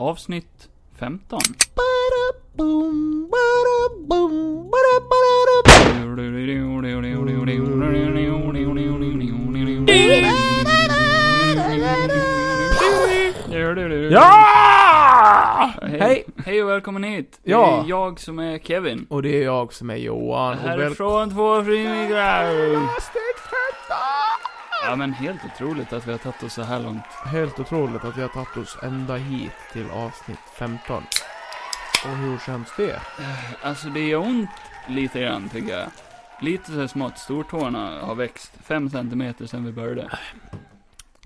Avsnitt 15. Ja! Hej! Hej och välkommen hit. Det Ja. är jag som är Kevin. Och det är jag som är Johan. Och väl... Härifrån två frymigrar. Avsnitt 15! Ja men helt otroligt att vi har tagit oss så här långt. Helt otroligt att vi har tagit oss ända hit till avsnitt 15. Och hur känns det? Alltså det gör ont lite grann tycker jag. Lite så här smått. Stortårna har växt fem centimeter sedan vi började.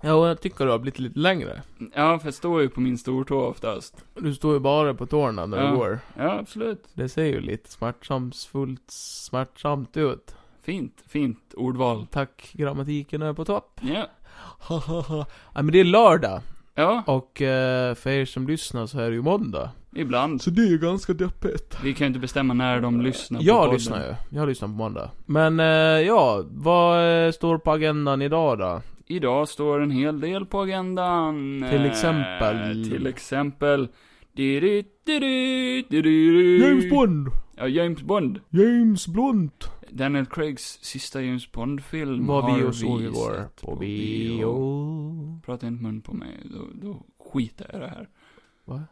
Ja, och jag tycker det har blivit lite längre. Ja, för jag står ju på min stortå oftast. Du står ju bara på tårna när Ja. du går. Ja, absolut. Det ser ju lite smärtsamfullt, smärtsamt ut. Fint, fint ordval. Tack, grammatiken är på topp. Ja. Hahaha. ja, men det är lördag. Ja, Och eh, för er som lyssnar så är det ju måndag. ibland. Så det är ju ganska deppigt. Vi kan ju inte bestämma när de lyssnar på jag podden. lyssnar ju. Jag lyssnar på måndag. Men eh, ja, vad eh, står på agendan idag då? Idag står en hel del på agendan. Till exempel- Eh, till exempel... Diri, diri, diri, Bond! Ja, James Bond. James Blunt! Daniel Craigs sista James Bond-film Vad Mm, har vi och såg igår. sett På bio. Prata inte mun på mig, då, då skiter jag i det här. Va?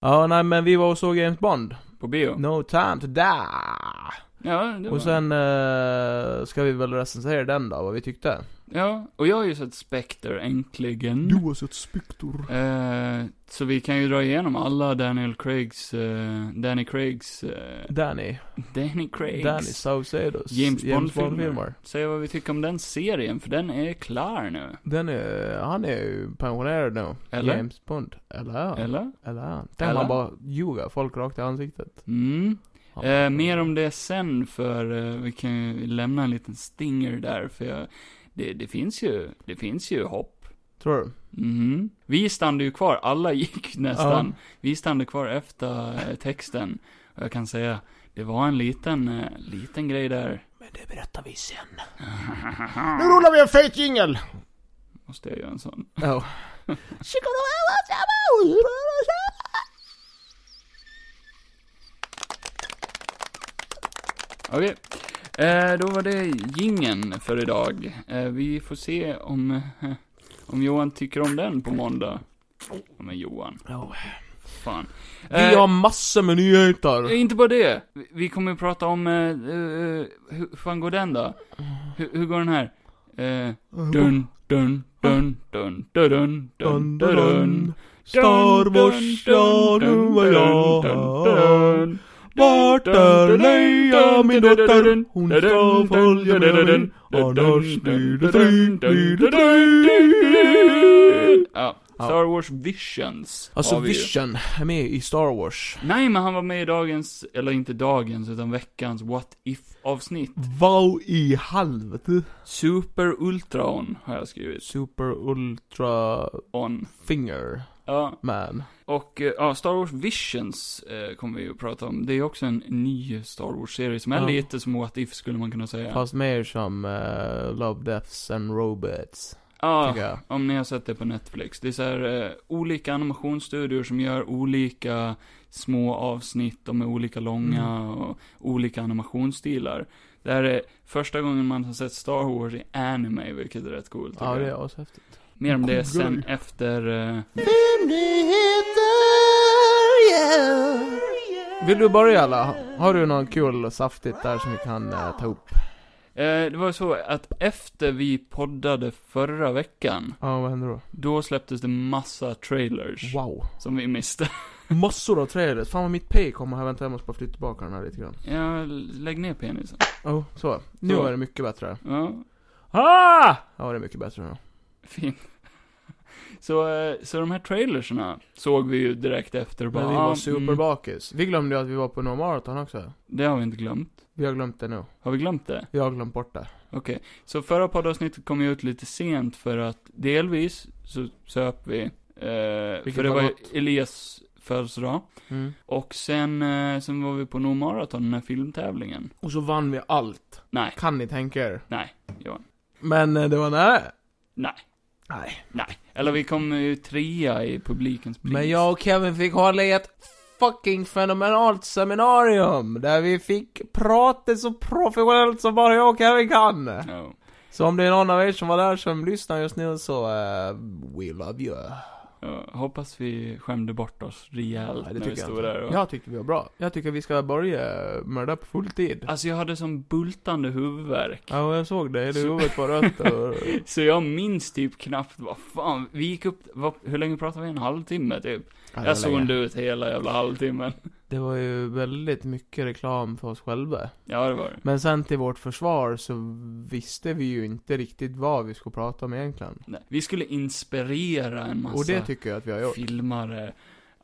Ja, nej men vi var och såg James Bond. På bio? No time to die! Ja, det var... Och sen eh, ska vi väl recensera den då, vad vi tyckte. Ja, och jag har ju sett Spectre, äntligen. Mm. har sett Spector. Eh, så vi kan ju dra igenom alla Daniel Craigs, eh, Danny Craigs, eh, Danny. Danny Craigs. Danny Saucedos. James Bond-filmer. Säg vad vi tycker om den serien, för den är klar nu. Den är, han är ju pensionerad nu. Eller? James Bond. Eller? Eller? Eller han. Eller? Tänk man bara ljuga folk rakt i ansiktet. Mm. Ja. Eh, mer om det sen, för eh, vi kan ju lämna en liten stinger där, för jag, det, det finns ju, det finns ju hopp. Tror du? Mhm. Vi stannade ju kvar, alla gick nästan. Vi stannade kvar efter eh, texten. Och jag kan säga, det var en liten, eh, liten grej där. Men det berättar vi sen. Nu rullar vi en fet jingel! Måste jag göra en sån? Ja. Okej. Eh, då var det gingen för idag. Eh, vi får se om, eh, om Johan tycker om den på måndag. Ja, men Johan, Ja. fan. Eh. Vi har massor med nyheter. Inte bara det. Vi- Vi kommer att prata om, eh, eh, hur hur fan går den då? Hur, hur går den här? Eh, dun, dun, dun, dun, dun, dun, dun, dun, dun. Star Wars, ja nu var jag här. Vart är Leia, min dotter? Hon ska följa med mig. Annars blir det strid, blir det strid. Ja, Star Wars Visions Alltså har vi ju. Vision är med i Star Wars. Nej, men han var med i dagens, eller inte dagens, utan veckans What If-avsnitt. Vad i helvete? Super Ultron har jag skrivit. Super Ultra On. Finger Ja, Man. och eh, ja, Star Wars Visions eh, kommer vi ju att prata om. Det är också en ny Star Wars-serie som är Ja. lite som What If skulle man kunna säga. Fast mer som eh, Love Deaths and Robots, ja, tycker jag. om ni har sett det på Netflix. Det är så här, eh, olika animationsstudior som gör olika små avsnitt, de är olika långa Mm. och olika animationsstilar. Det här är första gången man har sett Star Wars i anime, vilket är rätt coolt. Ja, tycker det jag. är ashäftigt. Mer om det Cool sen grej. efter... eh, Vill du börja eller? Har du någon kul och saftigt där som vi kan eh, ta upp? Eh, det var ju så att efter vi poddade förra veckan, Ja, vad händer då? då släpptes det massa trailers Wow. som vi missade. Massor av trailers. Fan vad mitt P kommer här. Vänta, jag måste bara flytta tillbaka den här lite grann. Ja, lägg ner penisen. Oh, så. Nu Så. är det mycket bättre. Ja, Ah! Ja, det är mycket bättre nu. fin. Så, eh, så de här trailerserna såg vi ju direkt efter. och Men bara, vi ah, var mm, superbakis. Vi glömde ju att vi var på några maraton också. Det har vi inte glömt. Vi har glömt det nu. Har vi glömt det? Vi har glömt bort det. Okej. Så förra poddavsnittet kom ju ut lite sent för att delvis så söp vi. Eh, Vilket för det var var ju gott. Elias födelsedag. Och sen, eh, sen var vi på Nordmaraton, den här filmtävlingen. Och så vann vi allt. Nej, Kan ni tänka er? nej, Johan. Men eh, det var nära. Nej. Nej. Nej. Eller vi kom ju trea i publikens pris. Men jag och Kevin fick hålla i ett fucking fenomenalt seminarium. Där vi fick prata så professionellt som bara jag och Kevin kan. Ja. Så om det är någon av er som var där som lyssnar just nu så, eh, we love you. Ja, hoppas vi skämde bort oss rejält Nej, när vi jag stod inte. där och... Jag tycker vi var bra. Jag tycker vi ska börja mörda på fulltid. Alltså jag hade som bultande huvudvärk. Ja, jag såg det. Det Så- huvudet var rött och... Så jag minns typ knappt vad fan, vi gick upp, vad, hur länge pratade vi? En halvtimme typ? Jag zonade ut hela jävla halvtimmen. Det var ju väldigt mycket reklam för oss själva. Ja, det var det. Men sen till vårt försvar så visste vi ju inte riktigt vad vi skulle prata om egentligen. Nej. Vi skulle inspirera en massa Och det tycker jag att vi har gjort. filmare.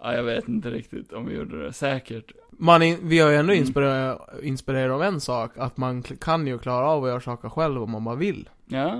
Ja, jag vet inte riktigt om vi gjorde det. Säkert. Man in, vi har ju ändå Mm. inspirerat inspirerat av en sak, att man kl- kan ju klara av att göra saker själv om man bara vill. Ja,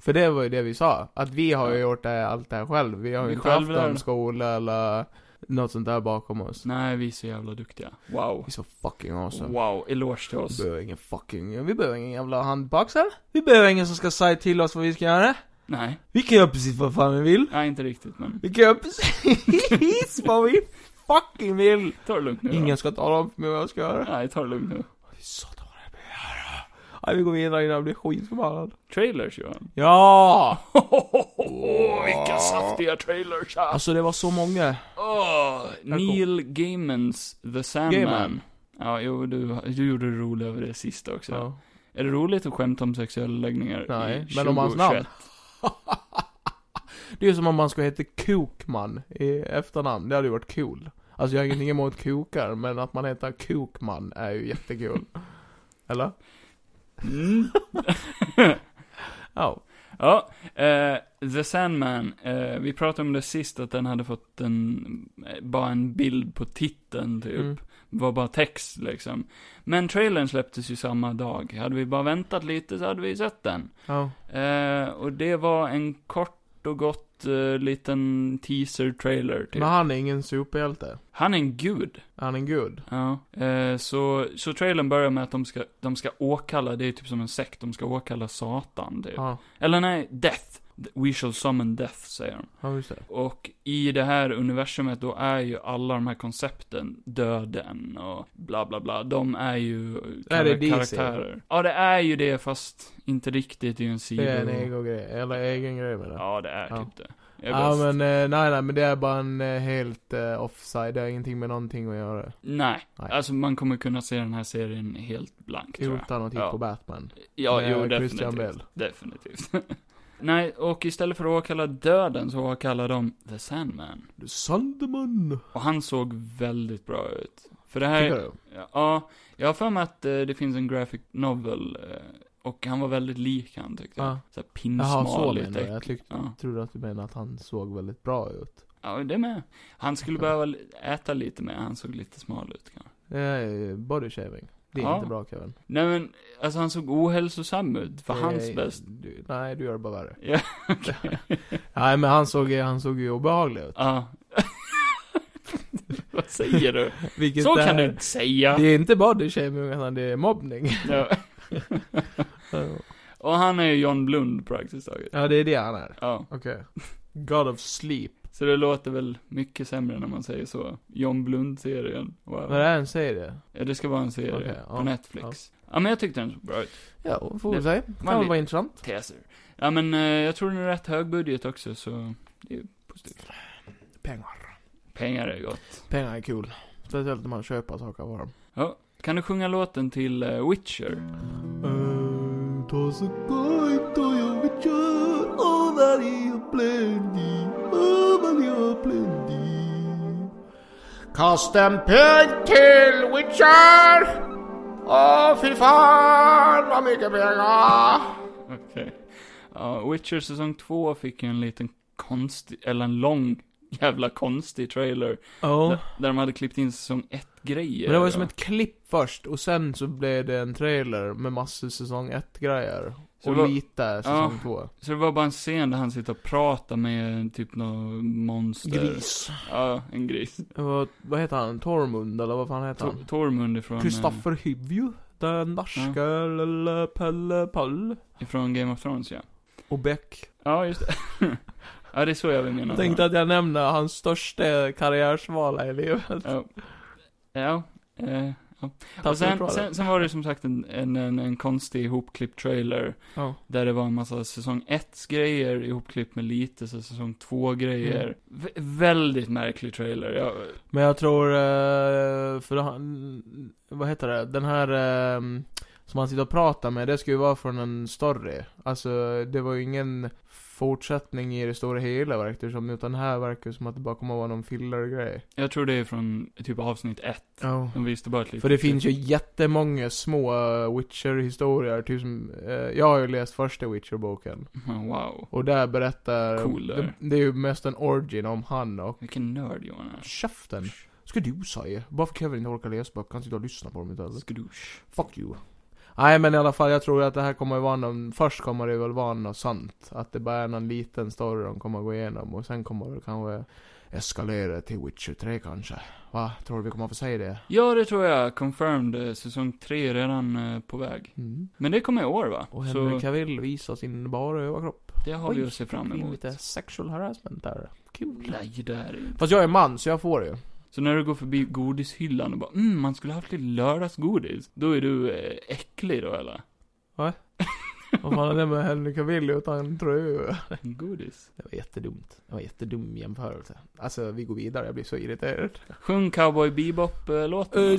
För det var ju det vi sa, att vi har ju Ja. gjort det, allt det här själv. Vi har ju Vi inte haft självlärda. någon skola eller något sånt där bakom oss. nej, vi är så jävla duktiga. Wow. Vi är så fucking awesome. Wow, eloge till oss. Vi behöver ingen fucking, vi behöver ingen jävla handboxare. Vi behöver ingen som ska säga till oss vad vi ska göra. Nej, Vi kan göra precis vad fan vi vill. nej inte riktigt, men Vi kan göra precis vad vi fucking vill. ta det lugnt nu då. Ingen ska tala om för mig vad jag ska göra. Nej, ta det lugnt nu. Fy Satan vad jag blir här. Nej, vi går vidare innan jag blir skitförbannad. Trailers, Johan. Ja! Åh, vilka saftiga trailers här. Alltså det var så många. Åh, Tack. Neil Gaimans The Sandman. Gaiman. Ja, jo, du, du gjorde det roligt över det sista också. Ja. Är det roligt att skämta om sexuella läggningar Nej, i men om hans namn. 2021? Det är ju som om man skulle heta Kokman i efternamn. Det hade ju varit cool. Alltså jag har ingenting emot kokar, men att man heter Kokman är ju jättekul. Eller? Mm. Ja. Ja, eh, The Sandman. Eh, vi pratade om det sist, att den hade fått en, eh, bara en bild på titeln typ. Mm. Det var bara text liksom. Men trailern släpptes ju samma dag. Hade vi bara väntat lite så hade vi sett den. Ja. Eh, och det var en kort och gott eh, liten teaser-trailer typ. Men han är ingen superhjälte. Han är en gud. Han är en gud. Ja. Eh, så, så trailern börjar med att de ska, de ska åkalla, det är typ som en sekt, de ska åkalla Satan typ. Ja. Eller nej, Death. We shall summon Death, säger de. Ja, just det. Och i det här universumet då är ju alla de här koncepten, döden och bla bla bla, de är ju Är det DC? karaktärer. Ja, det är ju det, fast inte riktigt, det är ju en sido. Det är en egen grej. Eller egen grej med det. Ja, det är Ja. typ det. Jag är Ja bäst. men eh, nej nej men det är bara en eh, helt eh, offside, det har ingenting med någonting att göra. Nej. Nej. alltså man kommer kunna se den här serien helt blank tror jag. Utan att titta Ja. på Batman. Ja, Med jo, Christian definitivt. Bale. Definitivt. Nej, och istället för att åkalla döden så åkallar de The Sandman. The Sandman! Och han såg väldigt bra ut. För det Tycker här, du? ja, jag har för mig att eh, det finns en graphic novel, eh, och han var väldigt lik han tyckte jag. Ja. Såhär Jaha, så pinsmal menar lite. jag. Jag tyckte, Ja. trodde att du menade att han såg väldigt bra ut. ja, det med. Han skulle Ja. behöva li- äta lite mer, han såg lite smal ut kanske. Det är eh, body shaving. Det är Ja. inte bra Kevin. Nej men, alltså han såg ohälsosam ut, för Det är- hans bäst. Du, nej, du gör det bara värre. Ja, okej. Nej men han såg, han såg ju obehaglig ut. Ja. Vad säger du? Vilket Så kan är- du inte säga. Det är inte body shaming utan det är mobbning. Ja. Och han är ju John Blund praktiskt taget. ja, det är det han är. Ja. Okej. God of sleep. Så det låter väl mycket sämre när man säger så. John Blund-serien. Wow. Men det är en säger det. Ja, det ska vara en serie Okej, på ja, Netflix. Ja. men jag tyckte den såg bra ut. Ja, får vi Det- se. man Kan väl vet. vara intressant. Teser. Ja men eh, jag tror den är rätt hög budget också så det är ju positivt. Pengar. Pengar är gott. Pengar är kul. Speciellt när man köper saker av dem. Ja. Kan du sjunga låten till eh, Witcher? It was a point to your witcher och varje plenty, och varje plenty. Kast en pund till witcher! Åh fy fan vad mycket pengar! Okej. Ja, Witcher säsong 2 fick ju en liten konstig, eller en lång jävla konstig trailer. Ja. Där, där de hade klippt in säsong 1-grejer. Men det var ju som ett klipp först och sen så blev det en trailer med massor säsong 1 grejer. Så och det var- lite säsong 2. Så det var bara en scen där han sitter och pratar med typ någon monster. Gris. Ja, en gris. Det var, vad heter han? Tormund eller vad fan heter Tor- han? Tormund ifrån, eh, Kristoffer Hyvju? Den norska lille Pelle Pall. ifrån eh, Game of Thrones ja. och Beck. Ja, just det. ja, det är så jag vill mena. Jag tänkte att jag nämnde hans största karriärsvala i livet. Ja. Ja. Eh. Och Tappade sen, tråden. sen, sen var det som sagt en, en, en, en konstig ihopklippt trailer. Ja. Där det var en massa säsong 1 grejer ihopklippt med lite så säsong 2 grejer. Mm. Vä- väldigt märklig trailer. Jag, Men jag tror, eh, för han, vad heter det, den här eh, som han sitter och pratar med, det ska ju vara från en story. Alltså, det var ju ingen fortsättning i det stora hela verkar det som, utan här verkar det som att det bara kommer att vara någon filler-grej. jag tror det är från typ avsnitt 1. Ja. De visste bara ett litet För det finns ju jättemånga små eh, Witcher-historier, typ som, eh, jag har ju läst första Witcher-boken. Men Wow. Och där berättar, Cool där. det, det är ju mest en origin om han och Vilken nörd Johan är. käften. Ska du säga? Bara för Kevin inte orkar läsa böcker, kan sitta och lyssna på dem istället. Skrush. Fuck you. Nej men i alla fall, jag tror att det här kommer vara någon, först kommer det väl vara något sant. Att det bara är någon liten story de kommer gå igenom och sen kommer det kanske eskalera till Witcher 3 kanske. Va? Tror du vi kommer få säga det? Ja, det tror jag. Confirmed. eh, Säsong 3 redan eh, på väg. Mm. Men det kommer i år va? Och Så Henry Cavill visar sin bara överkropp. det har vi Oj, att se fram Det blir emot. lite sexual harassment där. Kul. Nej, det här är inte. Fast jag är man så jag får det ju. Så när du går förbi godishyllan och bara mm, man skulle haft lite lördagsgodis. Då är du eh, äcklig då eller? Vad fan är det med Henry Cavill utan tröja? Godis. Det var jättedumt. Det var jättedum jämförelse. Alltså vi går vidare, jag blir så irriterad. Sjung Cowboy Bebop-låten. Eh, då.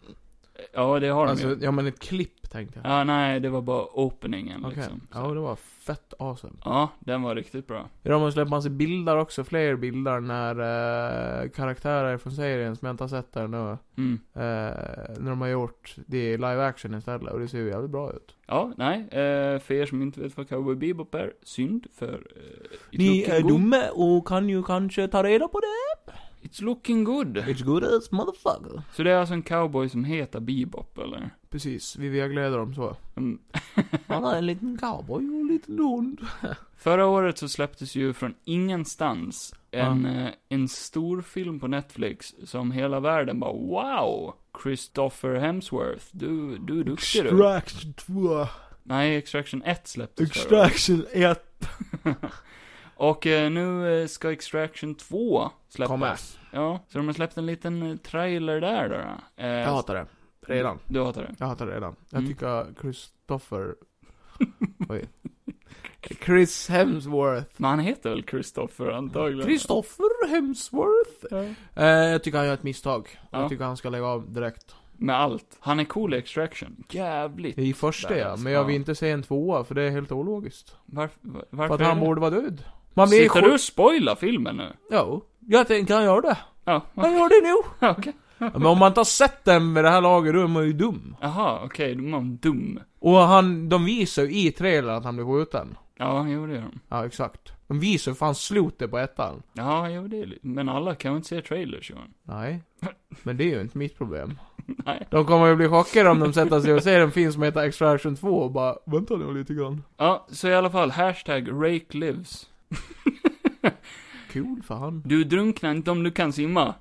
Ja, det har de Alltså, ju. ja men ett klipp tänkte jag. Ja, nej, det var bara openingen typ. Okej. liksom. Så. Ja, det var fett awesome. Ja, den var riktigt bra. De har släppt massa bilder också, fler bilder när eh, karaktärer från serien som jag inte har sett där nu. Mm. Eh, när de har gjort det i live action istället och det ser ju jävligt bra ut. Ja, nej, eh, för er som inte vet vad Cowboy Bebop är, synd för... Eh, it's looking good. dumma och kan ju kanske ta reda på det. It's looking good. It's good as motherfucker. Så det är alltså en cowboy som heter Bebop, eller? Precis, vi vägleder dem så. Mm. Han är en liten cowboy och en liten hund. Förra året så släpptes ju från ingenstans en, eh, en stor film på Netflix som hela världen bara wow! Christopher Hemsworth, du, du är duktig du. Extraction 2. Nej, Extraction 1 släpptes förra året. Extraction 1. Och eh, nu eh, ska Extraction 2 släppas. Kommer. Ja, så de har släppt en liten eh, trailer där då. Eh, Jag hatar det. Redan. Du hatar det? Jag hatar det redan. Jag Mm. tycker Christopher... Oj. Chris Hemsworth. Men han heter väl Christopher antagligen? Christopher Hemsworth. Ja. Eh, jag tycker han gör ett misstag. Ja. Jag tycker han ska lägga av direkt. Med allt. Han är cool i Extraction. Jävligt. I första ja, men jag vill inte säga en tvåa för det är helt ologiskt. Varför, var- För varför att är han det? borde vara död. Man blir Sitter du sjuk. och spoilar filmen nu? Jo. Jag tänker han gör det. Ja, okej. Han gör det nu. Okay. Men om man inte har sett den med det här laget, då är man ju dum. Jaha, okej, då är man dum. Och han, de visar ju i trailern att han blir skjuten. Ja, jo det gör de. Ja, exakt. De visar ju fan slutet på ettan. Ja, jo det är li- Men alla kan ju inte se trailers Johan. Nej. Men det är ju inte mitt problem. Nej. De kommer ju bli chockade om de sätter sig och ser en film som heter Extraction 2 och bara Vänta nu lite grann. Ja, så i alla fall, hashtag Rake lives. Kul för han. Du drunknar inte om du kan simma.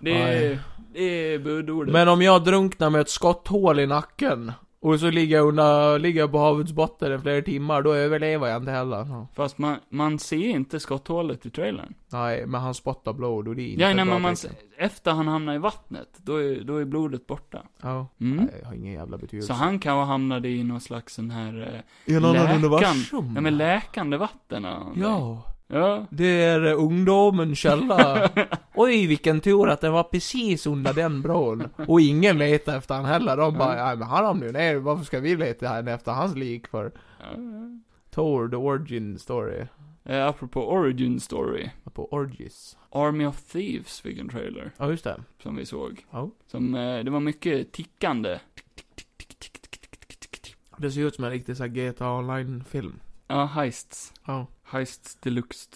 Det är, Nej. det är budordet. Men om jag drunknar med ett skotthål i nacken och så ligger jag, under, ligger jag på havets botten i flera timmar, då överlever jag inte heller. Ja. Fast man, man ser inte skotthålet i trailern. Nej, men han spottar blod och det är inte Ja, nej, ett bra men man, tecken. efter han hamnar i vattnet, då är, då är blodet borta. Ja. Mm. Nej, det har ingen jävla betydelse. Så han kan ha hamnat i någon slags sån här, eh, I en annan Läkaren. universum. ja men läkande vatten eller någonting. Mm. Ja, Ja. det är eh, ungdomens källa. Oj, vilken tur att den var precis under den bron. Och ingen letar efter han heller. De bara, nej men han hamnade ju ner, varför ska vi leta här efter hans lik för? ja. Tor, the origin story. Eh, apropå origin story. På orgies. Army of Thieves fick en trailer, Ja, just det. som vi såg. Ja. Som, eh, det var mycket tickande. Det ser ut som en riktig såhär GTA online-film. Ja, heists. Ja. Heists deluxe.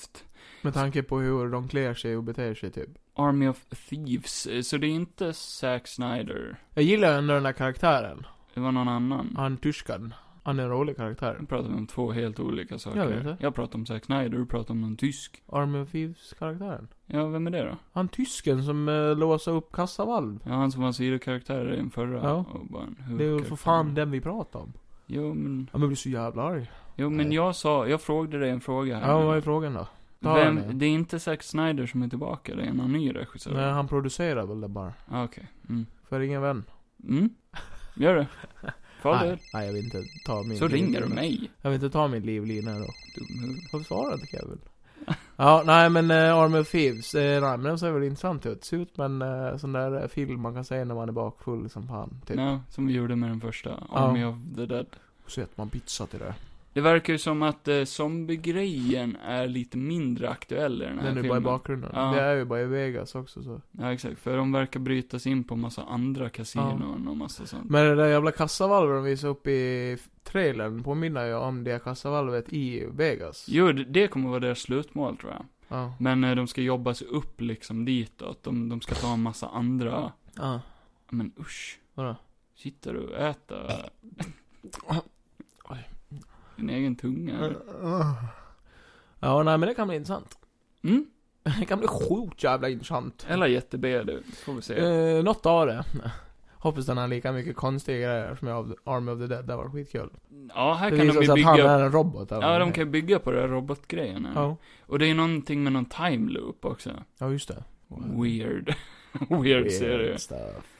Med tanke på hur de klär sig och beter sig typ. Army of Thieves, eh, så det är inte Zack Snyder. Jag gillar ändå den där karaktären. Det var någon annan. Han tyskan. Han är en rolig karaktär. Nu pratar vi om två helt olika saker. Jag vet det. jag pratar om Zack Snyder, du pratar om någon tysk. Army of Thieves-karaktären. Ja, vem är det då? Han tysken som eh, låser upp kassavalv. Ja, han som var sidokaraktär i den förra. Ja. Och bara en Det är ju för huvudkaraktär. fan den vi pratar om. Jo, men, Ja, men jag blir så jävla arg. jo, men Nej. jag sa, jag frågade dig en fråga här. Ja, nu. vad är frågan då? Ta den vem, igen. det är inte Zack Snyder som är tillbaka, det är någon ny regissör. Nej, han producerar väl det bara. Ah, Okej. Mm. För ingen vän. Mm. Gör det. Fader. Nej, nej, jag vill inte ta min Så ringer du livlina. mig. Jag vill inte ta min livlina då. Dumhuvud. Varför svarar inte Kevin? ja, nej men eh, Army of Thieves, eh, nej men den ser väl intressant ut. Ser ut men eh, sån där eh, film man kan se när man är bakfull som fan, typ. Ja, som vi gjorde med den första. Army of the Dead. Så äter man pizza till det. Det verkar ju som att eh, zombiegrejen är lite mindre aktuell i den här Den är bara i filmen. bakgrunden. Ja. Det är ju bara i Vegas också så. Ja, exakt. För de verkar bryta sig in på massa andra kasinon och massa sånt. Men det där jävla kassavalvet de visade upp i f- trailern påminner ju om det kassavalvet i Vegas. Jo, det- det kommer vara deras slutmål tror jag. Ja. Men eh, de ska jobba sig upp liksom ditåt. De, de ska ta en massa andra. Ja. Men usch. Vadå? Sitter du och äter Oj. din egen tunga? Ja, nej men det kan bli intressant. Mm? Det kan bli sjukt jävla intressant. Eller jätte-B du. Får vi se. Eh, något av det. Hoppas den har lika mycket konstiga grejer som jag av Army of the Dead. Det var skitkul. Ja, här Det kan de visar sig ju att han bygga... är en robot. eller Ja, de någonting. kan ju bygga på det här robotgrejen här. Ja. Och det är någonting med någon time loop också. ja, just det. Weird. Weird serie. stuff.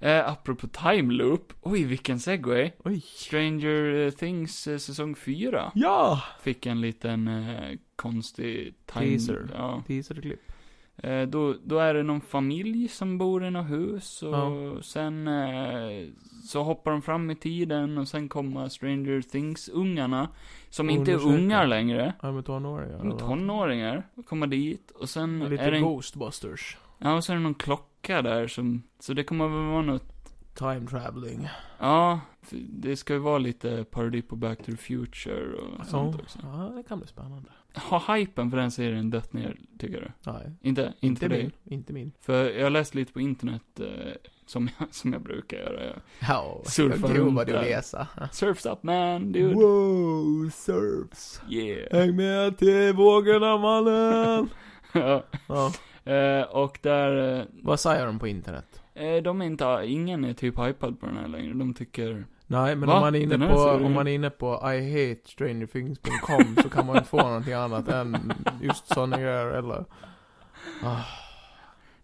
Eh, apropå time loop. Oj, vilken segway. Oj. Stranger eh, Things eh, säsong 4 Ja! fick en liten eh, konstig time Teaser. Ja. Teaserklipp. Eh, då, då är det någon familj som bor i något hus och Ja. sen eh, så hoppar de fram i tiden och sen kommer Stranger Things-ungarna, som Och inte är undersöker. ungar längre. Ja, med tonåringar. De är tonåringar, och kommer dit och sen Lite är det en, Ghostbusters. ja, och så är det någon klocka där som, så det kommer väl vara något, Time traveling. ja, för det ska ju vara lite parodi på Back to the Future och sånt Ja. också. ja, det kan bli spännande. Har hypen för den serien dött ner, tycker du? Nej. Inte, inte, för dig? min. Inte min. För jag har läst lite på internet, eh, som, jag, som jag brukar göra. Jag Ja, Surfa jag tror runt vad du där. läsa. Surfs up man, dude. Wow, surfs. Yeah. Häng med till vågorna mannen. ja. ja. eh, och där, Vad säger de på internet? eh, de är inte, ingen är typ hypad på den här längre. De tycker, Nej, men Va? om man, är inne Den här på, serien? om man är inne på ihatestrangerthings.com så kan man inte få någonting annat än just sådana grejer eller... Ah.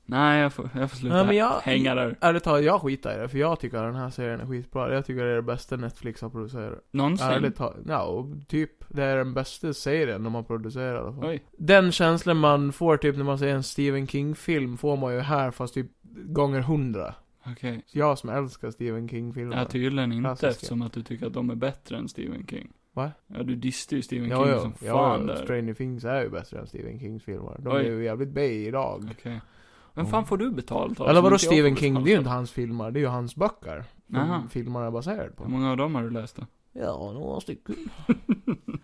nej jag får, jag får sluta Nej, men jag- hänga där. Ärligt talat, jag skitar i det för jag tycker att den här serien är skitbra. Jag tycker det är det bästa Netflix har producerat. Någonsin. Ärligt talat, ja och typ. Det är den bästa serien de har producerat i alla fall. Oj. Den känslan man får typ när man ser en Stephen King-film får man ju här fast typ gånger hundra. Okej. Jag som älskar Stephen King-filmer. Ja, tydligen inte Klassiska. eftersom att du tycker att de är bättre än Stephen King. Va? Ja, du dissade ju Stephen Ja, King ja, som ja, fan där. Okej. Stranger Things är ju bättre än Stephen Kings filmer. De Oj. är ju jävligt B idag. Vem fan får du betalt av? Mm. Eller som vadå inte jag får Stephen King? betalt Det är ju av? inte Mm. hans filmer, det är ju hans böcker. Aha. Mm. Som filmerna är baserade Hur på. många av dem har du läst då? Ja, några stycken.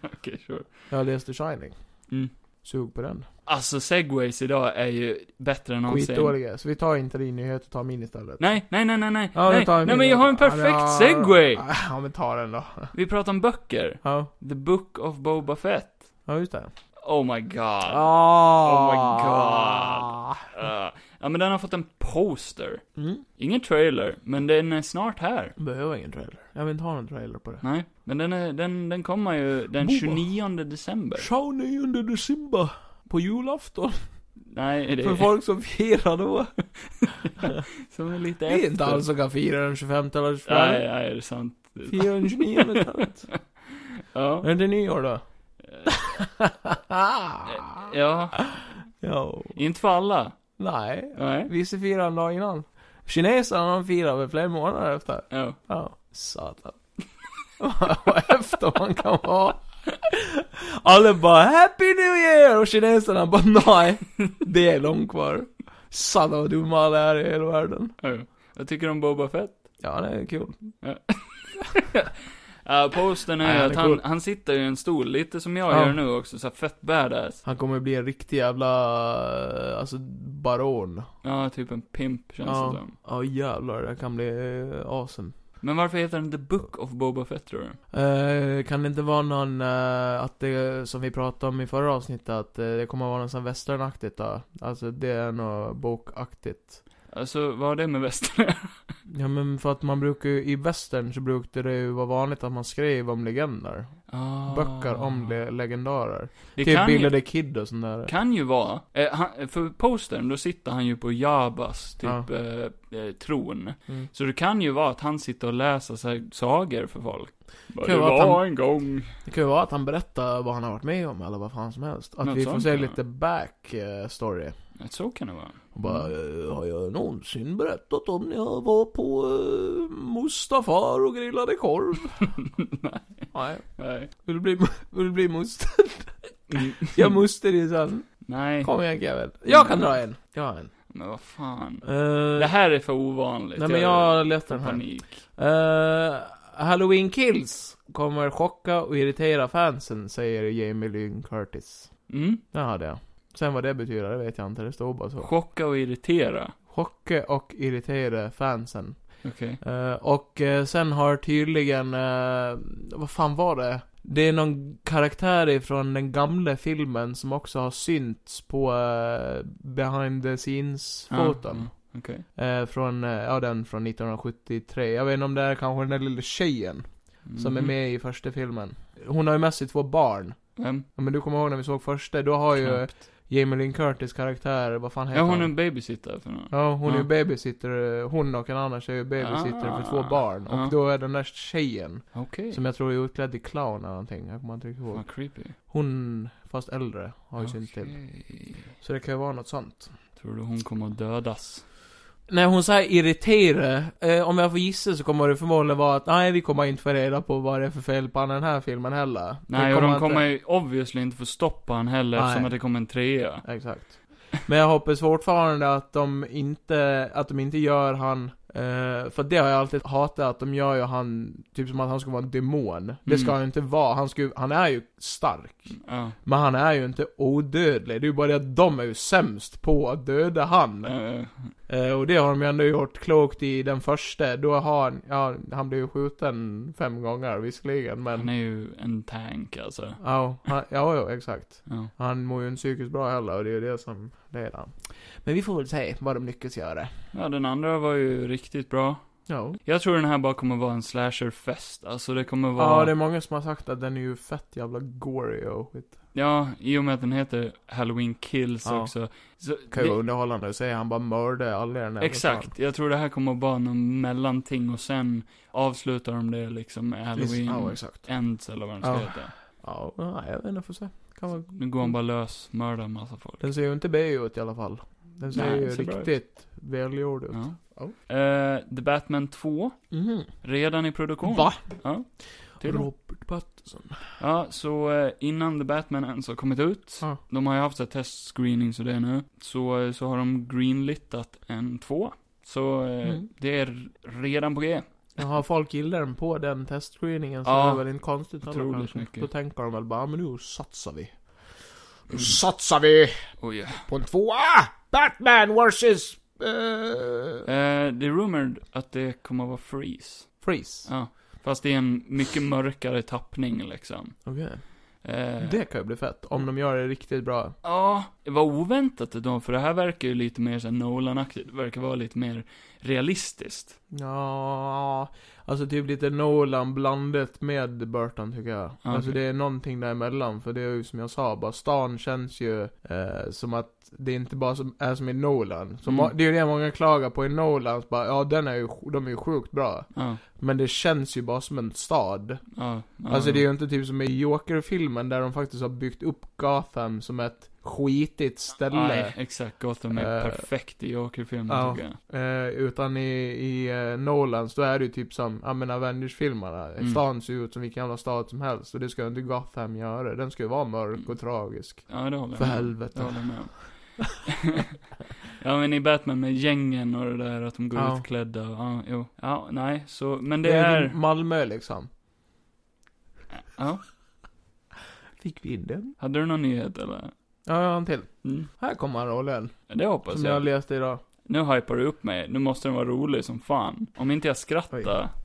Okej, sure. Jag läste Shining. Mm. Sug på den. Alltså segways idag är ju bättre än någonsin. Skitdåliga. Så vi tar inte din nyhet och tar min istället. Nej, nej, nej, nej, nej. Ja, nu nej, tar vi nej min men jag då. har en perfekt segway. Ja, Ja, men ta den då. Vi pratar om böcker. Ja, The Book of Boba Fett. ja just det. Oh my god. Oh my god. Uh, ja men den har fått en poster. Mm. Ingen trailer, men den är snart här. Behöver ingen trailer. Jag vill inte ha någon trailer på det. Nej, men den, är, den, den kommer ju den Boba. 29 december. Show 9 december. På julafton. Nej, det För är folk som firar då. som är lite Det är inte alls som kan fira den 25 eller 24. Nej, nej, det är sant. Fira den 29 talet. Ja. Är det nyår då? Eh, Ja, ja. inte för alla. Nej. Nej. Vissa firar en dag innan. Kineserna de firar väl flera månader efter. Ja. Ja. Satan. Vad efter man kan vara. Alla bara 'Happy New Year' och kineserna bara 'Nej, det är långt kvar' Satan vad dumma alla är i hela världen. ja. Vad tycker du om Boba Fett? Ja, det är kul. Ja, posten Nej, är han att är han, cool. han sitter i en stol, lite som jag Ja. gör nu också, så här fett badass. Han kommer bli en riktig jävla, alltså baron. Ja, typ en pimp känns Ja. det som. Ja jävlar, det här kan bli eh, awesome. Men varför heter den The Book of Boba Fett tror du? Eh, kan det inte vara någon, eh, att det, som vi pratade om i förra avsnittet, att eh, det kommer att vara något sånt västernaktigt då? Alltså det är något bokaktigt. Alltså, vad har det med västern Ja men för att man brukar ju, i västern så brukade det ju vara vanligt att man skrev om legender. ah. Böcker om le- legendarer. Det typ kan Billy ju, the Kid och sånt där. kan ju vara, eh, han, för postern, då sitter han ju på Jabas, typ, Ja. eh, eh, tron. Mm. Så det kan ju vara att han sitter och läser så här, sagor för folk. Bara, kan ju vara att han- en gång. Det kan ju vara att han berättar vad han har varit med om eller vad fan som helst. Att Något vi får sånt, se ja. lite back eh, story. Så kan det vara. Och bara, Mm. eh, har jag någonsin berättat om när jag var på eh, Mustafar och grillade korv? Nej. Nej. Vill du bli, vill du bli muster? Mm. Jag muster i sen. Nej, Kom igen Kevin. Jag kan dra en. Jag har en. men vad fan. Eh, Det här är för ovanligt. nej men jag letar får den här. panik. Eh, Halloween Kills kommer chocka och irritera fansen, säger Jamie Lynn Curtis. Mm. Det hade jag. Sen vad det betyder, det vet jag inte. Det står bara så. Chocka och irritera. Chocka och irritera fansen. Okej. Eh, och eh, sen har tydligen, eh, vad fan var det? Det är någon karaktär ifrån den gamla filmen som också har synts på eh, behind the scenes-foton. Ja, ja, okej. Eh, från, eh, ja den från 1973. Jag vet inte om det är kanske den där lilla tjejen som är Mhm. med i första filmen. Hon har ju med sig två barn. Vem? Ja, men du kommer ihåg när vi såg första, då har ju Knappt. Jamie Lynn Curtis karaktär, vad fan heter Ja, hon är han? en babysitter för någon. Ja, hon är ju Ja. babysitter, hon och en annan tjej är ju babysitter Ah. för två barn. Och Ja. då är den där tjejen, Okej. som jag tror är utklädd till clown eller någonting, jag kommer inte riktigt ihåg. Fan, creepy. Hon, fast äldre, har ju synts till. Okej. Så det kan ju vara något sånt. Tror du hon kommer att dödas? När hon säger irritera, eh, om jag får gissa så kommer det förmodligen vara att nej, vi kommer inte få reda på vad det är för fel på den här filmen heller. Det Nej, och de inte- kommer ju obviously inte få stoppa han heller Nej. eftersom att det kommer en trea. Exakt. Men jag hoppas fortfarande att de inte, att de inte gör han, eh, för det har jag alltid hatat, att de gör ju han, typ som att han ska vara en demon. Det ska Mm. han ju inte vara, han, ska, ju- han är ju stark. Ja. Men han är ju inte odödlig, det är ju bara det att de är ju sämst på att döda han. Eh, Eh, och det har de ju ändå gjort klokt i den första, då har han, ja, han blev ju skjuten fem gånger visserligen, men... han är ju en tank alltså. Ja, han, ja, ja, exakt. Ja. Han mår ju inte psykiskt bra heller och det är ju det som leder han. Men vi får väl se vad de lyckas göra. ja, den andra var ju riktigt bra. Ja. Jag tror den här bara kommer vara en slasherfest. Alltså det kommer vara... Ja, det är många som har sagt att den är ju fett jävla gory och skit. Ja, i och med att den heter Halloween Kills Ja. också. Så Kan ju det- vara underhållande att säga, han bara mördar alla i den här Exakt, jag tror det här kommer bara någon mellanting och sen avslutar de det liksom med lokalen. Halloween Ja, exakt. Ends eller vad den ska Ja. heta. Ja, nej, jag vet inte, får se. Kan vara... Nu går han bara lös, mördar en massa folk. Den ser ju inte B ut i alla fall. Den ser Nej, ju den ser bra ut. riktigt välgjord ut. Ja. Ja. Eh, The Batman 2, Mhm. redan i produktion. Va? Ja. Till då. Robert Pattinson. ja, så eh, innan The Batman ens har kommit ut, Ja. de har ju haft så här testscreenings och det nu, så, eh, så har de greenlitat en 2. Så eh, Mm. det är redan på G. Ja, Har folk gillat den på den testscreeningen så Ja. är det väl inte konstigt heller Otroligt kanske. mycket. Mm. Då tänker de väl bara, "Ja, men nu satsar vi. Nu satsar vi Oh, yeah. på en tvåa! Batman vs. eh, Eh, det är rumored att det kommer att vara Freeze. Freeze. Ja, fast det är en mycket mörkare tappning liksom. Okej. Eh, Det kan ju bli fett, om de gör det riktigt bra. Ja, det var oväntat då, för det här verkar ju lite mer såhär Nolan-aktigt. Det verkar vara lite mer realistiskt. Ja, alltså typ lite Nolan blandat med Burton tycker jag. Okej. Alltså det är någonting däremellan, för det är ju som jag sa, bara stan känns ju eh, som att det inte bara som, är som i Nolan. Som, Mm. Det är ju det många klagar på i Nolan, så bara, ja den är ju, de är ju sjukt bra. Ja, Men det känns ju bara som en stad. ja. ja. Alltså det är ju inte typ som i Joker-filmen där de faktiskt har byggt upp Gotham som ett skitigt ställe. Nej, exakt. Gotham är Eh, perfekt i Joker-filmen ja. tycker jag. Eh, utan i, i eh, Nolans, då är det ju typ som, ja men Avengers-filmerna. Mm. Stan ser ju ut som vilken jävla stad som helst. Och det ska ju inte Gotham göra. Den ska ju vara mörk och tragisk. Ja, det håller För jag med om. Det helvete. håller jag med om. ja, men i Batman med gängen och det där att de går Ja. utklädda och, ja, jo. Ja, nej, så, men Det, det är är... ju Malmö liksom. Ja. Fick vi in den? Hade du någon nyhet eller? Ja, jag har en till. Mm. Här kommer rollen. Det hoppas Som jag jag. läste idag. Nu hypar du upp mig. Nu måste den vara rolig som fan. Om inte jag skrattar.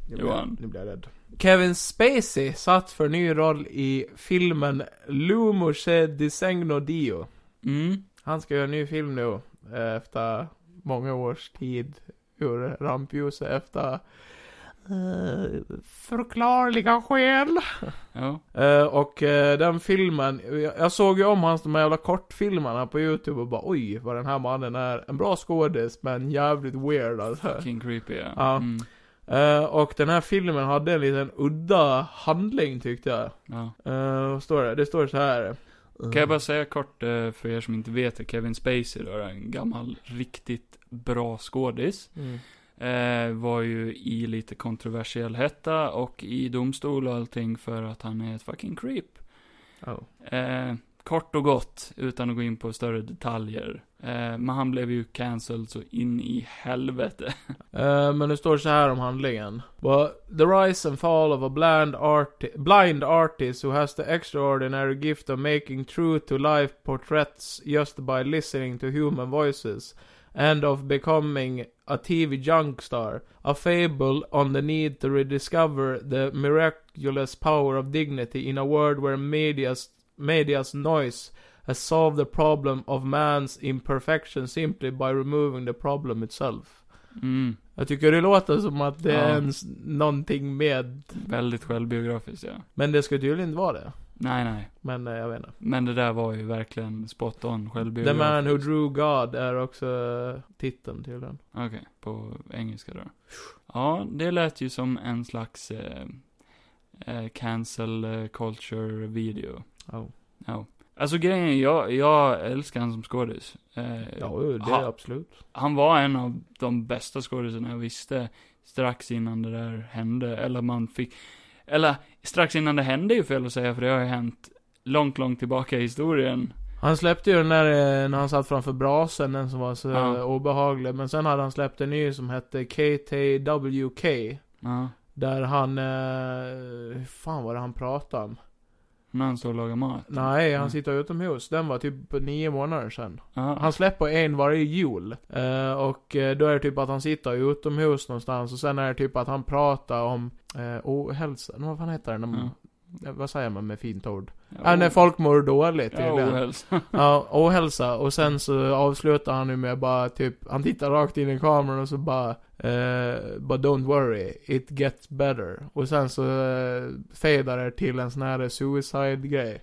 Nu blir, Johan. jag, nu blir jag rädd. Kevin Spacey satt för ny roll i filmen Lumoche Disegno Dio. Mm. Han ska göra en ny film nu. eh, Efter många års tid ur rampljuset efter eh, förklarliga skäl. Ja. Eh, och eh, den filmen, jag, jag såg ju om hans de här jävla kortfilmerna på YouTube och bara oj vad den här mannen är en bra skådis men jävligt weird alltså. King creepy ja. Ja. Mm. Eh, och den här filmen hade en liten udda handling tyckte jag. ja. Eh, vad står det? Det står så här. Kan jag bara säga kort eh, för er som inte vet det. Kevin Spacey då, är en gammal, riktigt bra skådis. Mm. Eh, var ju i lite kontroversiell hetta och i domstol och allting för att han är ett fucking creep. Oh. Eh, kort och gott, utan att gå in på större detaljer. Eh, men han blev ju cancelled så in i helvete. Eh, men det står så här om handlingen. Well, the rise and fall of a blind, arti- blind artist who has the extraordinary gift of making true to life portraits just by listening to human voices. And of becoming a TV junk star. A fable on the need to rediscover the miraculous power of dignity in a world where media's, media's noise has solved the problem of man's imperfection simply by removing the problem itself. Mm, Jag tycker det låter som att det är Ja. ens någonting med... väldigt självbiografiskt ja. Men det ska tydligen inte vara det. Nej, nej. Men eh, jag vet inte. Men det där var ju verkligen spot on The självbiografiskt. Man Who Drew God är också eh, titeln tydligen. Okej, på engelska då. Ja, det lät ju som en slags eh, eh, cancel culture video. Oh. Ja. Alltså grejen är, jag, jag älskar han som skådis. Eh, Ja, jo, det ha- är absolut. Han var en av de bästa skådisarna jag visste strax innan det där hände. Eller man fick, eller strax innan det hände är ju fel att säga för det har ju hänt långt, långt tillbaka i historien. Han släppte ju den där eh, när han satt framför brasen, den som var så Ja. eh, obehaglig. Men sen hade han släppt en ny som hette KTWK. Ja. Där han... Eh, hur fan var det han pratade om? När han står och lagar mat. Nej, han Mm. sitter utomhus. Den var typ nio månader sedan. Ja. Han släpper en varje jul. Eh, och eh, då är det typ att han sitter utomhus någonstans och sen är det typ att han pratar om eh, ohälsa. Men Vad fan heter det? när man- eh, Vad säger man med fint ord? Ja, när folk mår dåligt Ja, tydligen. Ja, ohälsa. ohälsa. Och sen så avslutar han nu med bara typ, han tittar rakt in i kameran och så bara eh, But don't worry, it gets better. Och sen så eh, fadar det till en sån här suicide-grej.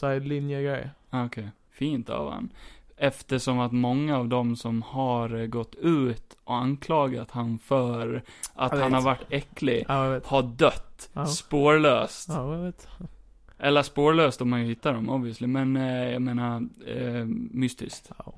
Suicide-linje-grej. Okej, fint av han. Eftersom att många av dem som har eh, gått ut och anklagat han för att Jag han vet. har varit äcklig Ja, jag vet. har dött Ja. spårlöst. Ja, jag vet. Eller spårlöst om man ju hittar dem obviously, men eh, jag menar eh, mystiskt. Ja.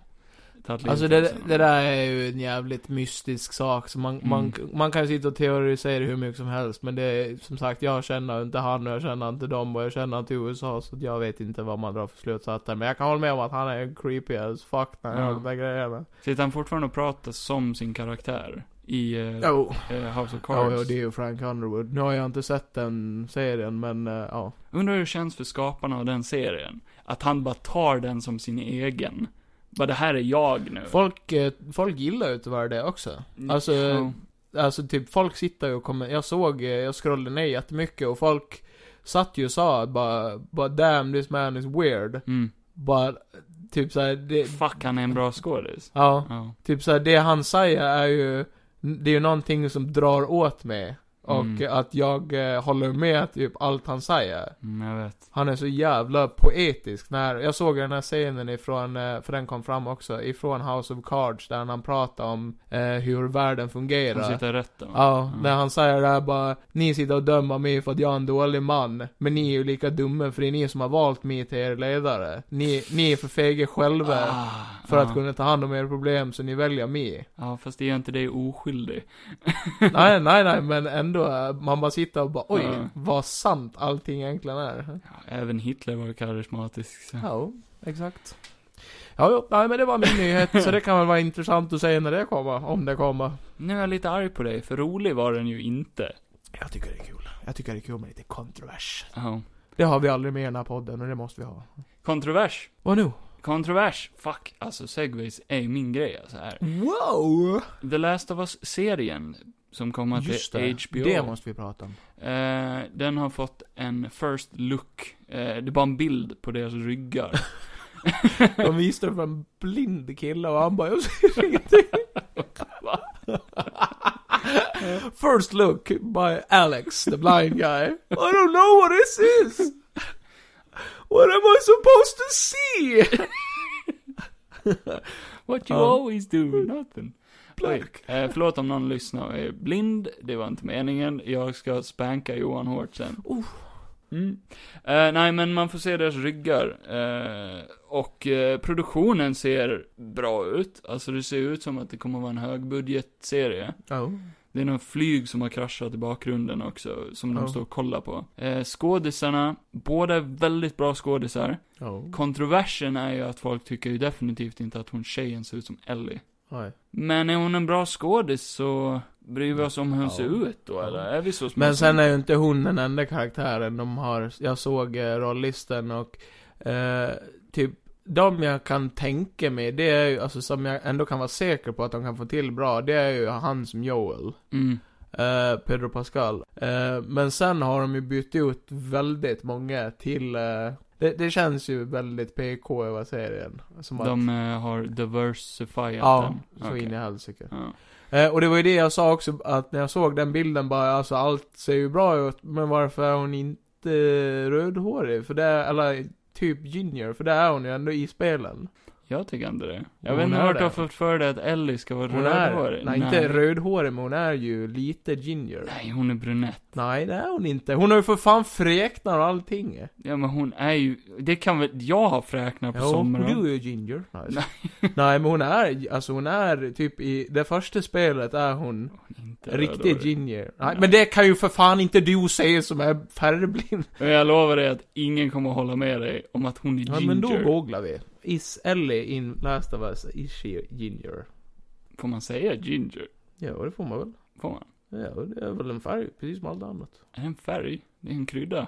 Tagit livet Alltså av det, sig. det där är ju en jävligt mystisk sak, så man, man, man kan ju sitta och teorisera hur mycket som helst, men det är som sagt, jag känner inte han och jag känner inte dem och jag känner inte USA, så att jag vet inte vad man drar för slutsatser. Men jag kan hålla med om att han är creepy as fuck när han Ja. gör de där grejerna. Sitter han fortfarande och pratar som sin karaktär i eh, Oh. eh, House of Ja, Cards? och det är ju Frank Underwood. Nu har jag inte sett den serien, men eh, ja. Undrar hur det känns för skaparna av den serien? Att han bara tar den som sin egen. Bara det här är jag nu. Folk, eh, folk gillar ju tyvärr det också. Alltså, Ja. Alltså typ folk sitter ju och kommer, jag såg, eh, jag scrollade ner jättemycket och folk satt ju och sa att bara, bara damn this man is weird. Mm. Bara, typ såhär, det, Fuck, han är en bra skådis. ja, Ja. typ såhär det han säger är ju, det är ju någonting som drar åt mig. Och Mm. eh, att jag eh, håller med typ allt han säger. Mm, jag vet. Han är så jävla poetisk när, jag såg den här scenen ifrån, eh, för den kom fram också, ifrån House of Cards där han pratar om eh, hur världen fungerar. Han sitter rätt då. Ja, Mm. när han säger det här bara, ni sitter och dömer mig för att jag är en dålig man. Men ni är ju lika dumma för det är ni som har valt mig till er ledare. Ni, ni är för fega själva Ah, för ja. att kunna ta hand om era problem, så ni väljer mig. Ja, fast det gör inte dig oskyldig. nej, nej, nej, men ändå, eh, man bara sitter och bara, oj, Ja. vad sant allting egentligen är. Ja, även Hitler var karismatisk. Så. Ja, exakt. Ja, jo, nej, men det var min nyhet, så det kan väl vara intressant att säga när det kommer, om det kommer. Nu är jag lite arg på dig, för rolig var den ju inte. Jag tycker det är kul. Jag tycker det är kul med lite kontrovers. Ja. Det har vi aldrig med i den här podden och det måste vi ha. Kontrovers. Vad nu? Kontrovers. Fuck, alltså segways är ju min grej alltså här. Wow! The Last of Us-serien som kommer Just till det. HBO. Det måste vi prata om. Eh, den har fått en first look. Eh, det är bara en bild på deras ryggar. De visade det för en blind kille och han bara 'Jag ser ingenting' First look by Alex, the blind guy. I don't know what this is! What am I supposed to see? What you Ja. always do, nothing. Oj, Black. eh, förlåt om någon lyssnar och är blind, det var inte meningen. Jag ska spanka Johan hårt sen. Oh. Mm. Eh, nej, men man får se deras ryggar. Eh, och eh, produktionen ser bra ut. Alltså det ser ut som att det kommer vara en högbudgetserie. Oh. Det är någon flyg som har kraschat i bakgrunden också, som Ja. de står och kollar på. Eh, skådisarna, båda är väldigt bra skådisar. Oh. Kontroversen är ju att folk tycker ju definitivt inte att hon tjejen ser ut som Ellie. Nej. Men är hon en bra skådis så bryr vi oss om hur hon Ja. ser ut då eller? Är vi så små Men som- sen är ju inte hon den enda karaktären de har. Jag såg eh, rollisten och eh, typ de jag kan tänka mig, det är ju, alltså som jag ändå kan vara säker på att de kan få till bra, det är ju han som Joel. Mm. Eh, Pedro Pascal. Eh, men sen har de ju bytt ut väldigt många till... eh, det, det känns ju väldigt PK över serien. Som att, De eh, har diversifierat Ja, den. så Okej. in i helsike. Ja. Eh, och det var ju det jag sa också, att när jag såg den bilden bara, alltså allt ser ju bra ut, men varför är hon inte rödhårig? För det, är- eller typ junior, för det är hon ju ändå i spelen. Jag tycker inte det. Jag Hon vet inte är vart du har det. fått för dig att Ellie ska vara Hon är, rödhårig. nej inte rödhårig, men hon är ju lite junior. Nej, hon är brunett. Nej, det är hon inte. Hon har ju för fan fräknar och allting. Ja men hon är ju, det kan väl, jag har fräknar på Ja, sommaren. du är ju ginger. Nej, Nej men hon är, alltså hon är typ i, det första spelet är hon Hon är inte riktigt rödhårig. ginger. Nej, Nej. men det kan ju för fan inte du säga som är färgblind. Men jag lovar dig att ingen kommer att hålla med dig om att hon är ginger. Ja, men då googlar vi. Is Ellie in Last of Us, is she ginger? Får man säga ginger? Ja, det får man väl. Får man? Ja, det är väl en färg, precis som allt annat. Är det en färg? Det är en krydda.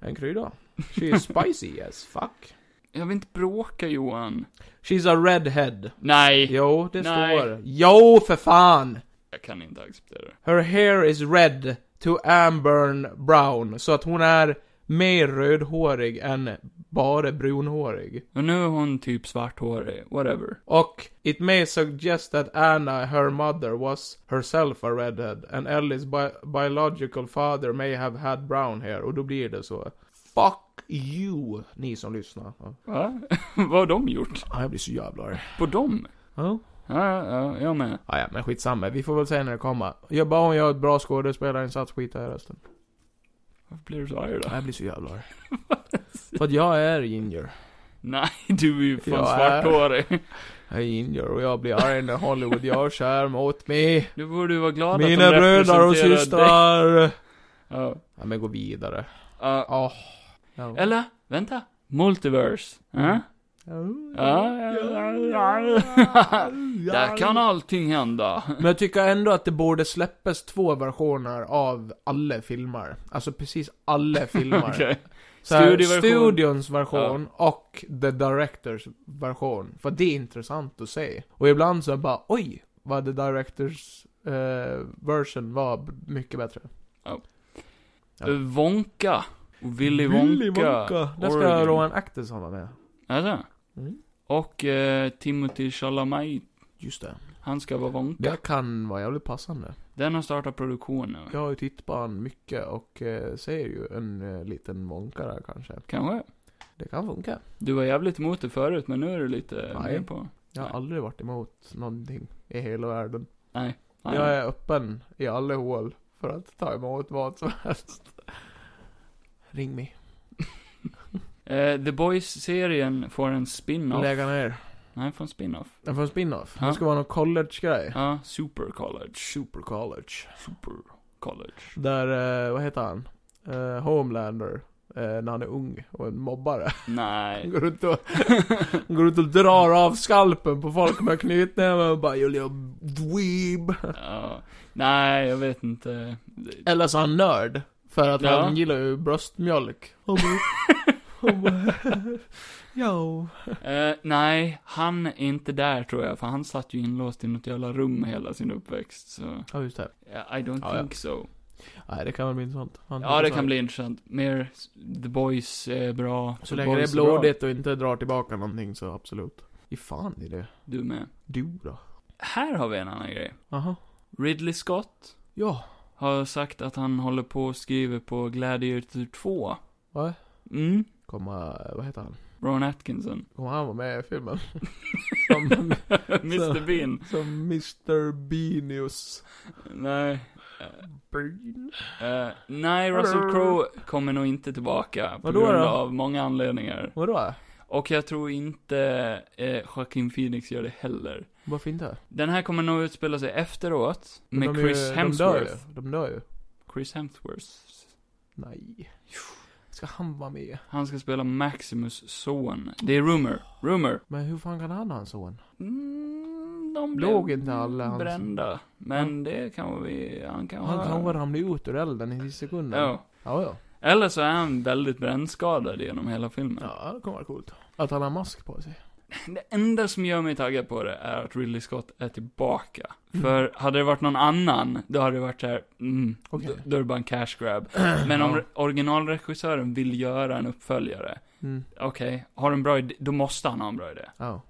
En krydda. She is spicy as fuck. Jag vill inte bråka Johan. She's a redhead. Nej! Jo, det Nej. står. Jo, för fan! Jag kan inte acceptera det. Her hair is red to amber brown. Så att hon är mer rödhårig än bara brunhårig. Och nu är hon typ svarthårig, whatever. Och it may suggest that Anna, her mother, was herself a redhead. And Ellie's bi biological father may have had brown hair. Och då blir det så. Fuck you, ni som lyssnar. Ja. Va? Vad har de gjort? Ah, jag blir så jävla arg. På dem? Ja. Ja, ja, ja, jag med. Ah, ja, men skitsamma. Vi får väl se när det kommer. Jag bara hon gör ett bra skådespelarinsats, skit i resten. Varför blir du så arg då? Jag blir så jävla arg. För att jag är ginger. Nej, du är ju fan Jag är- svarthårig. Jag är ginger och jag blir arg när Hollywood gör så här mot mig. Du borde ju vara glad Mina att de bröder och representerar dig. systrar. Ja. Ja, men gå vidare. Ja. Åh. Ja. Eller, vänta. Multiverse. Mm. Ja? Ja, ja, ja, ja. Där kan allting hända. Men jag tycker ändå att det borde släppas två versioner av alla filmer. Alltså precis alla filmer. Okej. Så här, Studioversion. Studions version och the directors version. För det är intressant att se. Och ibland så bara oj, vad the directors eh, version var b- mycket bättre. Ja. Eh, Wonka. Och Willy Wonka. Där ska Oregon. Rowan Atkinson vara med. Alltså. Mm. Och eh, Timothy Chalamet. Just det. Han ska vara Wonka. Det kan vara jävligt passande. Den har startat produktion nu. Jag har ju tittat på han mycket och eh, ser ju en eh, liten månka där kanske. Kanske. Det kan funka. Du var jävligt emot det förut, men nu är du lite Nej. mer på. Jag har Nej. aldrig varit emot någonting i hela världen. Nej. Nej. Jag är öppen i alla hål för att ta emot vad som helst. Ring mig. Eh, The Boys-serien får en spin-off. Lägga ner. Nej, får en spin-off. Den får en spin-off. Ja. Det ska vara någon college-grej. Ja, Super College. Super college. Super College. Där, eh, vad heter han? Eh, Homelander eh, när han är ung och en mobbare. Han Nej. går runt och, han går runt och drar av skalpen på folk med knytnäven och bara 'You little dweeb' Ja. Nej, jag vet inte. Eller så är han nörd. För att Ja. han gillar ju bröstmjölk. Han bara- han bara, "Ja." Eh, nej, han är inte där tror jag, för han satt ju inlåst i något jävla rum hela sin uppväxt, så... Ja, just det. eh, I don't Ja, ja. think so. Nej, det kan väl bli intressant. Han- Ja, det kan bli intressant. Mer, s- The Boys är bra. Så The länge det Boys är bra. blodigt och inte drar tillbaka någonting så absolut. I fan är det? Du med. Du då? Här har vi en annan grej. Aha. Ridley Scott Ja. har sagt att han håller på och skriver på Gladiator 2. Va? Mm, Kommer, vad heter han? Ron Atkinson. Kommer han vara med i filmen? som, Mr Bean. som Mr. Beanius. Nej. Bean? eh, nej, Russell Crowe kommer nog inte tillbaka. På Vadå grund då? av många anledningar. Vadå? Och jag tror inte eh, Joaquin Phoenix gör det heller. Varför inte? Den här kommer nog utspela sig efteråt. Med De är ju- Chris Hemsworth. De dör ju. De dör ju. Chris Hemsworth. Nej. Ska han vara med? Han ska spela Maximus son. Det är rumor. Rumor. Men hur fan kan han ha en son? Mm, de blev Låg inte alla hans- brända. Men det kan vi... Han kan Han ha... kanske ramlade ut ur elden i sista sekunden. Ja. Ja, ja. Eller så är han väldigt brännskadad genom hela filmen. Ja, det kommer vara coolt. Att han har mask på sig. Det enda som gör mig taggad på det är att Ridley Scott är tillbaka. Mm. För hade det varit någon annan, då hade det varit så här, mm, Okej. då, då är det bara en cash grab. Men om Ja. re- originalregissören vill göra en uppföljare, Mm. okej, har en bra idé, då måste han ha en bra idé. Ja.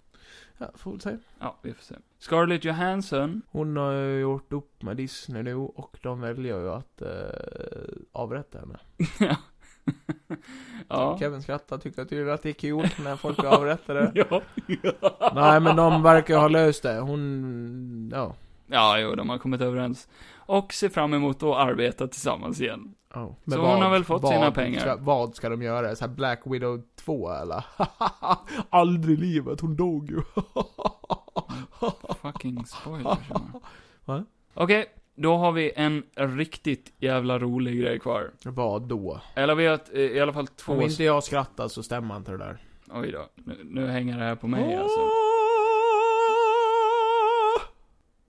Ja, får väl se. Ja, vi får se. Scarlett Johansson, Hon har ju gjort upp med Disney nu och de väljer ju att eh, avrätta henne. ja. Kevin skrattar, tycker tydligen att det är kul när folk blir avrättade. Ja. Nej men de verkar ju ha löst det. Hon, ja. ja, jo, de har kommit överens. Och ser fram emot att arbeta tillsammans igen. Oh. Så hon har väl fått sina pengar. Ska, vad ska de göra? Så här Black Widow 2 eller? Aldrig i livet, hon dog ju. Fucking spoilers. man. Va? Okej, då har vi en riktigt jävla rolig grej kvar. vad då? Eller vi har ett, eh, i alla fall två... Om inte jag skrattar så stämmer inte det där. Oj då, nu, nu hänger det här på mig alltså.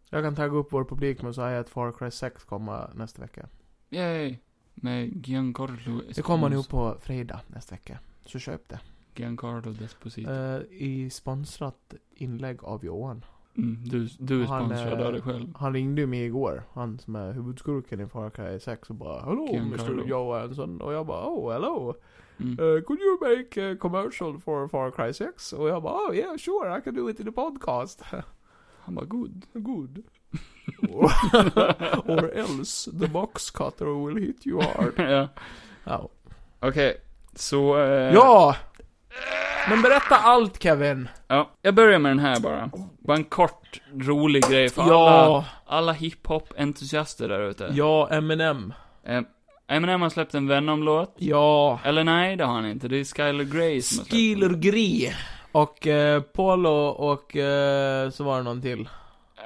Jag kan tagga upp vår publik med att säga att Far Cry 6 kommer nästa vecka. Yay! Med Giancarlo Esposito. Det kommer nog på fredag nästa vecka. Så köp det. Giancarlo Desposito. Eh, I sponsrat inlägg av Johan. Mm, du du är han, sponsrad eh, av dig själv. Han ringde ju mig igår, han som är huvudskurken i Far Cry 6 och bara 'Hello Ken Mr Carlo." Johansson' och jag bara 'Oh hello' Mm. Uh, could you make a commercial for Far Cry 6? Och jag bara, oh yeah, sure, I can do it in the podcast. Han var god. Good. or, or else the box cutter will hit you hard. ja. Ja. Okej, så... Eh, ja! Men berätta allt Kevin! ja! Jag börjar med den här bara. Bara en kort, rolig grej för alla, Ja, alla hiphop-entusiaster där ute. ja, Eminem. Eh, Eminem har släppt en Venom-låt. Ja. Eller nej, det har han inte. Det är Skylar Grey som har släppt den. Skeeler Gree. Och eh, Polo och eh, så var det någon till.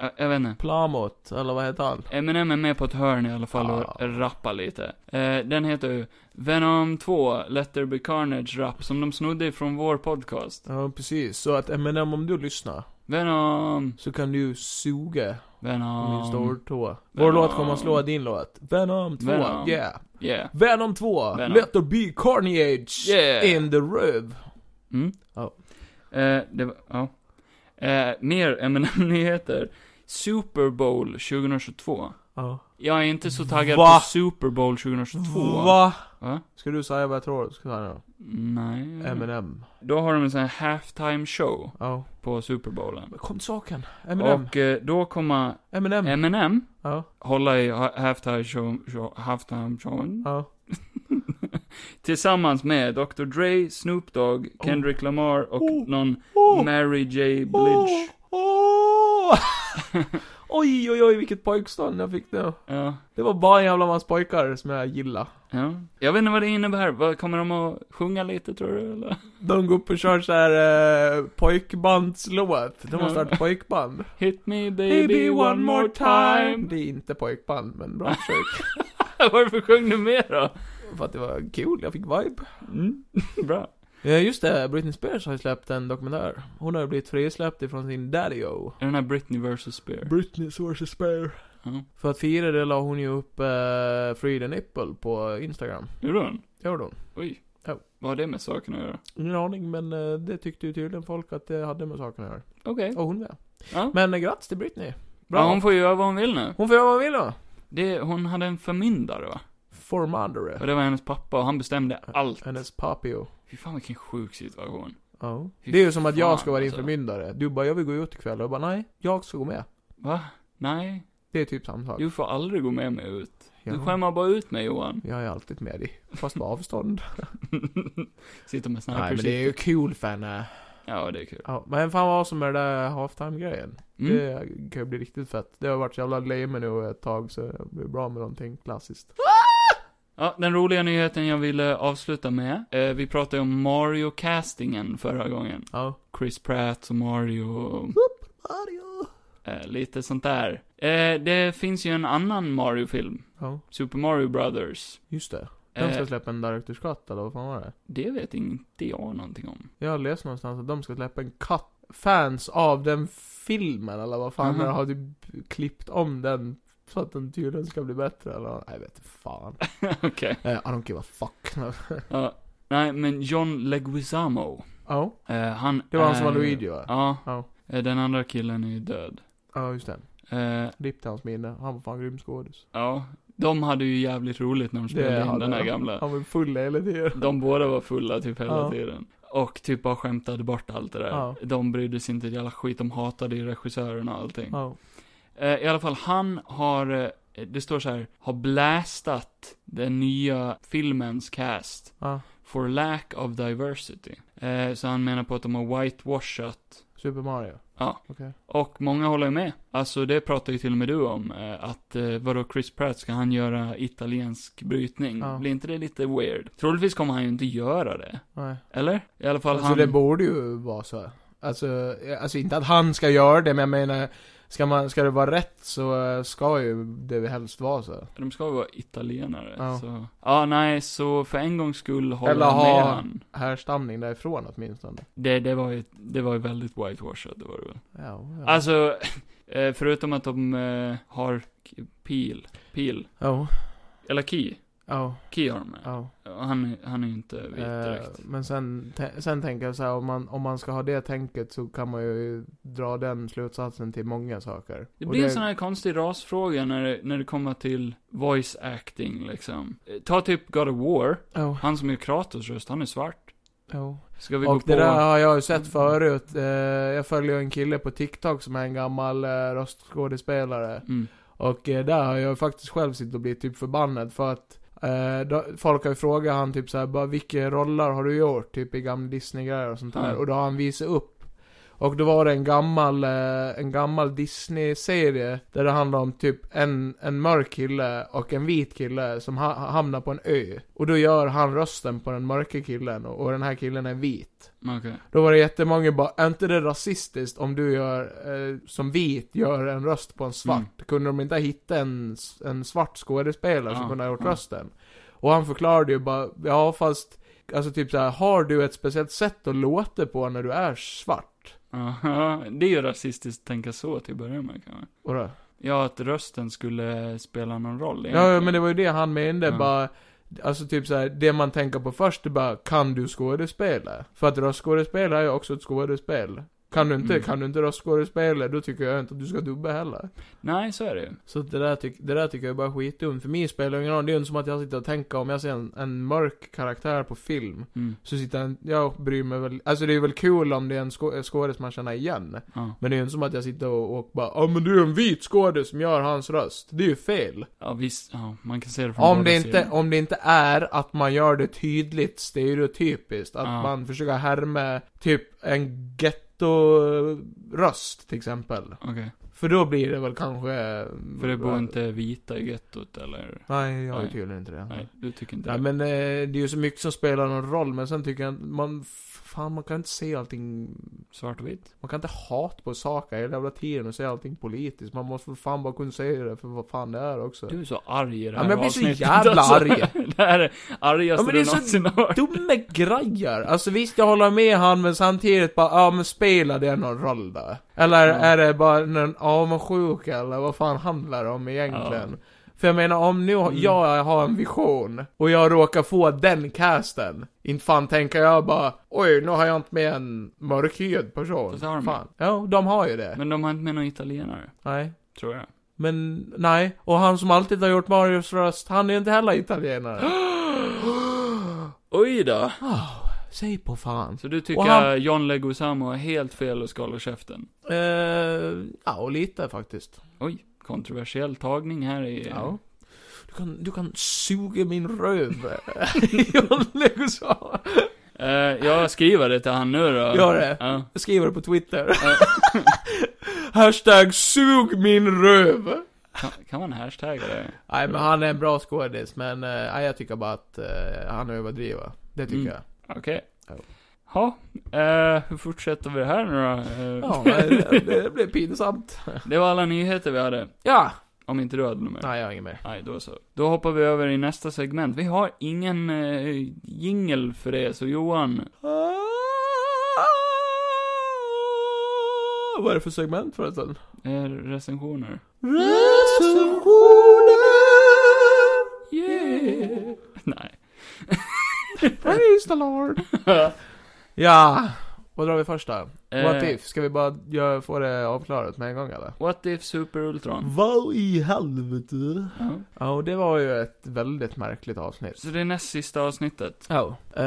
Jag, jag vet inte. Plamot, eller vad heter han? Eminem är med på ett hörn i alla fall och Ja. rappar lite. Eh, den heter ju Venom 2, Let There Be Carnage Rap, som de snodde ifrån vår podcast. Ja, precis. Så att Eminem, om du lyssnar, Venom, så kan du suga Venom. Min stortå. Vår Um, Venom. låt kommer att slå din låt. Venom 2, Venom. yeah. Yeah. Venom 2, Venom. Let there be carnage Yeah. in the röv. Mm. Ja. Eh, det var, ja. Eh, mer Eminem-nyheter. Super Bowl 2022. Ja. Jag är inte så taggad Va? på Super Bowl 2022. Va? Va? Ska du säga vad jag tror? Ska jag säga Nej. då? Eminem. Då har de en sån här halftime show Ja. på Super Bowlen. Men Kom till saken. Eminem. Och eh, då kommer Eminem. Eminem ja. hålla i ha- halftime show, show, halftime showen. Ja. Tillsammans med Dr. Dre, Snoop Dogg, Kendrick Lamar och Oh. någon Oh. Mary J. Blige. Oh. oj, oj, oj, vilket pojkstånd jag fick nu. Ja, Det var bara en jävla massa pojkar som jag gillade. ja. Jag vet inte vad det innebär. Vad, kommer de att sjunga lite tror du eller? De går upp och kör såhär eh, pojkbandslåt. De Ja. har startat pojkband. Hit me baby, one more time. Det är inte pojkband, men bra försök. Varför sjöng du med då? För att det var kul, jag fick vibe. Mm. Bra. Eh, Just det, Britney Spears har ju släppt en dokumentär. Hon har ju blivit frisläppt ifrån sin daddy-o. Är den här Britney vs. Spear? Britney vs. Spear. Ja. För att fira det la hon ju upp eh, Free the Nipple på Instagram. Gjorde hon? Det gjorde hon. Oj. Ja. Vad har det med saken att göra? Ingen aning, men eh, det tyckte ju tydligen folk att det hade med saken att göra. Okej. Och hon med. Ja. Men eh, grattis till Britney. Bra. ja, hon får ju göra vad hon vill nu. Hon får göra vad hon vill då. Det, hon hade en förmyndare va? Och Formandare. det var hennes pappa och han bestämde allt. Hennes papio. Fy fan vilken sjuk situation. Ja. Fy Det är ju som att fan, jag ska vara din alltså. förmyndare. Du bara, jag vill gå ut ikväll. Och jag bara, nej. Jag ska gå med. Va? Nej, Det är typ samma sak. du får aldrig gå med mig ut. Du Ja. skämmer bara ut mig Johan. Jag är alltid med dig. Fast på avstånd. Sitter med nej, men snipers. det är ju kul fan. eh. Ja, det är kul. Ja, men fan vad som är det där halftime-grejen. Mm. Det kan ju bli riktigt fett. Det har varit så jävla lame nu ett tag så det blir bra med någonting klassiskt. Ja, den roliga nyheten jag ville avsluta med. Eh, vi pratade ju om Mario-castingen förra gången. Ja. Chris Pratt och Mario och Mario! eh, lite sånt där. Eh, det finns ju en annan Mario-film. Ja, Super Mario Brothers. just det. De ska Eh, släppa en Directors Cut eller vad fan var det? det vet inte jag någonting om. Jag har läst någonstans att de ska släppa en cut. Fans av den filmen eller vad fan Mhm. när de har typ klippt om den så att den tydligen ska bli bättre eller? Nej, jag vet inte fan. Okej. Eh, I don't give a fuck. Ja, nej, men John Leguizamo. Ja, Eh, han det var han som är- var Luigi va? Ja, Ja. Ja. Eh, Den andra killen är ju död. just det. Eh, Ripp till hans minne. Han var fan grym skådis. ja. De hade ju jävligt roligt när de Det spelade in hade den här de. gamla. Mm. Han var ju full hela tiden. De båda var fulla typ hela Ja. tiden. Och typ bara skämtade bort allt det där. Ja. De brydde sig inte ett jävla skit, de hatade ju regissören och allting. Ja. Eh, I alla fall, han har, eh, det står så här, har blastat den nya filmens cast. ja. for lack of diversity. Eh, så han menar på att de har whitewashat. Super Mario? Ja. Okej. Och många håller ju med. Alltså det pratar ju till och med du om. Eh, att eh, vadå Chris Pratt, ska han göra italiensk brytning? Ja. Blir inte det lite weird? Troligtvis kommer han ju inte göra det. Nej. Eller? I alla fall Alltså han... det borde ju vara så. Alltså, eh, alltså inte att han ska göra det, men jag menar, ska, man, ska det vara rätt så eh, ska ju det helst vara så. De ska ju vara italienare. Ja. Så... Ja, nej, så för en gångs skull håller Eller jag med ha- han. Härstamning därifrån åtminstone. Det, det var ju, det var ju väldigt whitewashat, det var det väl. Ja, ja. Alltså, eh, förutom att de eh, har k- pil, pil, Ja, eller key. ja, Keyarm. ja. Han, är- han är ju inte vit Eh, direkt. Men sen, te- sen tänker jag så här, om man, om man ska ha det tänket så kan man ju dra den slutsatsen till många saker. det Och blir en sån här konstig rasfråga när det, när det kommer till voice acting liksom. Eh, Ta typ God of War, Ja, han som gör Kratos röst, han är svart. ja. Ska vi gå Och på... det där har jag ju sett förut. Eh, Jag följer en kille på TikTok som är en gammal eh, röstskådespelare. Mm. Och eh, där har jag faktiskt själv suttit och blivit typ förbannad för att eh, då, folk har ju frågat han typ såhär bara vilka roller har du gjort? Typ i gamla Disney-grejer och sånt där. Ja. Och då har han visat upp. Och då var det en gammal, eh, en gammal Disney-serie där det handlade om typ en, en mörk kille och en vit kille som ha, hamnar på en ö. Och då gör han rösten på den mörka killen och, och den här killen är vit. Okej. Då var det jättemånga bara, är inte det rasistiskt om du gör, eh, som vit, gör en röst på en svart? Mm. Kunde de inte hitta en, s- en svart skådespelare Ja, som kunde ha gjort ja. rösten? Och han förklarade ju bara, ja fast, alltså typ så här, har du ett speciellt sätt att låta på när du är svart? Aha, Det är ju rasistiskt att tänka så till att börja med kanske. Och då, Ja, att rösten skulle spela någon roll ja, ja, egentligen. men det var ju det han menade, Ja. bara, alltså typ så här, det man tänker på först är bara, kan du skådespela? För att röstskådespel är ju också ett skådespel. Kan du inte, Mm. kan du inte röstskådespela, då tycker jag inte att du ska dubba heller. Nej, så är det ju. Så det där, tyck, det där tycker jag är bara skitdumt. För mig spelar det ingen roll. Det är ju inte som att jag sitter och tänker om jag ser en, en mörk karaktär på film. Mm. Så sitter jag, jag bryr mig väl, alltså det är väl kul om det är en skå- skådis man känner igen. Ja. Men det är ju inte som att jag sitter och, och bara, ja men det är ju en vit skådis som gör hans röst. Det är ju fel. ja, visst. Ja, man kan se det från Om båda det, inte, sidor. om det inte är att man gör det tydligt stereotypiskt. Att Ja. man försöker härma typ en ghetto-röst till exempel. Okej. För då blir det väl kanske... eh, För det Mm. bor inte vita i gettot eller? Nej, jag Nej. tycker inte det. Nej, du tycker inte det? Nej men eh, det är ju så mycket som spelar någon roll, men sen tycker jag att man... Fan, man kan inte se allting... Svartvitt? Man kan inte hata på saker hela jävla tiden och se allting politiskt. Man måste för fan bara kunna se det för vad fan det är också. Du är så arg i det Ja, här men jag blir så avsnittet, Alltså, jävla arg. det här är Ja, argaste men du det är så någonsin har hört. Dumma grejer! Alltså visst, jag håller med han, men samtidigt bara, ja men spelar det någon roll då? Eller Ja. är det bara någon avundsjuka, eller vad fan handlar det om egentligen? För jag menar, om nu Mm. jag har en vision, och jag råkar få den casten, inte fan tänker jag bara, oj, nu har jag inte med en mörkhyad person. Fast det har de fan. Ja, de har ju det. Men de har inte med någon italienare, Nej. tror jag. Men, nej. Och han som alltid har gjort Marios röst, han är ju inte heller italienare. Oj då. Ah, säg på fan. Så du tycker Och han- John Leguizamo har helt fel och ska hålla käften? Eh, ja, och lite faktiskt. Oj, kontroversiell tagning här i... Ja. Du kan, du kan suga min röv. John Leguizamo. Eh, jag skriver det till han nu då. Gör det. Ja. Eh, Jag skriver det på Twitter. Hashtag sug min röv. Kan, kan man hashtagga det? Nej, men han är en bra skådis, men eh, nej, jag tycker bara att eh, han överdriver. Det tycker Mm. jag. Okej. Ja. Ja, eh, hur fortsätter vi här nu då? Eh, Ja, nej, det, det blir pinsamt. Det var alla nyheter vi hade. Ja! Om inte du hade något mer. Nej, jag har inget mer. Nej, då så. Då hoppar vi över i nästa segment. Vi har ingen eh, jingle för det, så Johan. Ah, Vad är det för segment förresten? Eh, recensioner. Recensioner! Yeah! Nej. Praise the Lord! ja, vad drar vi först då? Eh, What if? Ska vi bara göra, få det avklarat med en gång eller? What if Super Ultron? Vad i helvete? Ja. Ja, och det var ju ett väldigt märkligt avsnitt. Så det är näst sista avsnittet. Ja. Eh,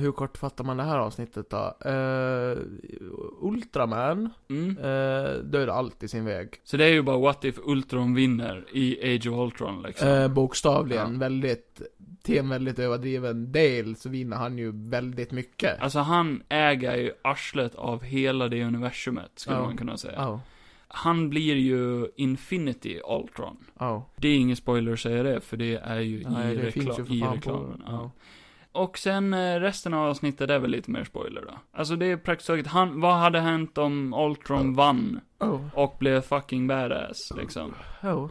hur kort fattar man det här avsnittet då? Eh, Ultraman Mm. eh, dödar allt i sin väg. Så det är ju bara What if Ultron vinner i Age of Ultron liksom. Eh, bokstavligen, Ja. väldigt, till en väldigt överdriven del så vinner han ju väldigt mycket. Alltså han äger ju arslet av hela det universumet, skulle Ja. man kunna säga. Ja, Han blir ju Infinity Ultron. ja. Det är ingen spoiler att säga det, för det är ju Nej, i, det rekla- finns ju för i fan reklamen. på. Ja. Och sen eh, resten av avsnittet är väl lite mer spoiler då. Alltså det är praktiskt taget, han, vad hade hänt om Ultron vann Oh. och blev fucking badass liksom? Oh.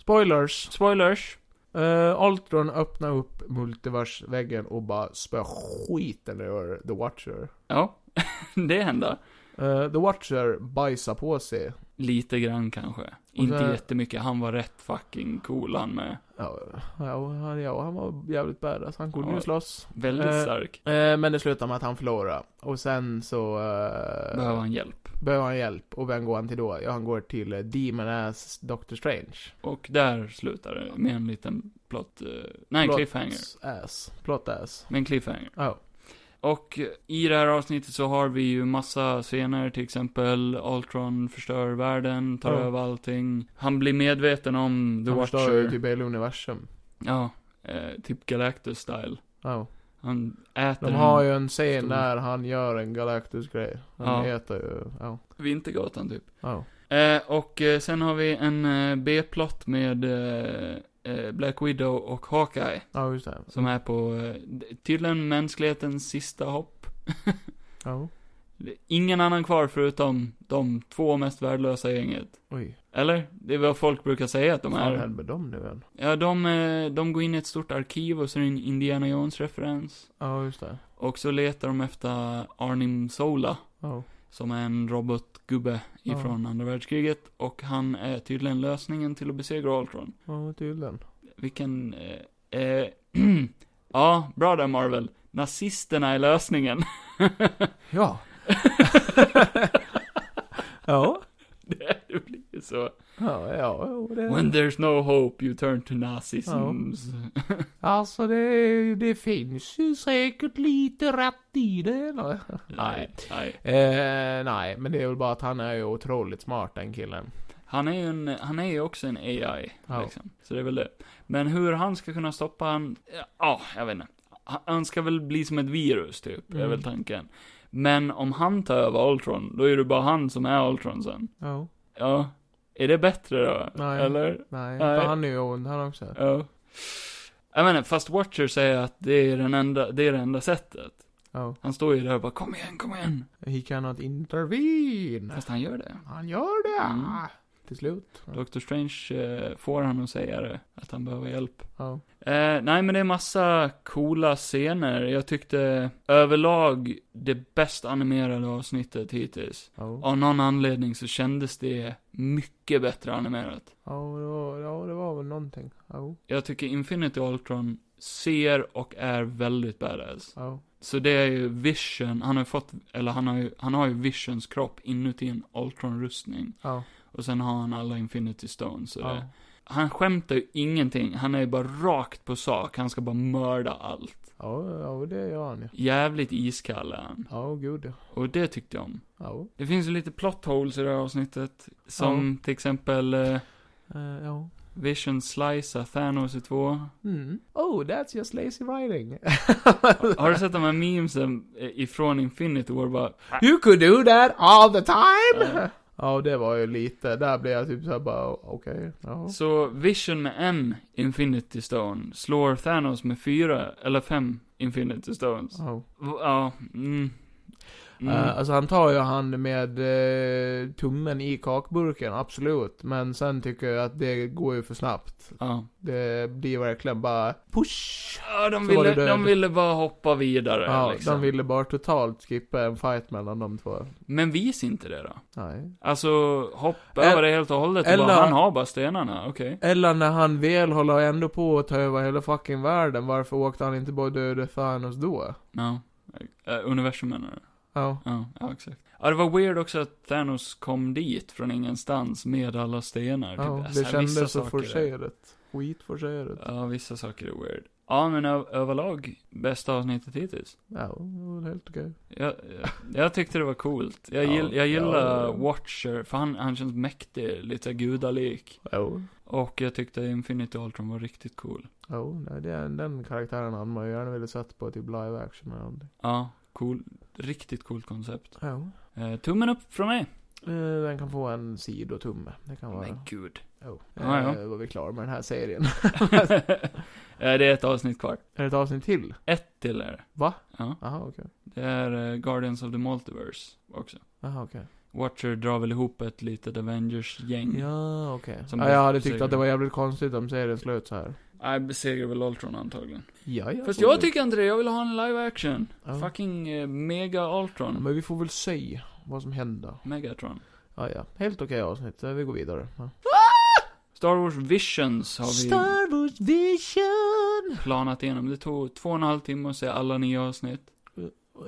Spoilers. Spoilers. Uh, Ultron öppnar upp multiversväggen och bara spöar skiten ur The Watcher. Ja, det händer. Eh, The Watcher bajsar på sig. Lite grann kanske. Inte sen- jättemycket, han var rätt fucking cool han med. Ja, ja, han, ja, han var jävligt badass. Han kunde ju Ja. slåss. Väldigt Eh, stark. Eh, men det slutar med att han förlorar. Och sen så... eh, Behöver han hjälp. behöver han hjälp. Och vem går han till då? Ja, han går till eh, Demon Ass Doctor Strange. Och där slutar det med en liten plott... eh, nej, Plot cliffhanger. Ass. Plot ass. Oh. Med en cliffhanger. Ja. Och i det här avsnittet så har vi ju massa scener, till exempel Ultron förstör världen, tar Ja. över allting. Han blir medveten om The han förstör Watcher. ju typ hela universum. Ja, eh, typ Galactus style. Ja. Han äter De har en ju en scen stor- när han gör en Galactus-grej. Han Ja. heter ju... oh. Ja. Vintergatan typ. ja. Eh, och eh, sen har vi en eh, B-plott med eh, eh, Black Widow och Hawkeye. Ja, Oh, just det. Som är på, eh, tydligen mänsklighetens sista hopp. Ja. Det är Ingen annan kvar förutom de två mest värdelösa gänget. Oj. Eller? Det är vad folk brukar säga att de Vad fan är. hände med dem nu än? Ja, de, eh, de går in i ett stort arkiv och så är det en Indiana Jones-referens. Ja, Oh, just det. Och så letar de efter Arnim Sola, Ja. som är en robotgubbe ifrån andra världskriget. Och han är tydligen lösningen till att besegra Ultron. Ja, Oh, tydligen. Vilken... Eh, eh, ja, bra där Marvel. Nazisterna är lösningen. Ja. ja. det blir så. Ja, ja, jo, When det... there's no hope you turn to nazism. Alltså det, det finns ju säkert lite rätt i det, eller? nej, nej. Eh, nej, men det är väl bara att han är ju otroligt smart den killen. Han är ju en, han är ju också en AI, Ja. liksom. Så det är väl det. Men hur han ska kunna stoppa han, ja, ja, jag vet inte. Han- Han ska väl bli som ett virus, typ, är Mm. väl tanken. Men om han tar över Ultron, då är det bara han som är Ultron sen. Ja. Ja. Är det bättre då? Nej. Eller? Nej, Nej. för han är ju ond han också. Ja. Jag menar, fast Watcher säger att det är, den enda, det är det enda sättet. Oh. Han står ju där och bara 'Kom igen, kom igen' He cannot intervene. Fast han gör det. Han gör det! Mm. Till slut. Doctor Strange eh, får han att säga det, att han behöver hjälp. Ja. Eh, nej, men det är massa coola scener. Jag tyckte överlag det bäst animerade avsnittet hittills. Ja. Av någon anledning så kändes det mycket bättre animerat. Ja, det var- ja, det var väl någonting. Ja. Jag tycker Infinity Ultron ser och är väldigt badass. Ja. Så det är ju Vision, han har ju fått, eller han har ju, han har ju Visions kropp inuti en Ultron-rustning. Ja. Och sen har han alla Infinity Stones och det. Ja. Han skämtar ju ingenting, han är ju bara rakt på sak, han ska bara mörda allt. Ja, ja, det gör han ju. Typ. Jävligt iskall är han. Ja, gud ja. Och det tyckte jag om. Ja. Det finns ju lite plot holes i det här avsnittet. Som till exempel eh, Eh, ja. Vision slicear Thanos i två. Mm. Oh, that's just lazy writing. Har du sett de här memesen eh, ifrån Infinity War bara, You could do that all the time! Ja. Ja, det var ju lite, där blev jag typ såhär bara, okej, ja. Så Vision med en Infinity Stone slår Thanos med fyra eller fem Infinity Stones. Ja. V- Ja, mm. mm. Eh, alltså han tar ju hand med eh, tummen i kakburken, absolut. Men sen tycker jag att det går ju för snabbt. ja. Det blir verkligen bara push! ja de, så var ville, det död. de ville bara hoppa vidare Ja, liksom. de ville bara totalt skippa en fight mellan de två. Men vis inte det då. Nej. Alltså, hoppa El- över det helt och hållet och bara, eller- han har bara stenarna, okej. Eller när han väl håller ändå på att ta över hela fucking världen, varför åkte han inte bara och dödade Thanos då? Ja. Eh, universum menar du? Ja. Ja, ja, exakt. Ja, det var weird också att Thanos kom dit från ingenstans med alla stenar. Ja, typ. Alltså, det vissa kändes så saker är- forcerat. Skitforcerat. Ja, vissa saker är weird. Ja, men ö- överlag, bästa avsnittet hittills. Ja, det var helt okej. Jag, jag, jag tyckte det var coolt. Jag, Ja, gill, jag gillar ja. Watcher, för han, han känns mäktig, lite så här gudalik. Jo. Och jag tyckte Infinity Ultron var riktigt cool. Jo, nej, det är den karaktären hade man ju gärna velat sett på typ live action eller någonting. Ja, cool. Riktigt coolt koncept. Jo. Eh, tummen upp från mig. Eh, Den kan få en sidotumme. Det kan vara... Men gud. Jo. Ja, ja. Eh, Då är vi klara med den här serien. Eh, det är ett avsnitt kvar. är det ett avsnitt till? Ett till är det. Va? Ja. Jaha, okej. Det är eh, Guardians of the Multiverse också. Jaha, okej. Watcher drar väl ihop ett litet Avengers-gäng. Ja, okej. Mm. Som Ja, blir jag hade tyckt segern. att det var jävligt konstigt om serien slöt så här. Nej, besegrar väl Ultron antagligen. Ja, ja. Fast får jag vi- tycker inte det, jag vill ha en live action. Ja. Fucking eh, mega Ultron. Men vi får väl se vad som händer. Megatron. Ja, ja. Helt okej avsnitt. Eh, Vi går vidare. Ja. Star Wars Visions har vi Star Wars Vision! planat igenom. Det tog två och en halv timme att se alla nya avsnitt.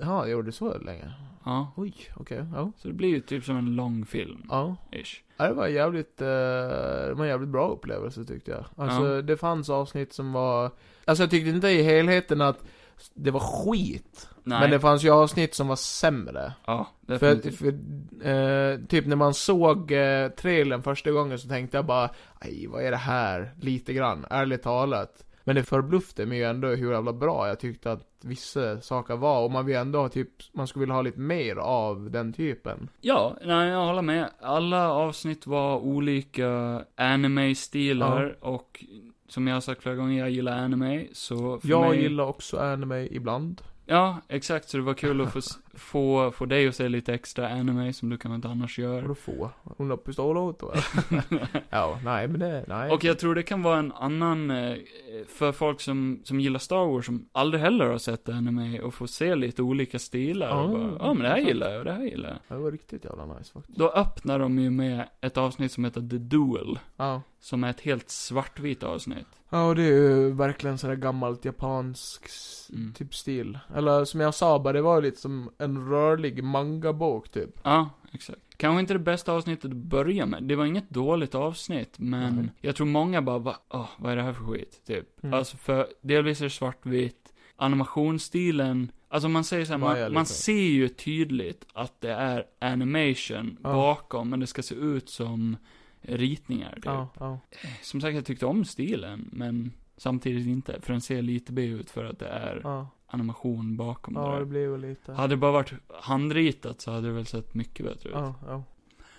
Ja, jag gjorde så länge. Ja. Oj, okej. Ja. Så det blir ju typ som en lång film. Ja. Ish. Ja, Det var en jävligt, eh, det var en jävligt bra upplevelse tyckte jag. Alltså Ja. det fanns avsnitt som var, alltså jag tyckte inte i helheten att det var skit. Nej. Men det fanns ju avsnitt som var sämre. Ja, För, definitivt. för eh, typ när man såg eh, trailern första gången så tänkte jag bara, aj vad är det här? Lite grann, ärligt talat. Men det förbluffade mig ju ändå hur jävla bra jag tyckte att vissa saker var. Och man vill ändå ha typ, man skulle vilja ha lite mer av den typen. Ja, nej, jag håller med. Alla avsnitt var olika anime-stilar och som jag har sagt flera gånger, jag gillar anime, så för Jag mig... gillar också anime ibland. Ja, exakt, så det var kul att få, s- få, få dig att se lite extra anime som du kanske inte annars gör. Vadå få? Hon har pistolhot då? ja, nej men det, nej. Och jag tror det kan vara en annan, eh, för folk som, som gillar Star Wars, som aldrig heller har sett anime, och få se lite olika stilar. Ja, Ja, bara, ja men det här exakt. gillar jag, och det här gillar jag. Det var riktigt jävla nice faktiskt. Då öppnar de ju med ett avsnitt som heter The Duel, Ja. som är ett helt svartvitt avsnitt. Ja, och det är ju verkligen sådär gammalt japansk s- Mm. typ stil. Eller som jag sa, bara det var ju lite som en rörlig mangabok typ. Ja, exakt. Kanske inte det bästa avsnittet att börja med. Det var inget dåligt avsnitt, men Nej. jag tror många bara, va, åh, vad är det här för skit? Typ. Mm. Alltså, för delvis är det svartvitt, animationsstilen, alltså man säger så här, Vad är man, det man för- ser ju tydligt att det är animation Ja. bakom, men det ska se ut som ritningar, typ. Ja, ja. Som sagt, jag tyckte om stilen, men samtidigt inte, för den ser lite B ut för att det är Ja, animation bakom det ja det där. blir ju lite. Hade det bara varit handritat så hade det väl sett mycket bättre ut. Ja, ja.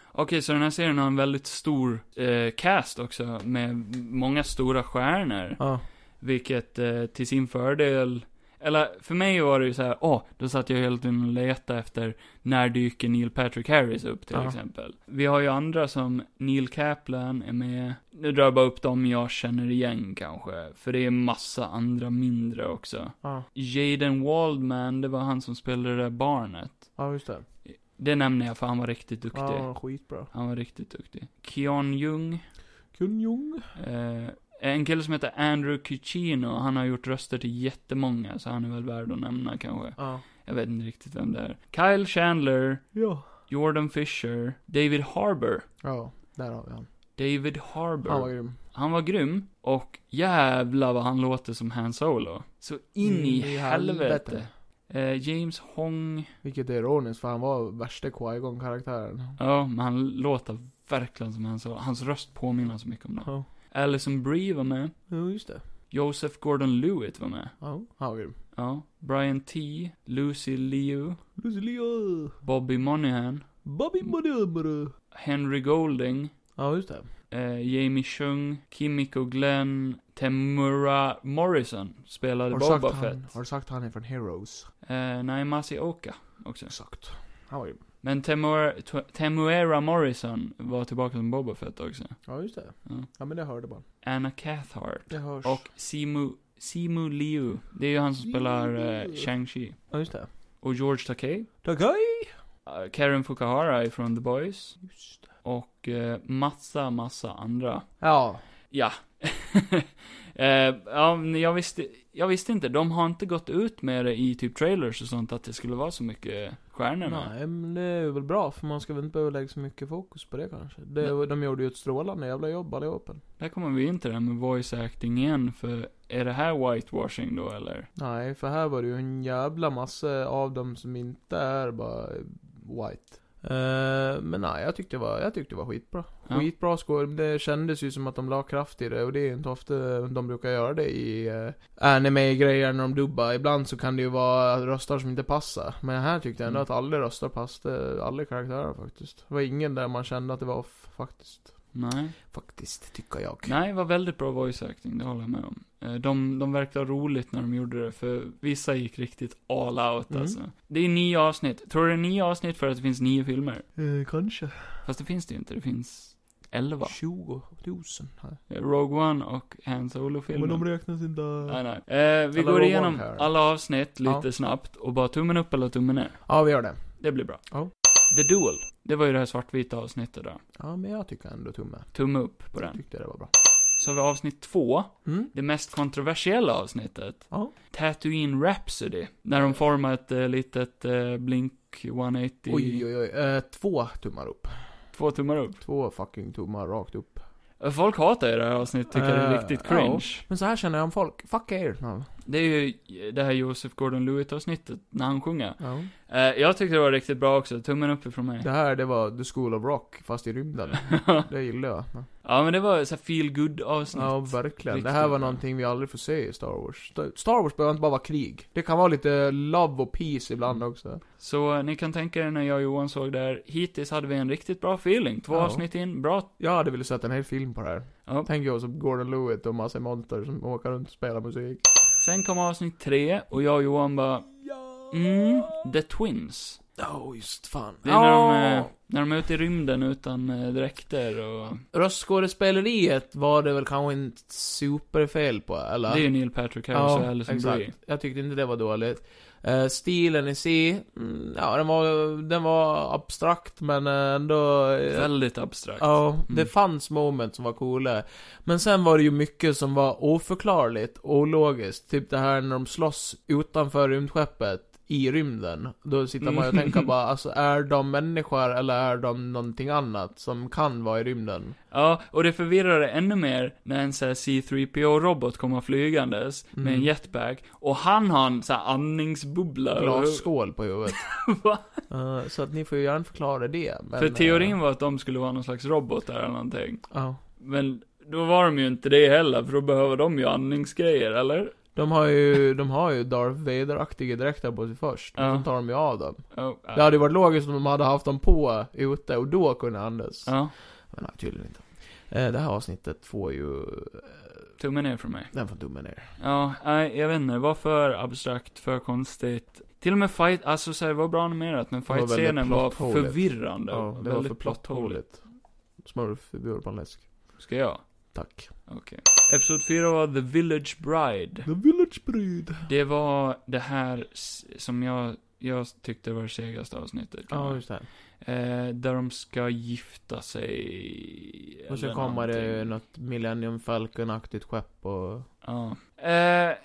Okej, så den här serien har en väldigt stor eh, cast också, med många stora stjärnor. Ja. Vilket eh, till sin fördel, eller för mig var det ju så här, åh, då satt jag hela tiden och letade efter, när dyker Neil Patrick Harris upp till Ja. exempel? Vi har ju andra som Neil Kaplan är med, nu drar jag bara upp dem jag känner igen kanske, för det är massa andra mindre också. Ja. Jaden Waldman, det var han som spelade det där barnet. ja, just det. Det nämner jag för han var riktigt duktig. Ja, skitbra. Han var riktigt duktig. Keon Jung, Kun Jung. Eh, en kille som heter Andrew Cucino, han har gjort röster till jättemånga, så han är väl värd att nämna kanske. Ja. Jag vet inte riktigt vem det är. Kyle Chandler, Ja. Jordan Fisher, David Harbour. Ja, där har vi han. David Harbour. Han var grym. Han var grym, och jävla vad han låter som Han Solo. Så in Mm, i i helvete. helvete. Eh, James Hong, Vilket är ironiskt för han var värsta Qui-Gon-karaktären. ja, men han låter verkligen som Han Solo. Hans röst påminner så mycket om det. Ja. Alison Brie var med. Ja, just det. Joseph Gordon-Lewitt var med. Ja, han var grym. Ja. Brian T. Lucy Liu. Lucilia. Bobby Monahan. Bobby Modumro. Henry Golding. Mm. Ja, just det. Eh, Jamie Chung. Kimiko Glenn. Temura Morrison spelade Har du Boba sagt han, Fett. har du sagt han är från Heroes? Eh, nej, Masi Oka också. Exakt. Han var grym. Men Temura, Tw- Temuera Morrison var tillbaka som Boba Fett också. Ja, just det. Ja. Ja, men det hörde man. Anna Cathart. Det hörs. Och Simu, Simu Liu. Det är ju han som spelar eh, Shang-Chi. Ja, just det. Och George Takei. Takei! Eh, Karen Fukuhara ifrån The Boys. Just det. Och eh, massa, massa andra. Ja. Ja. eh, ja, men jag visste, jag visste inte. De har inte gått ut med det i typ trailers och sånt, att det skulle vara så mycket stjärnor med. Nej, men det är väl bra för man ska väl inte behöva lägga så mycket fokus på det kanske. Det, Nej. de gjorde ju ett strålande jävla jobb allihopa. Där kommer vi in till det här med voice acting igen, för är det här whitewashing då eller? Nej, för här var det ju en jävla massa av dem som inte är bara white. Eh, men nej, jag tyckte det var, jag tyckte det var skitbra. Ja. Skitbra skål. Det kändes ju som att de la kraft i det och det är inte ofta de brukar göra det i eh, anime-grejer när de dubbar. Ibland så kan det ju vara röster som inte passar. Men här tyckte jag ändå Mm. att alla röster passade, alla karaktärer faktiskt. Det var ingen där man kände att det var off, faktiskt. Nej. Faktiskt, tycker jag. Nej, det var väldigt bra voice acting, det håller jag med om. Eh, De, de verkade roligt när de gjorde det, för vissa gick riktigt all out Mm. alltså. Det är nio avsnitt. Tror du det är nio avsnitt för att det finns nio filmer? Eh, kanske. Fast det finns det ju inte, det finns elva. 20 000 här. Rogue One och Han Solo-filmen. räknas inte... Nej, nej. Eh, vi går Alla Rogue igenom One här. alla avsnitt lite Ja. snabbt och bara tummen upp eller tummen ner. Ja, vi gör det. Det blir bra. Ja. The Duel. Det var ju det här svartvita avsnittet då. Ja, men jag tycker ändå tumme. Tumme upp på Jag den. tyckte det var bra. Så har vi avsnitt två. Mm. Det mest kontroversiella avsnittet. Ja. Tatooine Rhapsody. När de formar ett eh, litet eh, Blink 180. Oj, oj, oj. Eh, två tummar upp. Två tummar upp. Två fucking tummar rakt upp. Eh, Folk hatar ju det här avsnittet, tycker det är Eh, riktigt ja. cringe. Men så här känner jag om folk. Fuck er. Ja. Det är ju eh, det här Joseph Gordon-Lewitt avsnittet, när han sjunger. Ja. Eh, jag tyckte det var riktigt bra också, tummen upp från mig. Det här, det var The School of Rock, fast i rymden. Det gillar jag. Ja, Ja men det var så här feel good avsnitt. ja verkligen. Det Riktigt här bra. var någonting vi aldrig får se i Star Wars. Star- Star Wars behöver inte bara vara krig. Det kan vara lite love och peace ibland också. Så eh, ni kan tänka er när jag och Johan såg det här, hittills hade vi en riktigt bra feeling. Två Ja. avsnitt in, bra. Jag hade velat sett en hel film på det här. Ja. Tänk jag som Gordon Lewitt och massa monster som åker runt och spelar musik. Sen kom avsnitt tre och jag och Johan bara, mm, The Twins. Ja, Oh, just fan. Det är när, de, eh, när de är ute i rymden utan eh, dräkter och... Röstskådespeleriet var det väl kanske inte superfel på, eller? Det är ju Neil Patrick Harris och liksom ja, Alison exakt. Brie. Jag tyckte inte det var dåligt. Eh, stilen i sig, mm, ja den var, den var abstrakt men eh, ändå... eh, Väldigt abstrakt. Ja, det Mm. fanns moment som var coola. Men sen var det ju mycket som var oförklarligt, ologiskt. Typ det här när de slåss utanför rymdskeppet i rymden. Då sitter man ju och Mm. tänker bara, alltså är de människor eller är de någonting annat som kan vara i rymden? Ja, och det förvirrade ännu mer när en sån här C3PO-robot kommer flygandes med en Mm. jetpack och han har en sån här andningsbubbla. Glasskål på huvudet. Va? Eh, så att ni får ju gärna förklara det. Men, För teorin eh, var att de skulle vara någon slags robotar eller någonting. Ja. Men då var de ju inte det heller, för då behöver de ju andningsgrejer, eller? De har ju, de har ju Darth Vader-aktiga dräkter på sig först. Men Ja. så tar de ju av dem. Oh, ja. Det hade ju varit logiskt om de hade haft dem på ute och då kunde andas. Ja, Men nej, tydligen inte. Eh, Det här avsnittet får ju... eh, tummen ner från mig. Den får tummen ner. Ja, nej, jag vet inte. Det var för abstrakt, för konstigt. Till och med fight, alltså så här, det var bra animerat, men var väldigt fight-scenen var, plotthåligt. förvirrande. Ja, det var för väldigt plotthåligt. Smurf bjöd på en läsk. Ska jag? Tack. Episod 4 var The Village Bride. The Village Breed. Det var det här s- som jag, jag tyckte var det segaste avsnittet. kan Ja, man- just det. eh, där de ska gifta sig. Och så eller kommer det någonting. något Millennium Falcon-aktigt skepp och... Ja. Eh,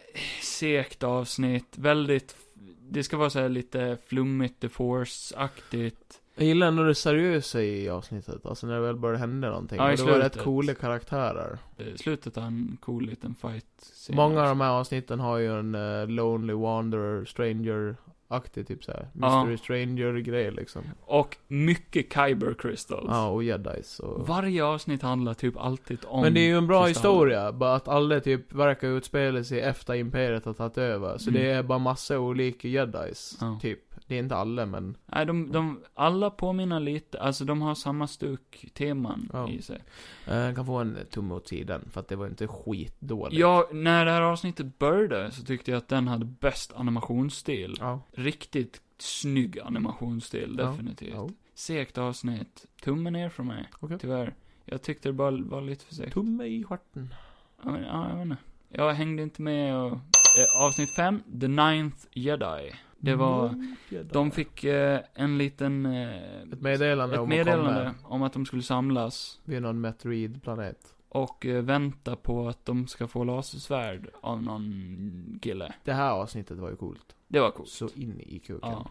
segt avsnitt. Väldigt, f- det ska vara så här lite flummigt, the force-aktigt. Jag gillar ändå det seriösa i avsnittet, alltså när det väl började hända någonting. Ja, i och det var slutet. rätt coola karaktärer. Eh, Slutet har en cool liten fight. Många av de här avsnitten har ju en eh, Lonely Wanderer, Stranger-aktig typ såhär. Ja. Mystery Stranger-grej liksom. Och mycket Kyber Crystals. Ja, och jedis och... Varje avsnitt handlar typ alltid om Men det är ju en bra kristaller. historia, bara att alla typ verkar utspela sig efter imperiet har tagit över. Så Mm. det är bara massa olika jedis, Ja. typ. Det är inte alla men... Nej, de, de, alla påminner lite, alltså de har samma stuk teman Ja. i sig. Eh, kan få en tumme åt sidan, för att det var inte skitdåligt. Ja, när det här avsnittet började så tyckte jag att den hade bäst animationsstil. Ja. Riktigt snygg animationsstil, Ja. definitivt. ja. Segt avsnitt. Tummen ner från mig, Okej. tyvärr. Jag tyckte det bara var lite för segt. Tumme i stjärten. Ja, men- ja, jag vet inte. Jag hängde inte med och... Eh, avsnitt 5, The Ninth Jedi. Det Mm. var- De fick eh, en liten... Eh, Ett meddelande ett om att meddelande komma om att de skulle samlas vid någon meteoidplanet. och eh, vänta på att de ska få lasersvärd av någon kille. Det här avsnittet var ju coolt. Det var coolt. Så in i kuken. Ja.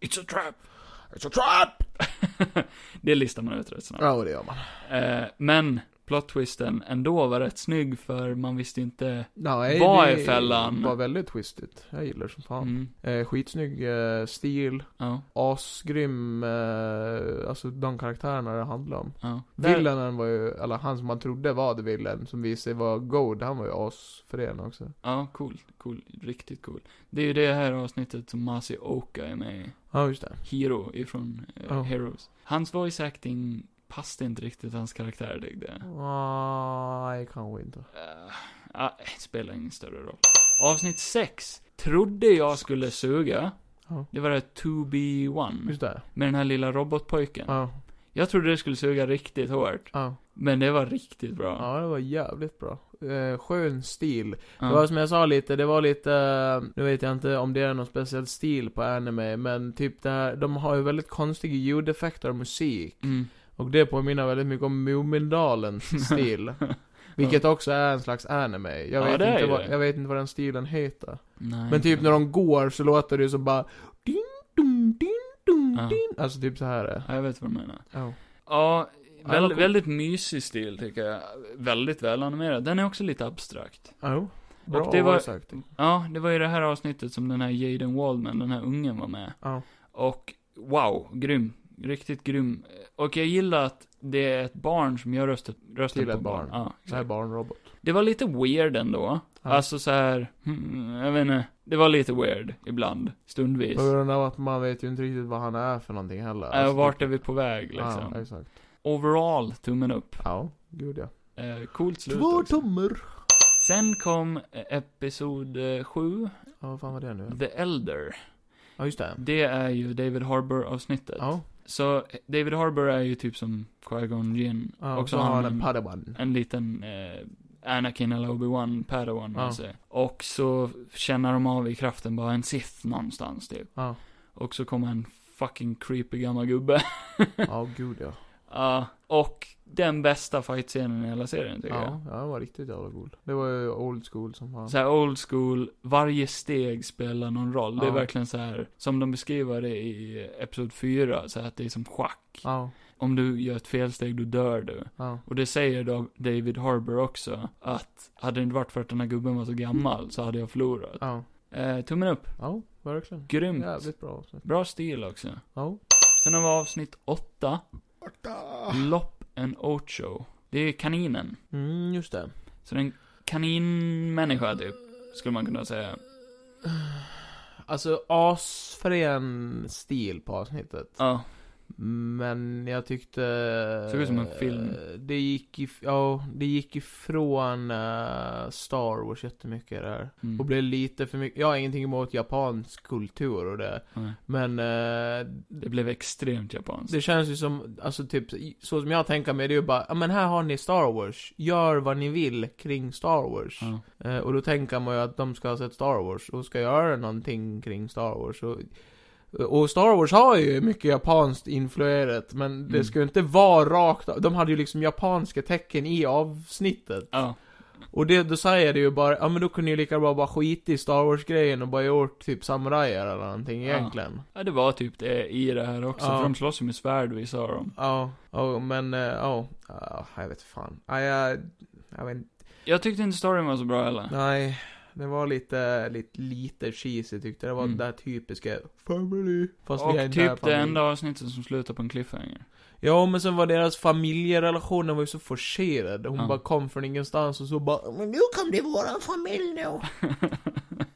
It's a trap! It's a trap! det listar man ut rätt snabbt. Ja, och det gör man. Eh, men plot-twisten ändå var rätt snygg för man visste inte... Nej, Vad är det fällan? var väldigt twistigt. Jag gillar det som fan. Mm, Eh, skitsnygg eh, stil. ja, Asgrym, eh, alltså de karaktärerna det handlar om. ja. Villainen var ju, eller han som man trodde var the villain, som visade sig vara god, han var ju asfrän också. Ja, cool, cool, riktigt cool. Det är ju det här avsnittet som Masi Oka är med i. Ja, just det. Hero ifrån eh, Ja. Heroes. Hans voice acting passade inte riktigt hans karaktär tyckte jag. Nej, kanske inte. Eh, ah, spelar ingen större roll. Avsnitt 6. Trodde jag skulle suga. Ja. Det var det 2B1. Just det. Med den här lilla robotpojken. Ja, Jag trodde det skulle suga riktigt hårt. ja. Men det var riktigt bra. Ja, det var jävligt bra. Eh, skön stil. Ja. Det var som jag sa lite, det var lite, eh, nu vet jag inte om det är någon speciell stil på anime, men typ det här, de har ju väldigt konstiga ljudeffekter och musik. Mm. Och det påminner väldigt mycket om Mumindalens stil. Vilket också är en slags anime. Jag, Ja, vet det är inte ju vad, det. Mm. jag vet inte vad den stilen heter. Nej, Men typ inte. när de går så låter det ju som bara ding, dum, ding, dum, Ja. ding. Alltså typ så här är det. Ja, jag vet vad du menar. Ja. Ja, Ja, det väl, var cool. väldigt mysig stil tycker jag. Väldigt välanimerad. Den är också lite abstrakt. Ja. Bra Och det var- voice acting. Ja, det var ju det här avsnittet som den här Jaden Waldman, den här ungen var med. Ja. Och wow, grym. Riktigt grym. Och jag gillar att det är ett barn som gör rösten, rösten Till på ett barn. Ja, Så här exakt. barnrobot. det var lite weird ändå. Ja. Alltså så här, hmm, jag vet inte. Det var lite weird ibland, stundvis. På grund av att man vet ju inte riktigt vad han är för någonting heller. Äh, Alltså, vart typ- är vi på väg liksom? Ja, exakt. Overall, tummen upp. Ja, gud ja. Eh, coolt slut Två också. tummar. Sen kom eh, episod 7, Ja, vad fan var det nu? The Elder. Ja, just det. Det är ju David Harbour-avsnittet. Ja. Så eh, David Harbour är ju typ som Qui-Gon Jinn. ja Och så har har han han en padawan. en liten eh, Anakin eller Obi-Wan, Padawan Ja. med sig. Och så känner de av i kraften bara en Sith någonstans typ. Ja, Och så kommer en fucking creepy gammal gubbe. ja gud ja. Ja, och den bästa fight-scenen i hela serien tycker Ja, jag. ja, det var riktigt jävla cool. Det var ju old school som fan. Så här old school, varje steg spelar någon roll. Det är Ja. verkligen så här som de beskriver det i Episod 4, så här att det är som schack. Ja, Om du gör ett felsteg, då dör du. ja. Och det säger då David Harbour också, att hade det inte varit för att den här gubben var så gammal så hade jag förlorat. Ja, Eh, tummen upp. ja verkligen. Grymt. Jävligt bra avsnitt. Bra stil också. Ja. Sen har vi avsnitt 8, Ah. Lopp and Ocho. Det är kaninen. Mm, just det. Så det är en kaninmänniska typ. skulle man kunna säga. Alltså, asfrän stil på avsnittet. Ja, Men jag tyckte... eh, Såg ut som en film. Det gick, if- ja, det gick ifrån eh, Star Wars jättemycket det här. mm. Och blev lite för mycket, jag har ingenting emot japansk kultur och det. Nej. Men eh, Det blev extremt japanskt. det känns ju som, alltså typ, så som jag tänker mig det är ju bara, ja men här har ni Star Wars, gör vad ni vill kring Star Wars. Ja. Eh, och då tänker man ju att de ska ha sett Star Wars och ska göra någonting kring Star Wars. Och, och Star Wars har ju mycket japanskt influerat, men det Mm. ska ju inte vara rakt av- De hade ju liksom japanska tecken i avsnittet. ja. Och det, då säger det ju bara, ja men då kunde ju lika bra bara skita i Star Wars-grejen och bara gjort typ samurajer eller någonting Ja. egentligen. Ja, det var typ det i det här också. Ja. För de slåss ju med svärd vissa av dem. Ja, ja, men, eh, ja, ja, jag vet fan. Ja, jag, jag vet inte. Jag tyckte inte storyn var så bra heller. Nej, det var lite, lite, lite cheesy tyckte jag. Det var Mm. det här typiska family. Fast vi är och inte här typ det familj. enda avsnittet som slutar på en cliffhanger. Ja, men sen var deras familjerelation, den var ju så forcerad. Hon Ja. bara kom från ingenstans och så bara Men nu kom det våran familj nu.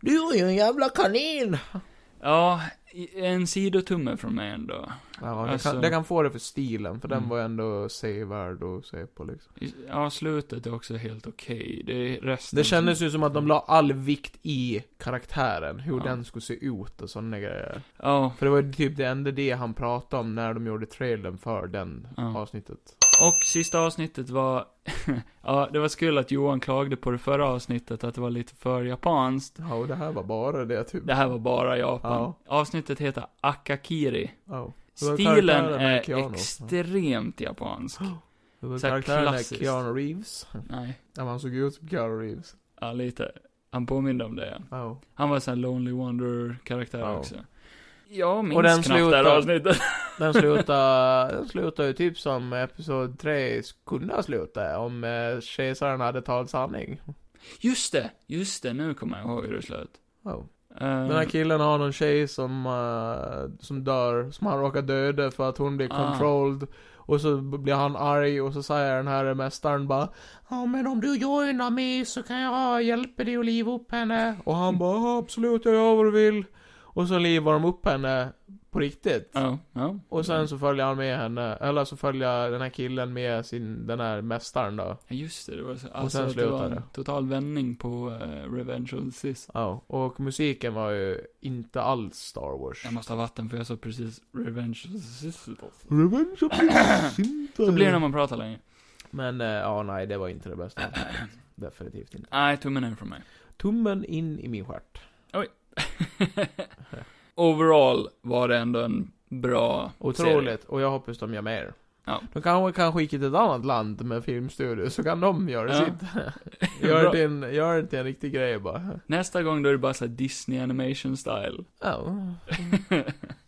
Du är ju en jävla kanin. Ja, i- en sidotumme från mig ändå. Ja, det, Alltså- kan, det kan få det för stilen, för den Mm. var ändå sevärd att se på liksom. I- Ja, slutet är också helt okej. Det är resten Det som- kändes ju som att de la all vikt i karaktären, hur Ja. den skulle se ut och sådana grejer. Ja, För det var ju typ det enda det han pratade om när de gjorde trailern för den Ja. avsnittet. och sista avsnittet var... ja, det var skul att Johan klagade på det förra avsnittet, att det var lite för japanskt. Ja, och det här var bara det typ. Det här var bara Japan. Ja. Avsnittet heter Akakiri. Ja. Det var Stilen karaktären med är Keanu. extremt japansk. Det var så här karaktären med klassiskt. Keanu Reeves. Nej, Ja, men han såg ut som Keanu Reeves. ja lite. Han påminner om det. Ja. Han var sån här Lonely Wonder-karaktär Ja. också. Jag minns Och den knappt det slutar- här avsnittet. Den slutar, den slutar ju typ som Episod 3 kunde ha slutat om eh, kejsaren hade talat sanning. Just det, just det, nu kommer jag ihåg hur det slöt. Ja. Ehm, Den här killen har någon tjej som, eh, som dör, som han råkar döda för att hon blir Ah. controlled. Och så b- blir han arg och så säger den här mästaren bara Ja men om du joinar mig så kan jag hjälpa dig att liva upp henne. Och han bara "Ja, absolut jag gör vad du vill. Och så livar de upp henne på riktigt. Ja, ja. Och sen så följer han med henne, eller så följer den här killen med sin, den här mästaren då. Ja, Just det, det var så. sen Alltså, det var slutar en det. total vändning på eh, Revenge of the Sith. Ja, och musiken var ju inte alls Star Wars. Jag måste ha vatten för jag sa precis Revenge of the Sith. Revenge of the Sith. Så blir det när man pratar länge. Men eh, ja, nej, det var inte det bästa. avsnittet. Definitivt inte. Nej, tummen ner från mig. Tummen in i min stjärt. Overall var det ändå en bra serie. Otroligt, och jag hoppas de gör mer. Ja. De kanske kan skicka till ett annat land med filmstudio, så kan de göra Ja. sitt. gör, Bra. det en, gör det till en riktig grej bara. Nästa gång då är det bara så här Disney animation style. Ja.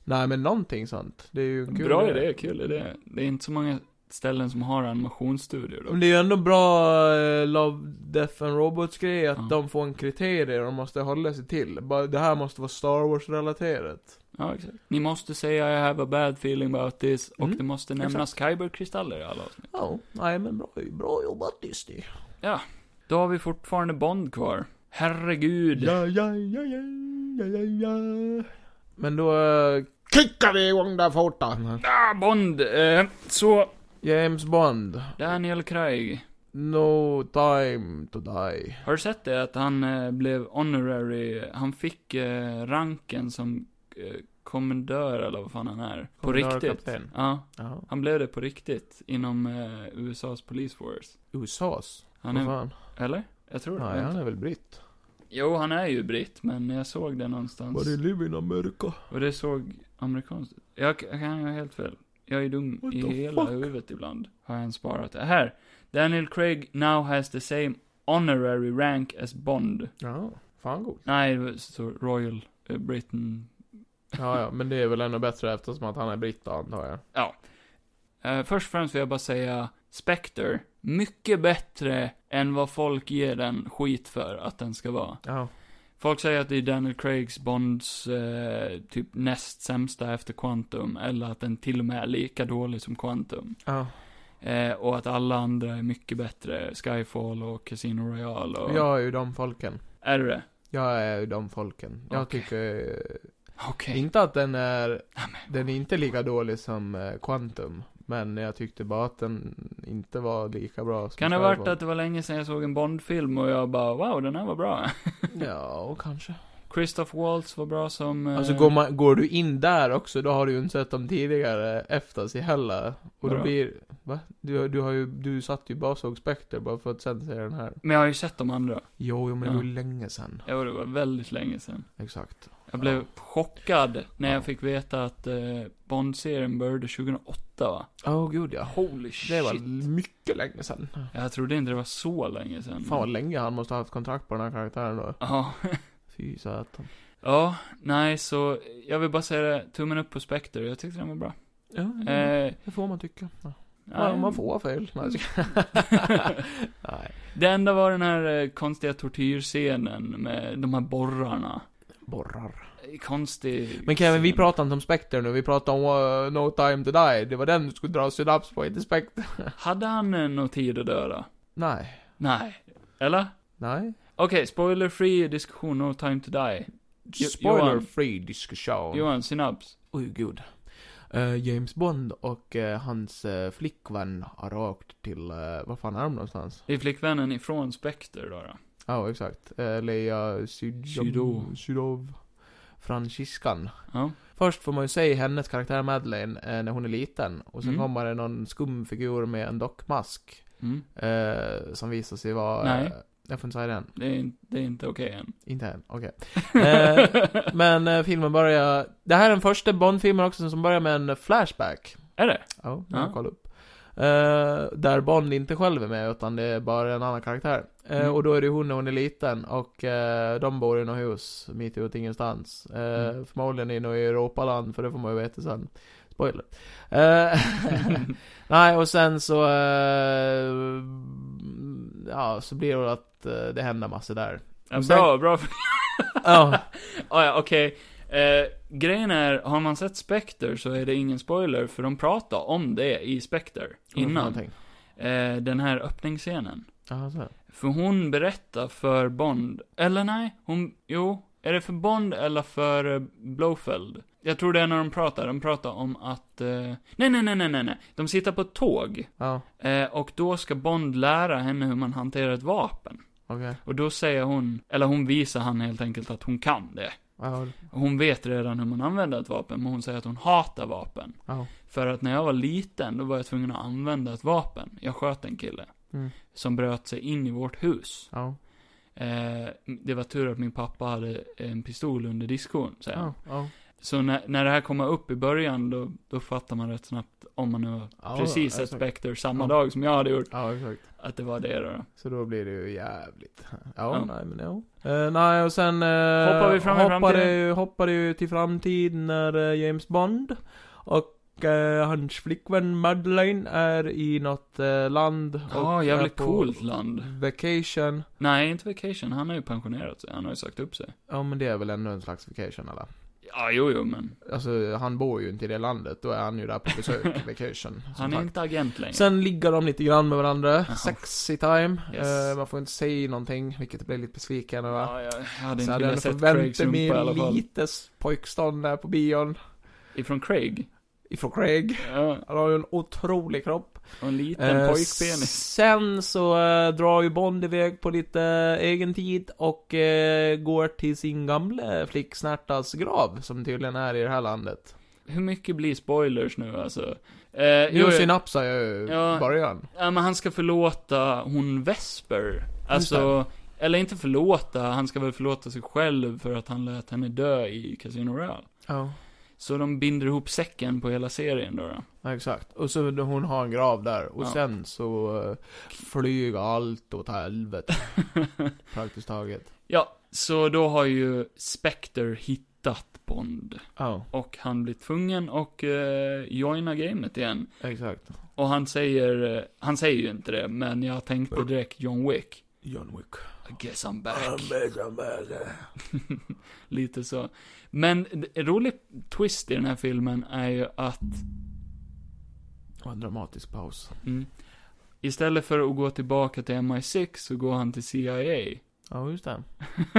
nej, men någonting sånt. Det är ju en Mm. kul Bra grej. idé, kul idé. Det är inte så många ställen som har animationsstudior då. Men det är ju ändå bra eh, Love, Death and Robots grej att Ja. de får en kriterie de måste hålla sig till. Bara, det här måste vara Star Wars-relaterat. Ja, exakt. Ni måste säga I have a bad feeling about this och Mm, det måste nämnas Kyberkristaller i alla avsnitt. Ja, nej men bra, bra jobbat Disney. Då har vi fortfarande Bond kvar. Herregud. Ja, ja, ja, ja, ja, ja, ja. Men då eh, kickar vi igång där forta. Mm. Ah, Bond! Eh, så, James Bond, Daniel Craig. No time to die. Har du sett det att han eh, blev honorary, han fick eh, ranken som eh, kommendör eller vad fan han är. På Kommendör och riktigt. kapten. Ja, Jaha. han blev det på riktigt inom eh, USAs Police Force. USAs? Han Vad är, fan? eller? Jag tror det. Nej, han är väl britt? Jo, han är ju britt, men jag såg det någonstans. Var det liv in America? Och det såg amerikanskt Jag k- jag kan ha helt fel. Jag är dum What i the hela fuck? huvudet ibland. Har jag ens sparat det. Här! Daniel Craig now has the same honorary rank as Bond. Ja, fan god. Nej, det var så Royal eh, Britain. Ja, ja, men det är väl ännu bättre eftersom att han är britt då, antar jag. Eh, först och främst vill jag bara säga Spectre. Mycket bättre än vad folk ger den skit för att den ska vara. Ja. Folk säger att det är Daniel Craigs Bonds eh, typ näst sämsta efter Quantum, eller att den till och med är lika dålig som Quantum. Ja. Eh, och att alla andra är mycket bättre, Skyfall och Casino Royale och... Jag är ju de folken. Är det det? Jag är de folken. Jag Okej. tycker Okej. inte att den är, Nej, men- den är inte lika dålig som eh, Quantum. Men jag tyckte bara att den inte var lika bra som Kan det ha varit föregående. att det var länge sedan jag såg en Bond-film och jag bara, wow, den här var bra. Ja, kanske. Eh. Christoph Waltz var bra som... eh, Alltså går, man, går du in där också, då har du ju inte sett dem tidigare, Eftas i heller. Och då Vadå? blir, va? Du, du har ju, du satt ju bara och såg Spectre bara för att sen se den här. Men jag har ju sett de andra. Jo, jo men det Ja. var ju länge sen. Ja, det var väldigt länge sedan. Exakt. Jag blev chockad när Ja. jag fick veta att eh, Bond-serien började 2008 va? Åh oh, gud ja. Holy Det shit. Mm. var mycket länge sen. Jag trodde inte det var så länge sedan. Fan vad länge han måste ha haft kontrakt på den här karaktären då. Ja. Fy satan. Ja, nej så, jag vill bara säga det, tummen upp på Spectre, jag tyckte den var bra. Ja, det- Eh, det får man tycka. Mm. Ja. Man, man får fel. Nej, jag skojar. Nej. Det enda var den här eh, konstiga tortyrscenen med de här borrarna. Borrar. Eh, Konstig Men Kevin, vi scen. pratar inte om Spectre nu, vi pratar om uh, No Time To Die. Det var den du skulle dra synaps på, inte Spectre. Hade han eh, någon tid att döda? Nej. Nej. Eller? Nej. Okej, spoiler free diskussion, no time to die. Jo- Spoiler Johan. free diskussion. Johan, synaps. Oj, gud. Eh, James Bond och eh, hans eh, flickvän har åkt till, eh, var fan är de någonstans? Det är flickvännen ifrån Spectre då, då. Ja, exakt. Uh, Leia Sydov. Sydov. Sydov. Franciskan. Ja. Först får man ju se hennes karaktär Madeleine eh, när hon är liten. Och sen Mm. kommer det någon skum figur med en dockmask. Mm. Eh, som visar sig vara... Nej. Eh, jag får inte säga det än. Det är, in- det är inte okej än. Inte än, okej. Eh, men eh, filmen börjar... Det här är den första Bond-filmen också som börjar med en flashback. Är det? Ja, det har jag Ja. kollat upp. Eh, där Bond inte själv är med, utan det är bara en annan karaktär. Eh, Mm. Och då är det hon när hon är liten, och eh, de bor i något hus mitt ute i ingenstans. Uh, Mm. Förmodligen i något Europaland, för det får man ju veta sen. Spoiler. Eh, nej, och sen så... eh, ja, så blir det att eh, det händer massor där. Ja, Och sen- bra, bra. Ja, Ah, ja, okej. Eh, grejen är, har man sett Spectre så är det ingen spoiler, för de pratar om det i Spectre innan. någonting. Eh, den här öppningsscenen. Ja, så. För hon berättar för Bond, eller nej, hon, jo, är det för Bond eller för eh, Blofeld? Jag tror det är när de pratar, de pratar om att, eh, nej, nej, nej, nej, nej, nej, de sitter på ett tåg. Ja, Eh, och då ska Bond lära henne hur man hanterar ett vapen. okej. Och då säger hon, eller hon visar han helt enkelt att hon kan det. Ja, Hon vet redan hur man använder ett vapen, men hon säger att hon hatar vapen. ja. För att när jag var liten, då var jag tvungen att använda ett vapen. Jag sköt en kille. Mm. Som bröt sig in i vårt hus. Ja, Eh, det var tur att min pappa hade en pistol under diskon, säger han. ja, ja. Så när, när det här kommer upp i början, då, då fattar man rätt snabbt om man nu har Ja, precis sett exakt. Spectre samma Ja. dag som jag hade gjort, Ja, exakt. att det var det då. Så då blir det ju jävligt. Ja, Ja. nej men ja. Eh, nej och sen eh, Hoppar vi fram i hoppar framtiden? det ju, hoppar det ju till framtiden när eh, James Bond och eh, hans flickvän Madeleine är i något eh, land. och Ja, Ah, jävligt är på coolt land. Vacation. Nej, inte Vacation, han har ju pensionerat sig, han har ju sagt upp sig. Ja men det är väl ändå en slags vacation eller? Ja, jo, jo, men. Alltså han bor ju inte i det landet, då är han ju där på besök, vacation. som Han är sagt. inte agent längre. Sen ligger de lite grann med varandra, Jaha. sexy time. Yes. Eh, man får inte säga någonting, vilket blir lite besviken över. Ja, jag hade inte Så hade jag velat nog sett Craigs förväntat rumpa i mig alla fall. lite s- pojkstånd där på bion. Ifrån Craig? Ifrån Craig. Ja, Han har ju en otrolig kropp. och en liten Eh, pojkpenis. Sen så eh, drar ju Bond iväg på lite eh, egen tid och eh, går till sin gamla flicksnärtas grav, som tydligen är i det här landet. Hur mycket blir spoilers nu alltså? Eh, Nu jo, ja, synapsar jag ju Ja. början. men han ska förlåta hon Vesper. Alltså, eller inte förlåta, han ska väl förlåta sig själv för att han lät henne dö i Casino Royale. Ja. Så de binder ihop säcken på hela serien då. då. Ja, exakt. Och så hon har en grav där. Och Ja. sen så eh, flyger allt åt helvete. praktiskt taget. Ja, så då har ju Spectre hittat Bond. Ja, Och han blir tvungen och eh, joina gamet igen. exakt. Och han säger, eh, han säger ju inte det, men jag tänkte direkt John Wick. John Wick. I guess I'm back. I'm back. Lite så. Men d- en rolig twist i den här filmen är ju att Och en dramatisk paus. mm, istället för att gå tillbaka till MI6 så går han till CIA. Ja, just det.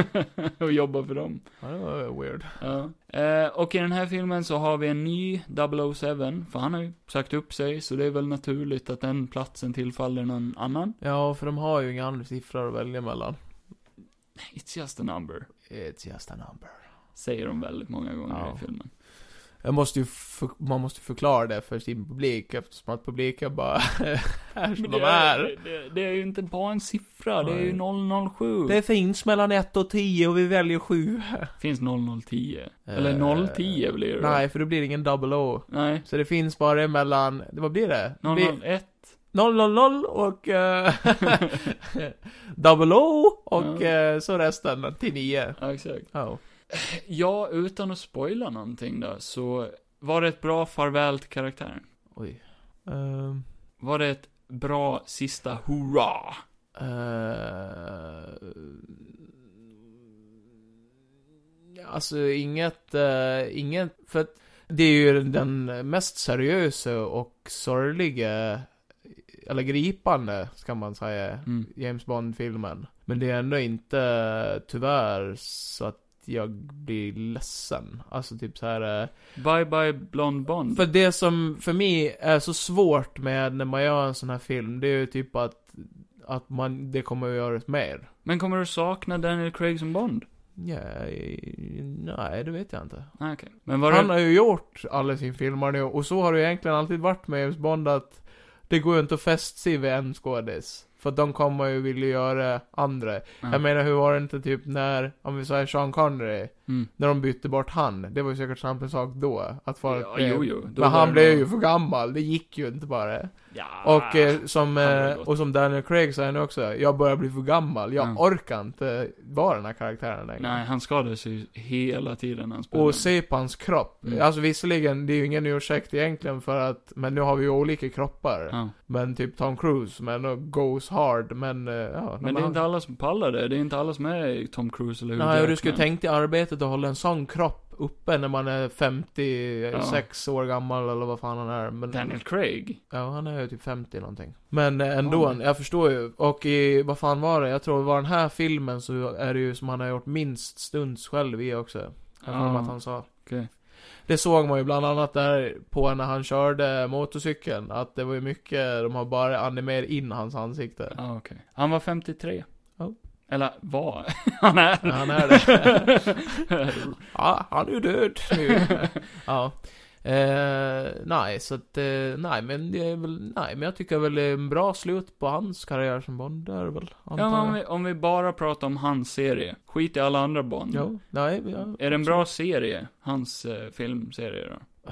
och jobba för dem. Ja, det var weird. Ja. Eh, och i den här filmen så har vi en ny 007, för han har ju sagt upp sig, så det är väl naturligt att den platsen tillfaller någon annan. Ja, för de har ju inga andra siffror att välja mellan. It's just a number, It's just a number. säger de väldigt många gånger Ja. i filmen. Jag måste ju för, man måste förklara det för sin publik eftersom att publiken bara är som Men de det, är. är, det, det är ju inte bara en siffra, det är ju Nej. 007. Det finns mellan 1 och 10 och vi väljer 7. Finns 0010. Eller 010 blir det. Eh, Nej, för då blir det ingen double O. Nej. Så det finns bara mellan, vad blir det? Vi- 001. 000 och eh, double O och Ja. eh, så resten till 9. Ja, exakt. Oh. Ja, utan att spoila någonting då, så var det ett bra farväl till karaktären. Oj. Ehm, Var det ett bra sista hurra? eh, alltså inget, eh, inget, för att det är ju den mest seriösa och sorgliga, eller gripande, ska man säga, Mm. James Bond-filmen. Men det är ändå inte, tyvärr, så att jag blir ledsen. Alltså typ så här. eh, Bye bye Blond Bond. För det som för mig är så svårt med när man gör en sån här film, det är ju typ att, att man, det kommer att göras mer. Men kommer du sakna Daniel Craig som Bond? Ja, nej, det vet jag inte. Nej, okej. Men var Han det... har ju gjort alla sina filmer nu, och så har det ju egentligen alltid varit med James Bond att det går ju inte att fästa sig vid en skådis. För att de kommer ju vilja göra andra. Ja. Jag menar, hur var det inte typ när, om vi säger Sean Connery, Mm. när de bytte bort han? Det var ju säkert samma sak då. Att folk Ja, blev- jo, jo. Då Men var han det blev nog- ju för gammal, det gick ju inte bara. Ja. Och, eh, som, han var ju eh, gott. och som Daniel Craig säger nu också, jag börjar bli för gammal, jag Ja. orkar inte vara den här karaktären längre. Nej, han skadades ju hela tiden när han spelade. Och se på hans kropp. Mm. Alltså visserligen, det är ju ingen ursäkt egentligen för att, men nu har vi ju olika kroppar. Ja. Men typ Tom Cruise, som ändå goes hard, men eh, ja. Men det är inte alla som pallar det. Det är inte alla som är Tom Cruise eller hur Nej, och du skulle tänkt i arbetet att hålla en sån kropp uppe när man är 56 år gammal eller vad fan han är. Men, Daniel Craig? Ja, han är ju typ 50 någonting. Men eh, ändå, Oj. jag förstår ju. Och i, vad fan var det? Jag tror det var den här filmen så är det ju som han har gjort minst stunds själv i också. Jag har för mig att han sa. okej. Det såg man ju bland annat där på när han körde motorcykeln. Att det var ju mycket, de har bara animerat in hans ansikte. Ja, okej. Han var 53. Ja. Eller var. Han är. Ja, han är det. Ja, han är ju död nu. ja. Eh, nej, så att, eh, nej, men det är väl, nej, men jag tycker väl det är en bra slut på hans karriär som Bond, där väl, ja, men jag. om, vi, om vi bara pratar om hans serie. Skit i alla andra Bond. Jo, nej, ja, Är det en bra serie? Hans eh, filmserie då?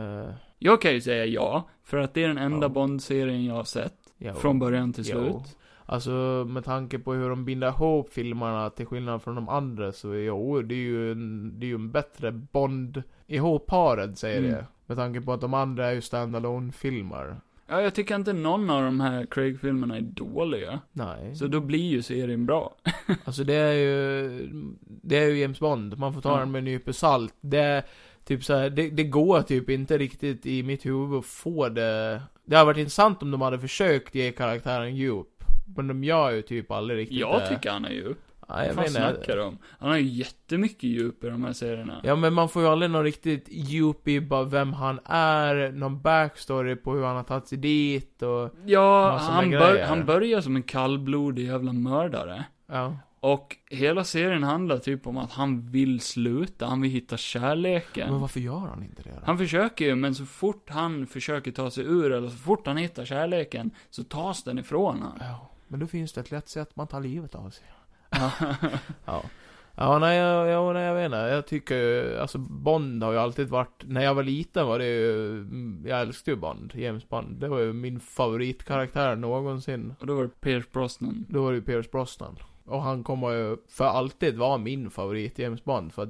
eh, Jag kan ju säga ja, för att det är den enda Ja. Bond-serien jag har sett. jo. Från början till Jo. slut. Alltså med tanke på hur de binder ihop filmerna till skillnad från de andra så jo, det är ju en, det är ju en bättre Bond ihopparad säger Mm. det. Med tanke på att de andra är ju standalone filmer Ja, jag tycker inte någon av de här Craig-filmerna är dåliga. Nej. Så då blir ju serien bra. Alltså det är ju, det är ju James Bond, man får ta Ja. den med en nypa salt. Det, är typ så här, det, det går typ inte riktigt i mitt huvud att få det. Det hade varit intressant om de hade försökt ge karaktären djup. Men de gör ju typ aldrig riktigt Jag det. tycker han är djup. ja, jag Vad fan vet inte. snackar du om? Han har ju jättemycket djup i de här serierna. Ja men man får ju aldrig någon riktigt djup i bara vem han är, någon backstory på hur han har tagit sig dit och, Ja, Massor med han, bör, grejer. han börjar som en kallblodig jävla mördare. ja. Och hela serien handlar typ om att han vill sluta, han vill hitta Men kärleken. varför gör han inte det då? Han försöker ju, men så fort han försöker ta sig ur, eller så fort han hittar kärleken, så tas den ifrån honom. Ja, men då finns det ett lätt sätt man tar livet av sig. Ja. ja. Ja, nej, jag, jag, nej, jag vet inte. Jag tycker ju, alltså Bond har ju alltid varit, när jag var liten var det ju, mm, jag älskade ju Bond, James Bond. Det var ju min favoritkaraktär någonsin. Och då var det Pierce Brosnan. Då var det ju Pierce Brosnan. Och han kommer ju för alltid vara min favorit James Bond, för att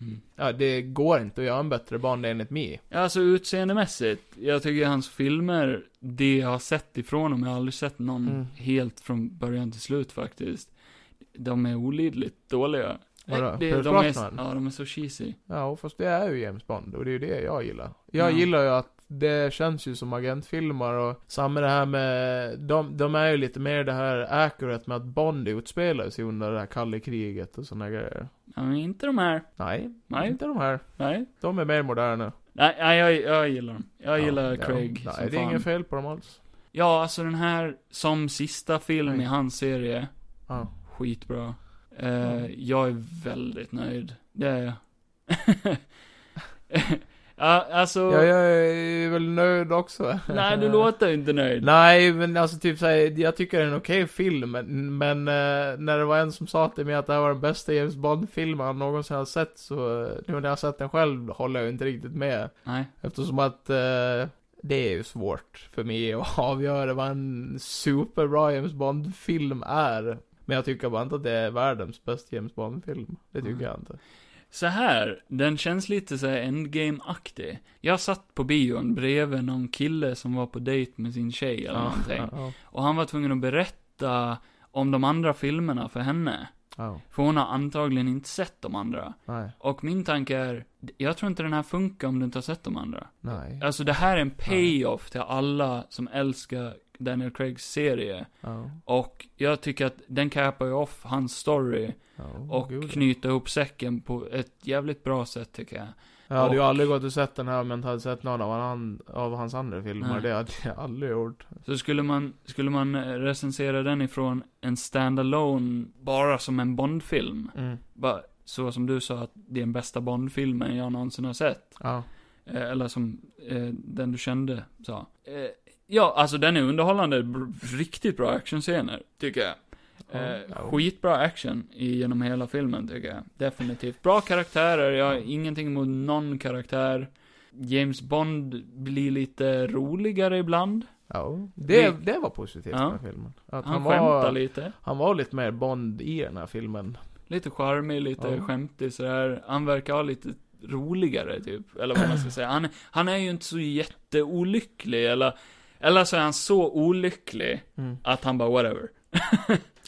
Mm. ja, det går inte att göra en bättre Bond enligt mig. Ja, Alltså utseendemässigt, jag tycker hans filmer, det jag har sett ifrån dem, jag har aldrig sett någon Mm. helt från början till slut faktiskt. De är olidligt dåliga. Vadå? Nej, det, Pierce de är, Brosnan? ja, de är så cheesy. Ja, fast det är ju James Bond och det är ju det jag gillar. Jag Ja. gillar ju att det känns ju som agentfilmer och samma det här med, de, de är ju lite mer det här accurate med att Bond utspelar sig under det här kalla kriget och såna grejer. Ja, men inte de här. Nej, Nej, inte de här. nej. De är mer moderna. Nej, nej jag, jag gillar dem. Jag Ja, gillar ja. Craig Nej, som det är fan. inget fel på dem alls. Ja, alltså den här, som sista film i Nej. hans serie, Ja. skitbra. Eh, Mm. Jag är väldigt nöjd. Det är jag. ja, alltså, Ja, jag är väl nöjd också. nej du låter inte nöjd. Nej, men alltså typ såhär, jag tycker det är en okej film, men, men eh, när det var en som sa till mig att det här var den bästa James Bond-filmen han någonsin har sett, så eh, nu när jag har sett den själv håller jag inte riktigt med. Nej. Eftersom att eh, det är ju svårt för mig att avgöra vad en superbra James Bond-film är. Men jag tycker bara inte att det är världens bästa James Bond-film. Det tycker Mm. jag inte. Så här, den känns lite så här endgame-aktig. Jag satt på bion bredvid någon kille som var på dejt med sin tjej eller någonting. ja, Och han var tvungen att berätta om de andra filmerna för henne. ja, För hon har antagligen inte sett de andra. nej, Och min tanke är, jag tror inte den här funkar om du inte har sett de andra. nej, Alltså det här är en payoff till alla som älskar Daniel Craigs serie. ja, Och jag tycker att den capar ju off hans story ja, och gud. knyter ihop säcken på ett jävligt bra sätt tycker jag. Jag hade ju Och- aldrig gått och sett den här men inte hade sett någon av, han, av hans andra filmer. Nej. Det hade jag aldrig gjort. Så skulle man, skulle man eh, recensera den ifrån en standalone bara som en Bondfilm. Bara så som du sa att det är den bästa Bondfilmen jag någonsin har sett. Ja. Eh, Eller som eh, den du kände sa. Eh, ja, alltså den är underhållande. br- Riktigt bra actionscener, tycker jag. Eh, Ja. Skitbra action i- genom hela filmen, tycker jag. Definitivt. Bra karaktärer, jag har ingenting emot någon karaktär. James Bond blir lite roligare ibland. ja. Det, Vi- det var positivt Ja. med filmen. Att Han, han, skämtar var, lite. han var lite mer Bond i den här filmen. Lite charmig, lite Ja. skämtig sådär. Han verkar ha lite roligare typ, eller vad man ska säga. Han, han är ju inte så jätteolycklig, eller, eller så är han så olycklig att han bara whatever.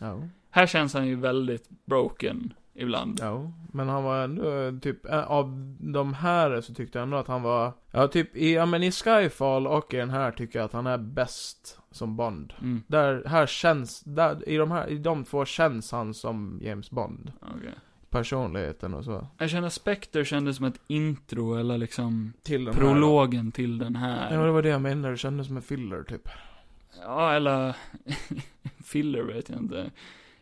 Ja. Här känns han ju väldigt broken ibland. ja. Men han var ändå eh, typ, eh, av de här så tyckte jag ändå att han var, ja typ i, ja men i Skyfall och i den här tycker jag att han är bäst som Bond. Mm, Där, här känns, där, i de här, i de två känns han som James Bond. okej. Personligheten och så. Jag känner Spectre kändes som ett intro, eller liksom Till den här då. prologen till den Ja, det här. var det jag menade. Det kändes som en filler, typ. Ja, eller filler vet jag inte.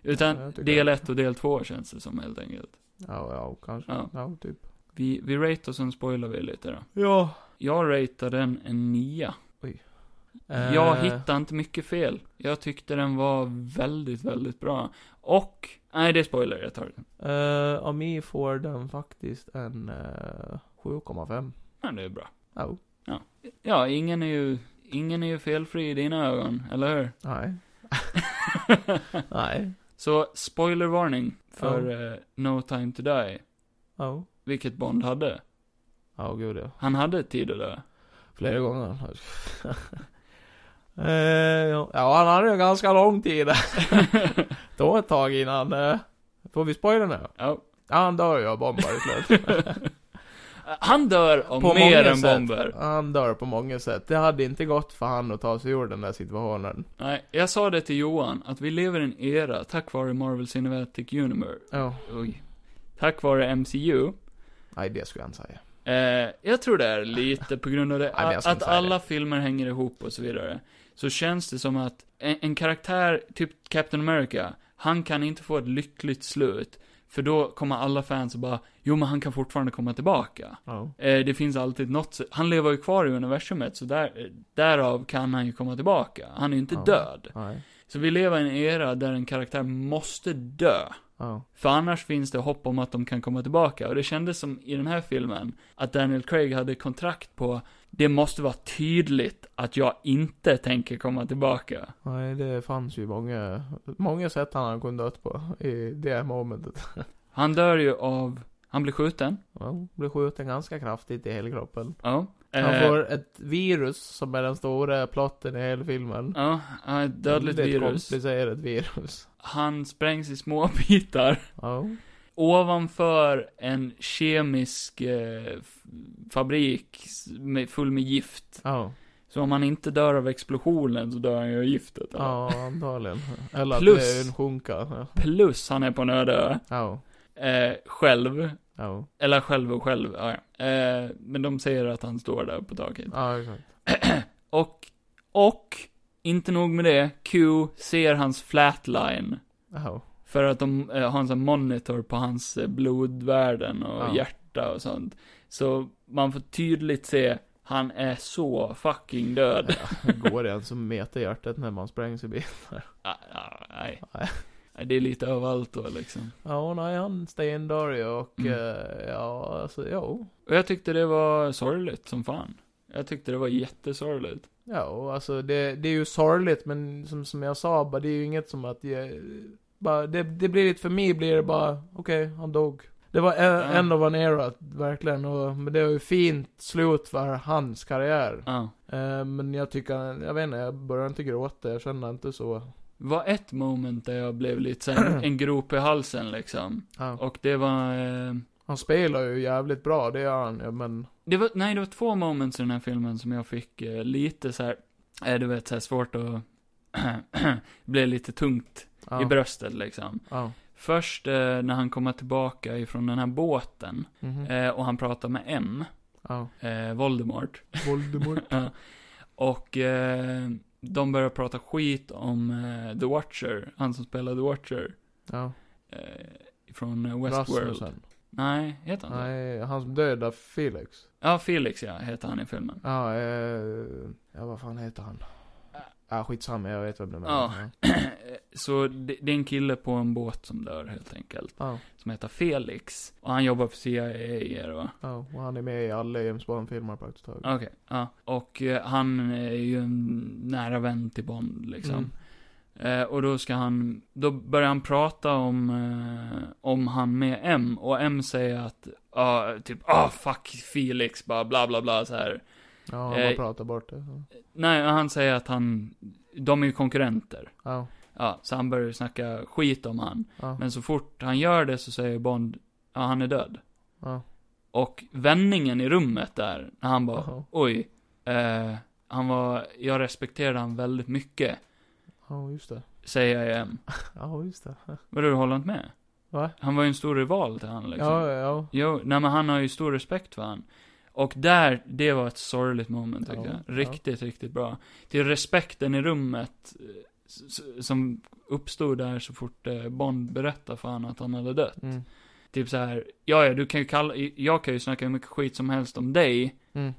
Utan Ja, jag tycker del det. 1 och del 2 känns det som helt enkelt. Ja, ja, kanske. Ja. Ja, typ. Vi, vi ratear och sen spoilar vi lite då. Ja. Jag ratear den en nia. Jag eh, hittar inte mycket fel. Jag tyckte den var väldigt, väldigt bra. Och, nej det är spoiler, jag tar den. Uh, av mig får den faktiskt en eh, 7,5. Men det är bra. Ja. Ja, ingen är ju, ingen är ju felfri i dina ögon, eller hur? Nej. Nej. Så, spoilervarning för eh, No Time To Die, Ja. vilket Bond hade. Ja, gud ja. Han hade tid att dö. Flera gånger. Eh, ja. ja, han hade ju ganska lång tid. Det var ett tag innan. eh, får vi spoila nu? Ja. Ja, han dör ju av bombar i slutet. Han dör av På mer många än sätt. bomber. Han dör på många sätt. Det hade inte gått för han att ta sig ur den där situationen. Nej, jag sa det till Johan, att vi lever i en era, tack vare Marvel Cinematic Universe. Ja. Oj. Tack vare MCU, Nej, det skulle jag inte säga. Eh, jag tror det är lite på grund av det, men jag ska att inte säga alla filmer hänger ihop och så vidare. Så känns det som att en, en karaktär, typ Captain America, han kan inte få ett lyckligt slut. För då kommer alla fans och bara, jo men han kan fortfarande komma tillbaka. Ja. Eh, det finns alltid något, s- han lever ju kvar i universumet, så där, eh, därav kan han ju komma tillbaka. Han är ju inte Ja. död. Nej. Så vi lever i en era där en karaktär måste dö. Ja. För annars finns det hopp om att de kan komma tillbaka. Och det kändes som i den här filmen, att Daniel Craig hade kontrakt på, det måste vara tydligt att jag inte tänker komma tillbaka. Nej, det fanns ju många, många sätt han kunde dött på i det momentet. Han dör ju av, han blir skjuten. Ja, blir skjuten ganska kraftigt i hela kroppen. Ja. Han Eh, får ett virus som är den stora plotten i hela filmen. Ja, han har ett dödligt Väldigt virus. komplicerat virus. Han sprängs i små bitar. Ja. ovanför en kemisk eh, f- fabrik s- med, full med gift. Ja. Så om han inte dör av explosionen så dör han ju av giftet. eller? Ja, antagligen. Eller att Plus- det är en sjunka. Ja. Plus han är på en öde ö. Ja. Eh, själv. Ja. Eller själv och själv, ja, ja. Eh, Men de säger att han står där på taket. Ja, exakt. Och, och, inte nog med det, Q ser hans flatline. Ja. För att de eh, har en sån monitor på hans eh, blodvärden och Ja. hjärta och sånt. Så man får tydligt se, han är så fucking död. Går det ens att mäta hjärtat när man sprängs i bilen? Ah, ah, Nej. Nej. Nej, Det är lite överallt då liksom. Ja, nej, han stendör och Mm. eh, ja, alltså, jo. Och jag tyckte det var sorgligt som fan. Jag tyckte det var jättesorgligt. Ja, och alltså det, det är ju sorgligt men som, som jag sa, bara, det är ju inget som att jag, bara, det, det blir lite, för mig blir det bara, okej, han dog. Det var en, Ja. end of an era, verkligen. Och, men det var ju fint slut för hans karriär. Ja. Eh, men jag tycker, jag vet inte, jag börjar inte gråta, jag känner inte så. var ett moment där jag blev lite sen, en grop i halsen liksom. Ja. Och det var, eh, Han spelar ju jävligt bra, det gör han ju, men, det var, nej det var två moments i den här filmen som jag fick eh, lite så här, eh, du vet så här svårt att, blev lite tungt ja. i bröstet liksom. Ja. Först eh, när han kommer tillbaka ifrån den här båten Mhm. eh, och han pratar med M, ja. eh, Voldemort. Voldemort. Ja. Och eh, de börjar prata skit om eh, The Watcher, han som spelar The Watcher. Ja. Eh, från eh, Westworld. Rasmussen. Nej, heter han så? Nej, han som dödar Felix. Ja, Felix ja, heter han i filmen. Ja, eh, ja vad fan heter han? Ja, skitsamma, jag vet vem du Ja. menar. Så det, det är en kille på en båt som dör helt enkelt. Ja. Som heter Felix. Och han jobbar för CIA då. Ja, och han är med i alla James Bond-filmer praktiskt taget. Okej, ja. Och eh, han är ju en nära vän till Bond liksom. Mm. Eh, och då ska han, då börjar han prata om, eh, om han med M. Och M säger att, ja, typ, ah fuck Felix, bara bla bla bla så här. Ja, han bara Eh, pratar bort det. så. Nej, han säger att han, de är ju konkurrenter. Ja, Ja, så han börjar ju snacka skit om han. ja, Men så fort han gör det så säger Bond, ja han är död. ja. Och vändningen i rummet där, när han bara, Jaha. oj, eh, han var, jag respekterade han väldigt mycket, Ja, just det. säger jag igen. Ja, just det. Vadå, du håller inte med? Va? Han var ju en stor rival till han liksom. Ja, ja. Jo, nej men han har ju stor respekt för han. Och där, det var ett sorgligt moment tycker Ja, jag. Riktigt, riktigt bra. Till respekten i rummet, eh, s- s- som uppstod där så fort eh, Bond berättade för han att han hade dött. Mm. Typ så här, ja ja, du kan ju kalla, jag kan ju snacka hur mycket skit som helst om dig, Mm.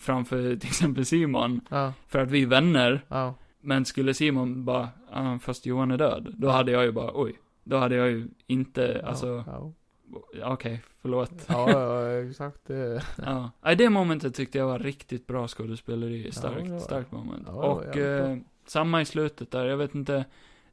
framför till exempel Simon, Ja, för att vi är vänner. ja. Men skulle Simon bara, ja, fast Johan är död, då hade jag ju bara, oj. Då hade jag ju inte, alltså, Ja, okej, förlåt. ja, ja exakt. Eh, det- Ja. Nej, det momentet tyckte jag var riktigt bra skådespeleri, starkt, det var- starkt moment. ja, det var Och jävligt bra. eh, samma i slutet där, jag vet inte,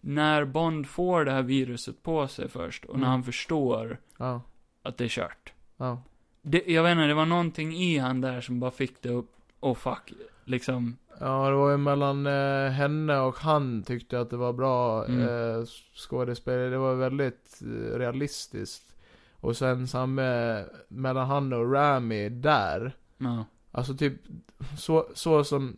när Bond får det här viruset på sig först, och när Mm. han förstår Ja, att det är kört. ja. Det, jag vet inte, det var någonting i han där som bara fick det upp. Oh fuck, liksom. Ja, det var ju mellan eh, henne och han tyckte jag att det var bra Mm. eh, skådespelare. Det var väldigt eh, realistiskt. Och sen samma mellan han och Rami där. Ja. Alltså typ, så, så som...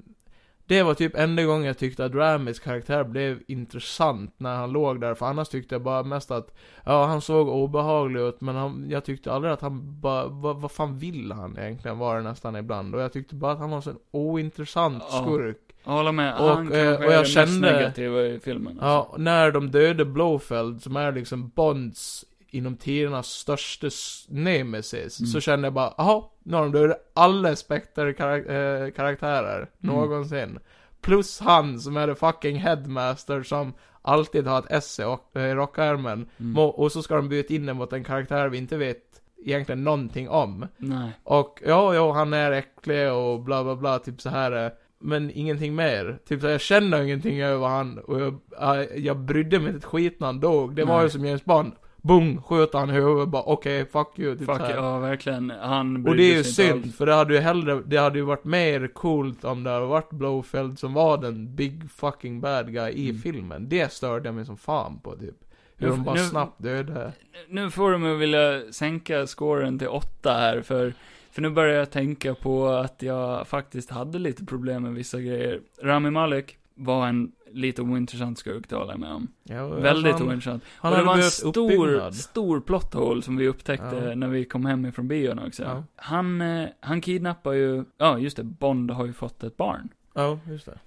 Det var typ enda gången jag tyckte att Ramis karaktär blev intressant när han låg där. För annars tyckte jag bara mest att, ja han såg obehaglig ut men han, jag tyckte aldrig att han bara, vad, vad fan vill han egentligen var det nästan ibland. Och jag tyckte bara att han var en sån ointressant Ja. skurk. Jag håller med, Och, han kanske eh, och jag är det mest kände- negativa i filmen. alltså. Ja, och när de dödade Blofeld, som är liksom Bonds inom tidernas största s- nemesis, Mm. så kände jag bara, jaha, nu har de dödat alla Spectre karak- eh, karaktärer, Mm. någonsin. Plus han som är the fucking headmaster som alltid har ett S i rock- eh, rockärmen. Mm. Må- Och så ska de byta in den mot en karaktär vi inte vet egentligen någonting om. Nej. Och ja, ja, han är äcklig och bla bla bla, typ så här. eh, Men ingenting mer. Typ så här, jag känner ingenting över han och jag, jag- jag brydde mig inte ett skit när han dog. Det var Nej. ju som James Bond. Bung, sköt han i huvudet bara okej, fuck you. Typ fuck, så här. ja verkligen. Han Och brydde det är ju sig inte synd, för det hade ju hellre, det hade ju varit mer coolt om det hade varit Blowfeld som var den big fucking bad guy i Mm. filmen. Det störde jag mig som fan på typ. Hur de bara Nu- snabbt dödade. Nu får de mig att vilja sänka scoren till åtta här, för, för nu börjar jag tänka på att jag faktiskt hade lite problem med vissa grejer. Rami Malek var en lite ointressant skurk, det håller jag med om. Ja, Väldigt alltså, han, ointressant. han och det hade var en behövt stor, uppbyggnad. stor plot hole som vi upptäckte Ja. när vi kom hem ifrån bion också. Ja. Han, eh, han kidnappar ju, ja just det, Bond har ju fått ett barn. Ja, just det.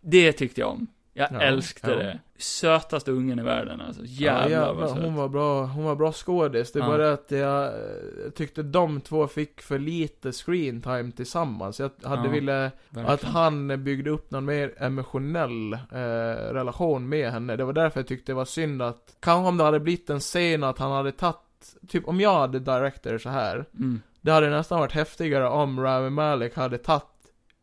det tyckte jag om. Jag Ja, älskade ja. det. Sötaste ungen i världen alltså. Jävlar ja, vad söt. hon var bra, hon var bra skådis. Det Ja. var det att jag eh, tyckte de två fick för lite screen time tillsammans. Jag hade Ja, ville att Verkligen. han byggde upp någon mer emotionell eh, relation med henne. Det var därför jag tyckte det var synd att, kanske om det hade blivit en scen att han hade tagit, typ om jag hade director så här. Mm. Det hade nästan varit häftigare om Rami Malek hade tagit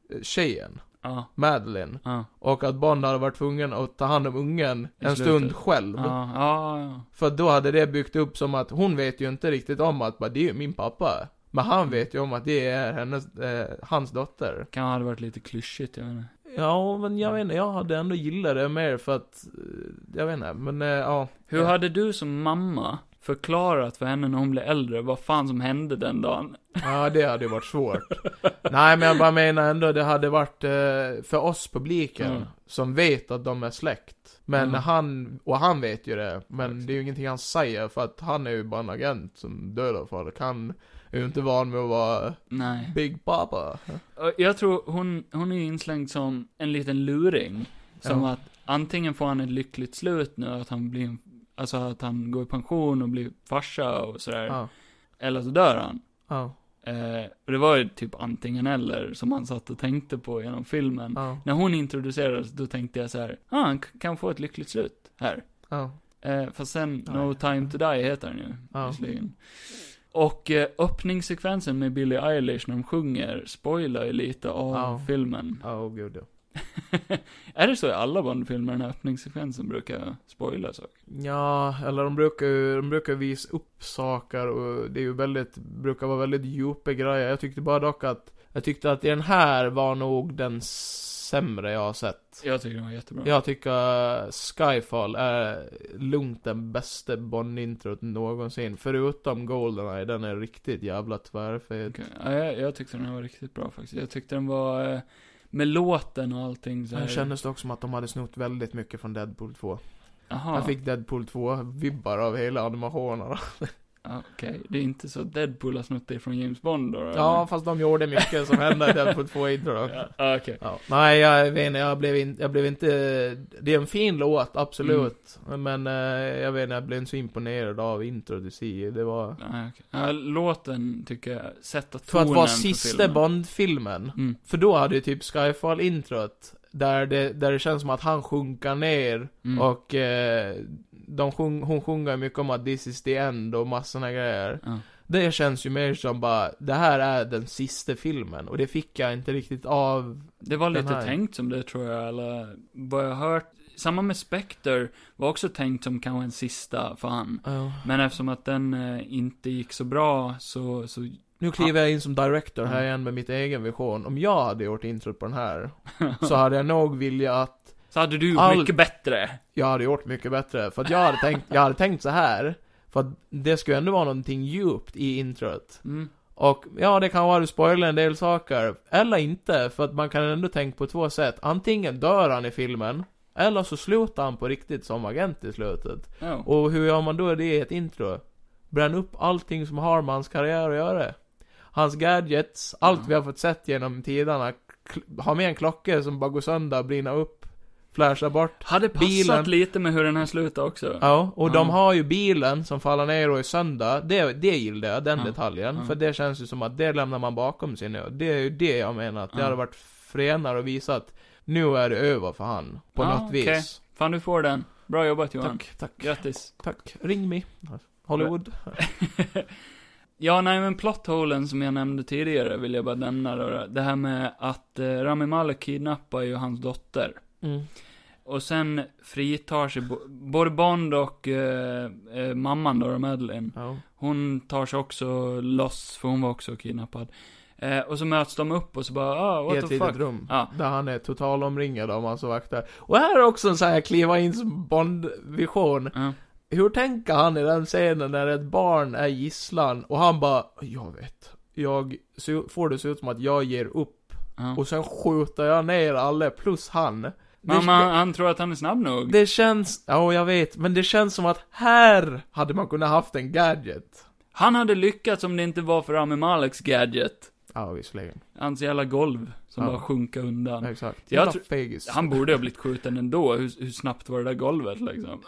eh, tjejen, Ja, Madeline. ja, Och att Bond hade varit tvungen att ta hand om ungen I en slutet. stund själv. ja, ja, ja. För då hade det byggt upp som att hon vet ju inte riktigt om att bara, det är ju min pappa. Men han vet ju om att det är hennes, eh, hans dotter. Kan ha varit lite klyschigt, jag vet inte. Ja, men jag vet inte, jag hade ändå gillat det mer för att, eh, jag vet inte, men eh, ja. Hur hade du som mamma förklarat för henne när hon blev äldre vad fan som hände den dagen? Ja, det hade ju varit svårt. Nej, men jag bara menar ändå, det hade varit eh, för oss publiken Mm. som vet att de är släkt. Men Mm. han, och han vet ju det, men Exakt. det är ju ingenting han säger för att han är ju bara en agent som dödar folk. Han är ju inte van med att vara Nej. Big Papa. Och Jag tror hon, hon är inslängd som en liten luring. Som Ja. att antingen får han ett lyckligt slut nu, att han blir en, alltså att han går i pension och blir farsa och sådär. Ja. Eller så dör han. Ja, Eh, och det var ju typ antingen eller som han satt och tänkte på genom filmen. ja, När hon introducerades, då tänkte jag så här, ah, han k- kan få ett lyckligt slut här. ja. Eh, fast sen, Ja, No ja. Time To Die heter den ju, Ja. visserligen. Och eh, öppningssekvensen med Billie Eilish när de sjunger spoilar ju lite av Ja. filmen. Åh oh, gud ja. är det så i alla Bondfilmer, den här öppningssekvensen brukar spoila saker? Ja, eller de brukar ju, de brukar visa upp saker och det är ju väldigt, brukar vara väldigt djupa grejer. Jag tyckte bara dock att, jag tyckte att i den här var nog den sämre jag har sett. Jag tycker den var jättebra. Jag tycker eh, Skyfall är lugnt den bästa Bond-introt någonsin. Förutom Goldeneye, den är riktigt jävla tvärfet. Okej. Ja, jag, jag tyckte den här var riktigt bra faktiskt. Jag tyckte den var, eh, med låten och allting så här. Sen kändes det också som att de hade snott väldigt mycket från Deadpool 2. Aha, Jag fick Deadpool 2-vibbar av hela animationerna. Ja, okej. Det är inte så att Deadpool har snott det från James Bond då? eller? Ja, fast de gjorde mycket som hände i Deadpool 2 intro då. Ja, ah, okej. Ja. Nej, jag vet inte, jag blev, in, jag blev inte... Det är en fin låt, absolut. Mm. Men eh, jag vet inte, jag blev inte så imponerad av intro du ser. Det var... Ah, okej. Ja, låten tycker jag sätter För tonen att vara för sista filmen. Bond-filmen. Mm. För då hade ju typ Skyfall-introt, där det, där det känns som att han sjunker ner. Mm. Och eh, de sjung, hon sjunger mycket om att 'This is the end' och massorna grejer. Ja. Det känns ju mer som bara, det här är den sista filmen. Och det fick jag inte riktigt av Det var Den lite här. tänkt som det tror jag, eller vad jag hört. Samma med Spectre var också tänkt som kanske en sista för han. Men eftersom att den eh, inte gick så bra så, så Nu kliver jag in som director här Mm. igen med mitt egen vision. Om jag hade gjort introt på den här, så hade jag nog velat att Så hade du gjort Allt- mycket bättre. jag hade gjort mycket bättre. För att jag hade tänkt, jag hade tänkt så här. För att det skulle ändå vara någonting djupt i introt. Mm. Och ja, det kan vara du spoilar en del saker. Eller inte, för att man kan ändå tänka på två sätt. Antingen dör han i filmen, eller så slutar han på riktigt som agent i slutet. Ja. Och hur gör man då det i ett intro? Bränn upp allting som har med hans karriär att göra. Hans gadgets, allt Ja. vi har fått sett genom tiderna. Kl- Ha med en klocka som bara går sönder, brinner upp, flashar bort. hade passat bilen- lite med hur den här slutade också. Ja, och de Ja. har ju bilen som faller ner och är sönder. Det, det gillar jag, den Ja. detaljen. Ja. För det känns ju som att det lämnar man bakom sig nu. Det är ju det jag menar, att det Ja. hade varit fränare och visa att nu är det över för han. På Ja, något okej. vis. Fan, du får den. Bra jobbat Johan. Tack, tack, Grattis. tack. Ring mig. Hollywood. Ja, nej men plotholen som jag nämnde tidigare vill jag bara nämna då. Det här med att eh, Rami Malek kidnappar ju hans dotter. Mm. Och sen fritar sig, bo- både Bond och eh, eh, mamman då, Madeleine. Ja. Hon tar sig också loss, för hon var också kidnappad. Eh, och så möts de upp och så bara, ah, I what ett the litet fuck. rum. Ja. Där han är totalomringad av massa vakter. Och här är också en sån här kliva in som Bond-vision. Ja. Hur tänker han i den scenen när ett barn är gisslan och han bara, jag vet. Jag ser- får det se ut som att jag ger upp. Ja. Och sen skjuter jag ner alla plus han. Det- Men han- han, han tror att han är snabb nog. Det känns, ja jag vet, men det känns som att här hade man kunnat haft en gadget. Han hade lyckats om det inte var för Ami Maleks gadget. Ja visserligen, Hans jävla golv som Ja. bara sjunka undan. exakt. Jag Jävla tror- fegis. Han borde ha blivit skjuten ändå, hur, hur snabbt var det där golvet liksom?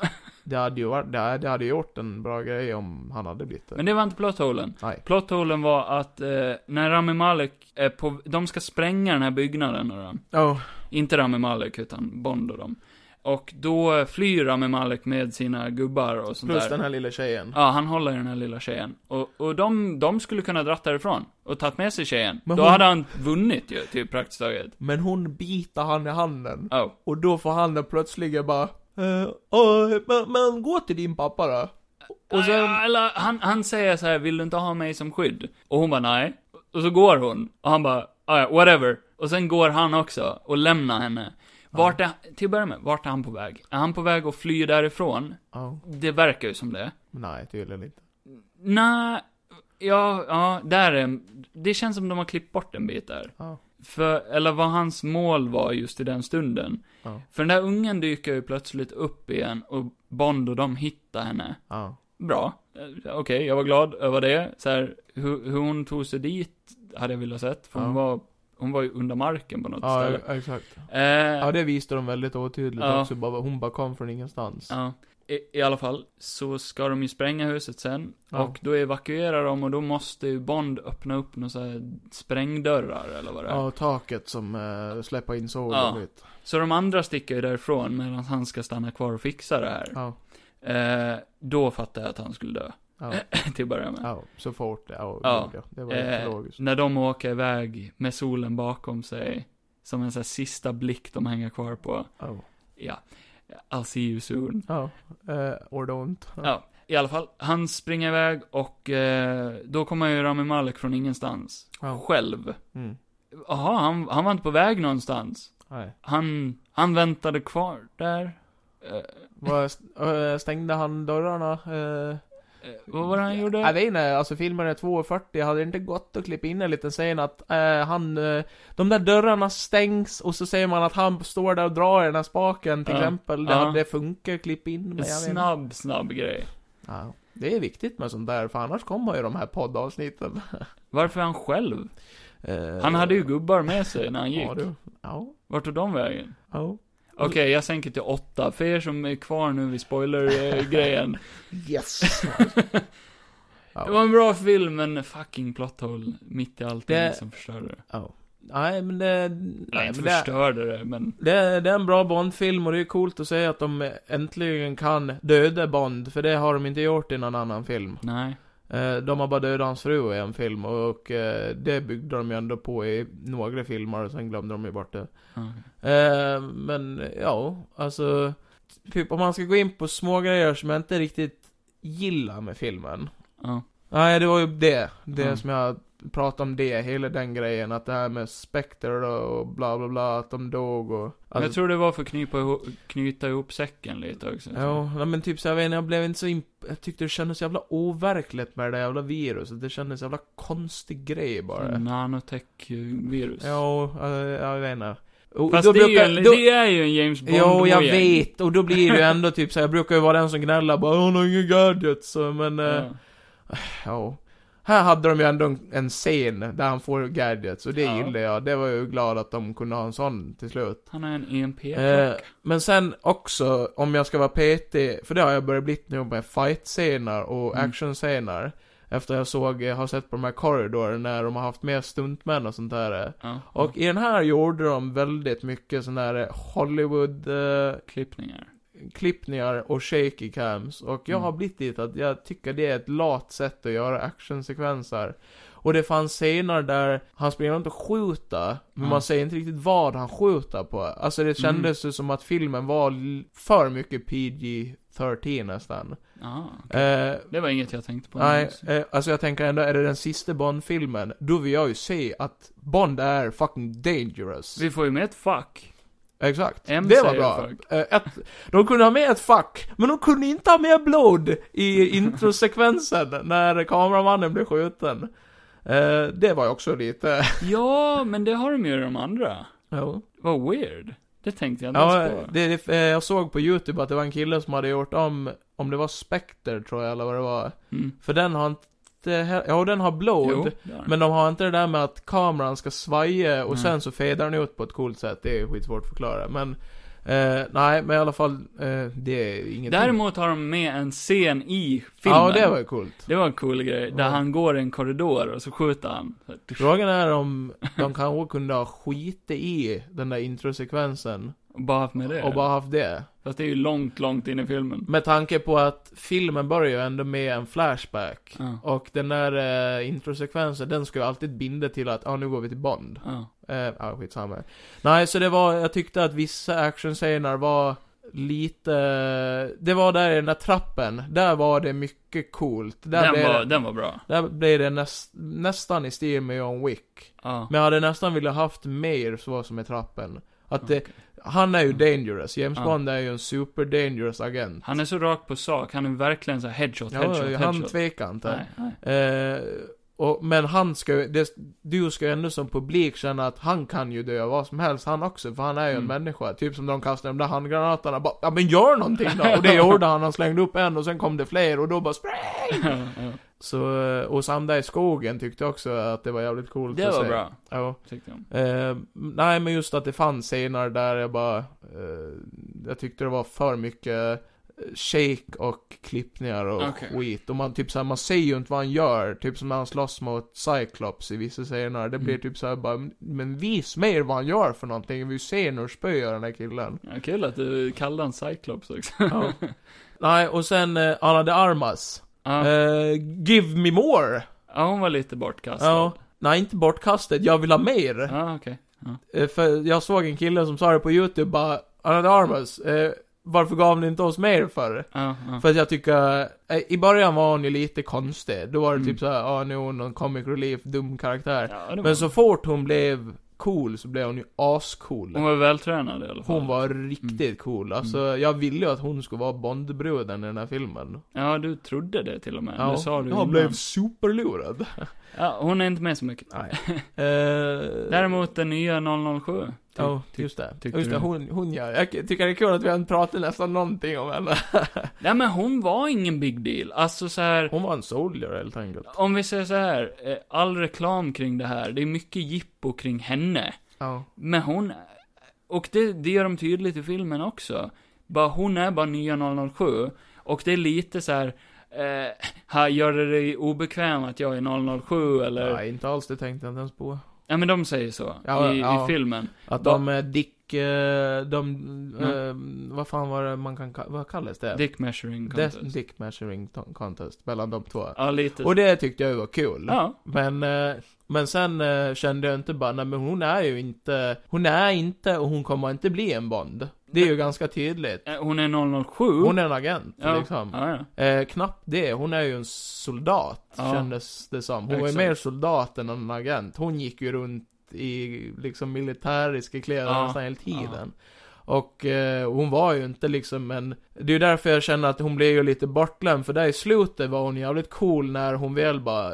Det hade ju varit, det hade- det hade ju gjort en bra grej om han hade blivit det. Men det var inte plotholen. Nej. Plotholen var att eh, när Rami Malek är på, de ska spränga den här byggnaden och då. Oh, Inte Rami Malek, utan Bond och dem. Och då flyr Rami Malek med sina gubbar och sånt plus där. den här lilla tjejen. Ja, han håller i den här lilla tjejen. Och, och de, de skulle kunna dratt därifrån och tagit med sig tjejen. Men Då hon- hade han vunnit ju, typ praktiskt taget. Men hon biter han i handen. Oh. Och då får han plötsligt bara, eh, åh, men, men gå till din pappa då. Och sen, Ja, Eller, han, han säger så här, vill du inte ha mig som skydd? Och hon bara, nej. Och så går hon. Och han bara, "Ah, ja, whatever. Och sen går han också och lämnar henne. Vart är, till att börja med, vart är han på väg? Är han på väg att fly därifrån? ja, Det verkar ju som det. nej tydligen inte. Nej, ja, ja, där är, det känns som de har klippt bort en bit där. Ja. För, eller vad hans mål var just i den stunden. Ja. För den där ungen dyker ju plötsligt upp igen och Bond och de hittar henne. Ja. Bra. Eh, Okej, jag var glad över det. Så här, hur, hur hon tog sig dit hade jag velat sett, för hon, Ja. var, hon var ju under marken på något Ja, ställe. exakt. Eh, Ja, det visste de väldigt otydligt Ja. också. Bara, hon bara kom från ingenstans. ja. I, I alla fall, så ska de ju spränga huset sen. Ja. Och då evakuerar de och då måste ju Bond öppna upp några så här sprängdörrar eller vad det är. Ja, taket som eh, släpper in solen Ja. lite. Så de andra sticker ju därifrån medan han ska stanna kvar och fixa det här. Ja. Eh, då fattar jag att han skulle dö, Ja. till att börja med. ja, så fort. Ja, Ja. ja. det var Eh, eh, logiskt. när de åker iväg med solen bakom sig, som en sån här sista blick de hänger kvar på. Ja. Ja, I'll see you soon. Ja, eh, or don't. Ja. Ja, i alla fall, han springer iväg och eh, då kommer ju Rami Malek från ingenstans. Ja. Själv. Mm. Jaha, han, han var inte på väg någonstans. Nej. Han, han väntade kvar där. Eh, Vad st- eh, stängde han dörrarna? Eh, eh, vad var det han gjorde? Jag vet inte, alltså filmen är 2.40, hade det inte gått att klippa in en liten scen att eh, han, eh, de där dörrarna stängs och så säger man att han står där och drar i den här spaken till Ja. exempel. Det Ja. hade funkat, klipp in men En jag vet inte. snabb, snabb grej. Ja. Det är viktigt med sånt där, för annars kommer ju de här poddavsnitten. Varför är han själv? Eh, Han hade ju gubbar med sig när han gick. Ja, du. Ja. Vart tog de vägen? Ja. Okej, jag sänker till åtta. För er som är kvar nu vid spoiler-grejen. Yes! det var en bra film, men fucking plot hole mitt i allting Det- som förstörde det. Ja. Nej, men det... Nej, Nej, inte men det, förstörde det, men... Det är, det är en bra Bond-film och det är coolt att se att de äntligen kan döda Bond, för det har de inte gjort i någon annan film. Nej. Eh, De har bara dödat hans fru i en film och eh, det byggde de ju ändå på i några filmer och sen glömde de ju bort det. Ja. Eh, Men ja, alltså. Typ om man ska gå in på små grejer som jag inte riktigt gillar med filmen. Ja. Nej, det var ju det. Det Mm. som jag pratade om det, hela den grejen. Att det här med Spectre och bla bla bla, att de dog och... Men alltså- jag tror det var för att knypa ihop, knyta ihop säcken lite också. Ja, nej, men typ så jag vet inte, jag blev inte så imp- Jag tyckte det kändes jävla overkligt med det där jävla viruset. Det kändes jävla konstig grej bara. Som Nanotech-virus. Mm. Ja, eh, jag vet inte. Och Fast då det, är brukar- ju en, då- det är ju en James Bond Jo, jag igen. vet. Och då blir det ju ändå typ så här, jag brukar ju vara den som gnäller bara 'Han har ingen gadgets' så, men... Ja. Ja. ja. Här hade de ju ändå en- en scen där han får gadgets och det Ja. gillade jag. Det var jag ju glad att de kunde ha en sån till slut. Han har en E emp Eh, men sen också, om jag ska vara petig, för det har jag börjat bli nu med fight-scener och Mm. action-scener. Efter jag såg, eh, har sett på de här korridoren när de har haft med stuntmän och sånt där. eh. ja. Och i den här gjorde de väldigt mycket sån där eh, Hollywood-klippningar klippningar. och shaky cams. Och jag Mm. har blivit dit att jag tycker det är ett lat sätt att göra actionsekvenser. Och det fanns scener där han springer runt och skjuter, men Ja. man säger inte riktigt vad han skjuter på. Alltså det kändes ju som att filmen var l- för mycket PG-13 13 nästan. Ja, Eh, det var inget jag tänkte på. Nej, alls. eh, alltså jag tänker ändå, är det den sista Bond-filmen, då vill jag ju se att Bond är fucking dangerous. Vi får ju med ett fuck. Exakt. M det var säger bra. fuck. Eh, Ett, de kunde ha med ett fuck, men de kunde inte ha med blod i introsekvensen när kameramannen blev skjuten. Eh, det var ju också lite... Ja, men det har de ju i de andra. Jo. Vad weird. Det tänkte jag inte Ja, ens på. det, det, eh, jag såg på YouTube att det var en kille som hade gjort om, om det var Spectre tror jag eller vad det var. Mm. För den har inte, he- ja den har blod. Jo, det har de. Men de har inte det där med att kameran ska svaja och Nej. sen så fedar den ut på ett coolt sätt. Det är skitsvårt att förklara. Men, eh, nej, men i alla fall, eh, det är inget. Däremot har de med en scen i filmen. Ja, det var ju coolt. Det var en cool grej, där Ja. han går i en korridor och så skjuter han. Så här, tuff, Frågan är om de kanske kunde ha skitit i den där introsekvensen och Bara haft med det. och bara Mm. haft det. Fast det är ju långt, långt in i filmen. Med tanke på att filmen börjar ju ändå med en flashback. Ja. Och den där eh, introsekvensen, den ska ju alltid binda till att, ja ah, nu går vi till Bond. Ja. Eh, ah, skitsamma. Nej, så det var, jag tyckte att vissa actionscener var lite... Det var där i den där trappen, där var det mycket coolt. Där Den, blev, var, det, den var bra. där blev det näst, nästan i stil med John Wick. Ja. Men jag hade nästan velat haft mer så som i trappen. Att det, han är ju dangerous, James Mm. Ja. Bond är ju en super dangerous agent. Han är så rakt på sak, han är verkligen så här headshot, Ja, headshot, han headshot. tvekar inte. Nej, nej. Eh, och, men han ska ju- det, du ska ju ändå som publik känna att han kan ju dö av vad som helst han också, för han är ju en Mm. människa. Typ som de kastade de där handgranaterna, bara, ja men gör någonting då! Och det gjorde han, han slängde upp en och sen kom det fler och då bara spräng! Ja, ja. Så, eh, och Sam där i skogen tyckte jag också att det var jävligt coolt Det att var se. bra, Ja. tyckte jag. Eh, nej men just att det fanns scener där jag bara, eh, jag tyckte det var för mycket eh, shake och klippningar och Okej. skit. Och man typ såhär, man ser ju inte vad han gör. Typ som när han slåss mot Cyclops i vissa scener. Det blir Mm. typ såhär bara, men vis mer vad han gör för någonting. Vi ser när spöar den här killen. Ja, kul att du kallade han Cyclops också. Ja. nej och sen eh, Anna de Armas. Ja, Eh, give me more! ja hon var lite bortkastad. Ja. Ja, Nej inte bortkastet, jag vill ha mer! okej. Eh, För jag såg en kille som sa det på YouTube bara, Another Armas, eh, varför gav ni inte oss mer för? Ja, ja. För att jag tycker, eh, i början var hon ju lite konstig. Då var det Mm. typ såhär, ja nu är hon någon comic relief, dum karaktär. ja, det var... Men så fort hon blev cool så blev hon ju ascool. Hon var Mm. vältränad i alla fall. Hon var riktigt cool. Alltså jag ville ju att hon skulle vara Bondbruden i den här filmen. Ja, du trodde det till och med. Ja, Det sa du jag innan. blev superlurad. Ja, hon är inte med så mycket. Nej. Eh, Däremot den nya 007. Ty- Ja, ty- just det. tyckte Just det, du? hon, hon ja. Jag tycker det är kul att vi inte pratat nästan någonting om henne. Nej men hon var ingen big deal. Alltså så här. Hon var en soldier helt enkelt. Om vi säger så här, eh, all reklam kring det här, det är mycket jippo kring henne. Ja. Men hon, och det, det gör de tydligt i filmen också. Bara, hon är bara nya 007. Och det är lite så här, eh, här gör det dig obekväm att jag är 007 eller? Nej. Nej, inte alls. Det tänkte jag inte ens på. Ja men de säger så. Ja, i, ja. I filmen. Att Va- Mm. de är Dick... eh, De... eh, Vad fan var det man kan... ka- Vad kallas det? Dick measuring Des- contest. Dick Measuring to- Contest. Mellan de två. Ja lite. Och det tyckte jag ju var kul. ja. Men, eh, men sen eh, kände jag inte bara, nej men hon är ju inte... Hon är inte och hon kommer inte bli en Bond. Det är ju ganska tydligt. Eh, Hon är 007. Hon är en agent, ja. liksom. Ja, ja. Eh, knappt det, hon är ju en soldat, Ja. kändes det som. Hon var ju Exakt. mer soldat än en agent. Hon gick ju runt i liksom militäriska kläder Ja. nästan hela tiden. Och eh, hon var ju inte liksom en... Det är ju därför jag känner att hon blev ju lite bortglömd, för där i slutet var hon jävligt cool när hon väl bara...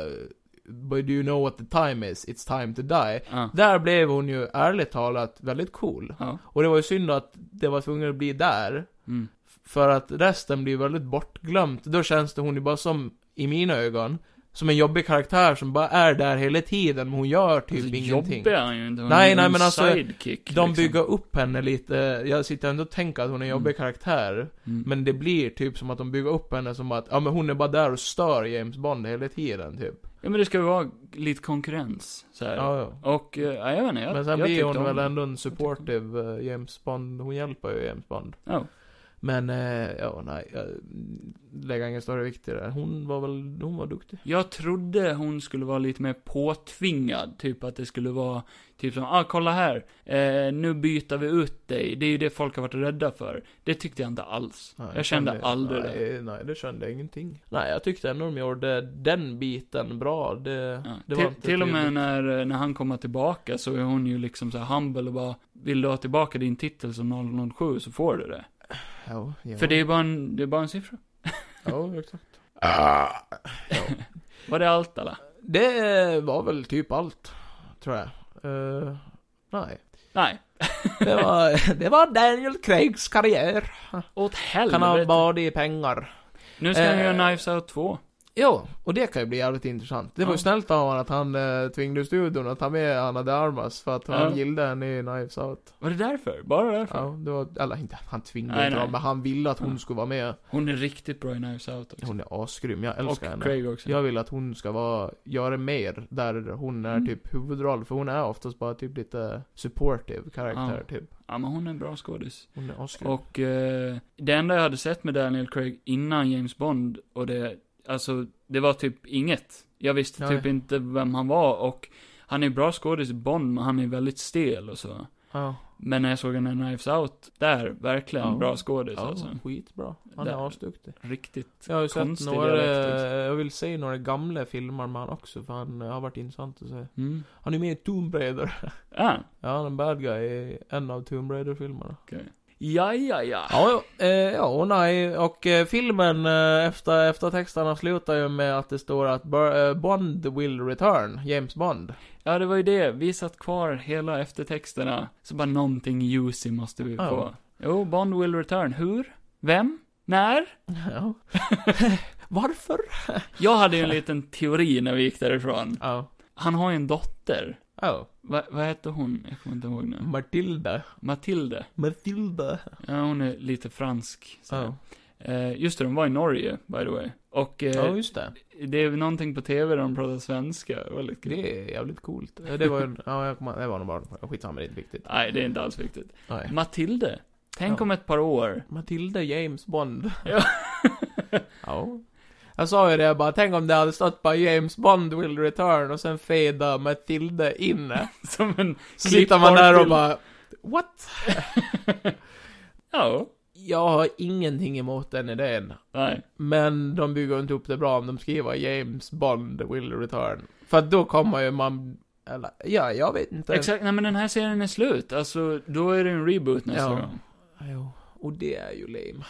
But do you know what the time is? It's time to die. Ja. Där blev hon ju ärligt talat väldigt cool. Ja. Och det var ju synd att det var tvungen att bli där. Mm. För att resten blir väldigt bortglömt. Då känns det hon ju bara som, i mina ögon, som en jobbig karaktär som bara är där hela tiden, men hon gör typ alltså, ingenting. jobbig är han ju inte. Hon Nej, är ju nej, en men alltså, sidekick. liksom. De bygger upp henne lite, jag sitter ändå och tänker att hon är en jobbig karaktär. Mm. Men det blir typ som att de bygger upp henne som att, ja men hon är bara där och stör James Bond hela tiden typ. Ja, men det ska ju vara lite konkurrens. Så här. Ja, ja. Och, eh, ja, jag vet inte. Jag, Men jag sen blir tyckte hon om väl det. ändå en supportive eh, James Bond, hon hjälper ju James Bond. Ja. Men, eh, ja, nej. Jag lägger ingen större vikt i det. Hon var väl, hon var duktig. Jag trodde hon skulle vara lite mer påtvingad, typ att det skulle vara, typ som, ah kolla här, eh, nu byter vi ut dig, det är ju det folk har varit rädda för. Det tyckte jag inte alls. Nej, jag kände aldrig det. nej, Nej, det kände jag ingenting. Nej, jag tyckte ändå de gjorde den biten bra. Det, Ja. det var till, inte till och med tydligt. när, när han kommer tillbaka så är hon ju liksom så här humble och bara, vill du ha tillbaka din titel som 007 så får du det. Ja, ja. För det är bara en, det är bara en siffra. Ja, exakt. Ah. Var det allt eller? Det var väl typ allt, tror jag. Eh, nej. Nej. Det var, det var Daniel Craigs karriär. Åt Kan han helvete. bada i pengar. Nu ska han Eh. göra Knives Out 2. Jo, och det kan ju bli jävligt intressant. Det var Ja. ju snällt av honom att han eh, tvingade studion att ta med Anna de Armas för att han Ja. gillade henne i Knives Out. Var det därför? Bara därför? Ja, det var, eller inte, han tvingade Nej, inte nej. dem, men han ville att hon Ja. skulle vara med. Hon är riktigt bra i Knives Out också. Hon är asgrym, jag älskar och henne. Craig också. Jag vill att hon ska vara, göra mer där hon är Mm. typ huvudroll, för hon är oftast bara typ lite supportive karaktär typ. Ja, men hon är en bra skådis. Hon är asgrym. Och eh, det enda jag hade sett med Daniel Craig innan James Bond, och det, alltså, det var typ inget. Jag visste Nej. typ inte vem han var och han är bra skådis i Bond, men han är väldigt stel och så. Ja, Men när jag såg henne i Knives Out, där, verkligen Ja. bra skådis ja alltså. skitbra. Han Där. är asduktig. Riktigt. Jag har ju sett Konstig några, dialekt, liksom. jag vill säga några gamla filmer med han också, för han eh, har varit intressant att se. Mm. Han är med i Tomb Raider. Ja, Ja, han är en bad guy i en av Tomb Raider-filmerna. okej. Ja, ja, ja. Ja, ja, eh, ja, och nej, och eh, filmen eh, efter, efter texterna slutar ju med att det står att Bur- eh, Bond will return, James Bond. Ja, det var ju det. Vi satt kvar hela eftertexterna. Så bara någonting juicy måste vi Ja. få. Jo, Bond will return. Hur? Vem? När? Ja. Varför? Jag hade ju en liten teori när vi gick därifrån. Ja. Han har ju en dotter. Ja. Va, vad hette hon? Jag kommer inte ihåg nu. Matilda. Matilde. Matilda. Ja, hon är lite fransk. Så. Ja. Eh, just det, de var i Norge, by the way. Och eh, ja, just det. det är väl någonting på TV där de pratar svenska. Det var lite kul. Det är jävligt coolt. Ja, Det var ju en, ja, jag kommer, det var nog bara, skitsamma, det är inte viktigt. Nej, det är inte alls viktigt. Nej. Matilde. Tänk Ja. om ett par år. Matilda James Bond. Ja. ja. Jag sa ju det, jag bara, tänk om det hade stått bara James Bond will return och sen fada Matilda in. Som en... Så Klipp sitter man där och Arfield. bara, what? Ja. Jag har ingenting emot den idén. Nej. Men de bygger inte upp det bra om de skriver James Bond will return. För att då kommer ju man... Eller, ja, jag vet inte. Exakt, nej men den här serien är slut. Alltså, då är det en reboot nästa Ja. gång. Jo, och det är ju lame.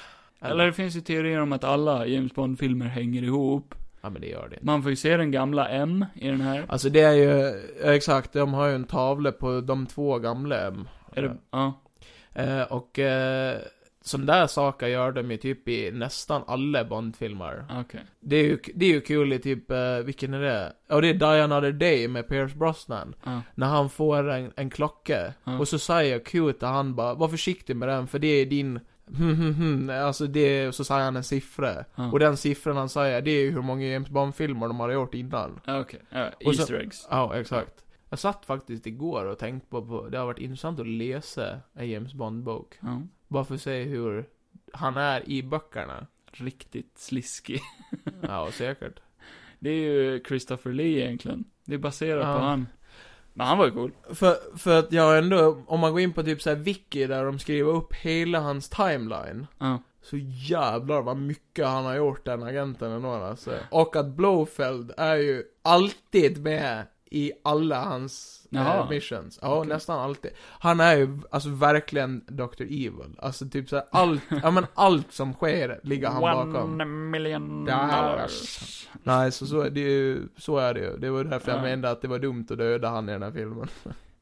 Eller det finns ju teorier om att alla James Bond-filmer hänger ihop. Ja, men det gör det. Man får ju se den gamla M i den här. Alltså det är ju... Exakt, de har ju en tavla på de två gamla. M. Är det, ja. Eh, och... Eh, sån där saker gör de ju typ i nästan alla Bond-filmer. Okej. Det är ju, det är ju kul i typ, eh, vilken är det? Ja, det är Die Another Day med Pierce Brosnan. Ja. När han får en, en klocka. Ja. Och så säger Cute att han bara, var försiktig med den för det är din... alltså det, är- så säger han en siffra. Ja. Och den siffran han säger, det är ju hur många James Bond-filmer de hade gjort innan. Ja, Okej. Ja, Och så- Easter eggs. Ja, exakt. Jag satt faktiskt igår och tänkte på, på det har varit intressant att läsa en James Bond-bok. Ja. Bara för att se hur han är i böckerna. Riktigt sliskig. Mm. Ja, säkert. Det är ju Christopher Lee egentligen. Det är baserat Ja. på han. Men han var ju cool. För, för att jag ändå, om man går in på typ såhär wiki där de skriver upp hela hans timeline. Ja. Så jävlar vad mycket han har gjort den agenten ändå alltså. Och att Blowfeld är ju alltid med i alla hans Jaha. eh, missions. Ja, Okej. nästan alltid. Han är ju alltså verkligen Dr. Evil. Alltså typ såhär allt, ja men allt som sker ligger han bakom. One million Dollars. dollars. Nej, så, så är det ju, så är det ju. Det var därför jag Ja. menade att det var dumt att döda han i den här filmen.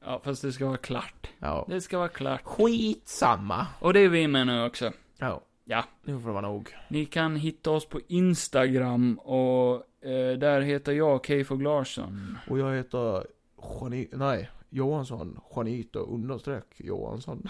Ja, fast det ska vara klart. Ja. Det ska vara klart. Skitsamma. Och det är vi med nu också. Ja. Ja. Nu får det vara nog. Ni kan hitta oss på Instagram och eh, där heter jag Keyfog Larsson. Och jag heter Jani... Nej, Johansson. Janito understreck Johansson.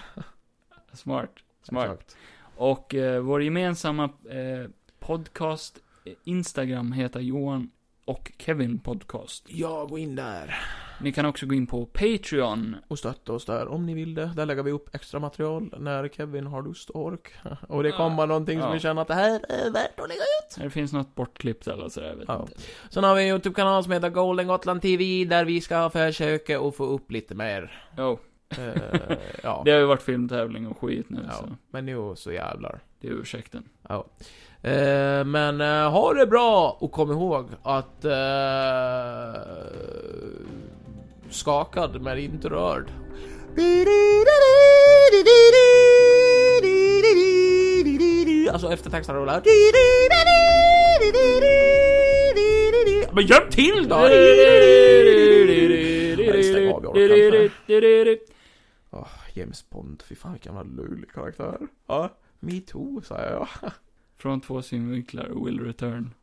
Smart. Smart. Exakt. Och eh, vår gemensamma eh, podcast eh, Instagram heter Johan och Kevin Podcast. Ja, gå in där. Ni kan också gå in på Patreon. Och stötta oss där om ni vill det. Där lägger vi upp extra material när Kevin har lust och ork. Och det Ja. kommer någonting som Ja. vi känner att det här är värt att lägga ut. Det finns något bortklippt eller sådär, vet Ja. inte. Sen har vi en YouTube-kanal som heter Golden Gotland TV där vi ska försöka att få upp lite mer. Jo, Eh, ja. det har ju varit filmtävling och skit nu, ja. så Alltså. Men nu så jävlar. det är ursäkten. Ja. Eh, men eh, ha det bra och kom ihåg att eh, skakad men inte rörd. Alltså eftertexterna rullar. Men hjälp till då! Nej, stäng av, jag orkar Åh, James Bond, fy fan vilken jävla löjlig karaktär. Ja, me too, säger jag. Från två synvinklar, Will Return.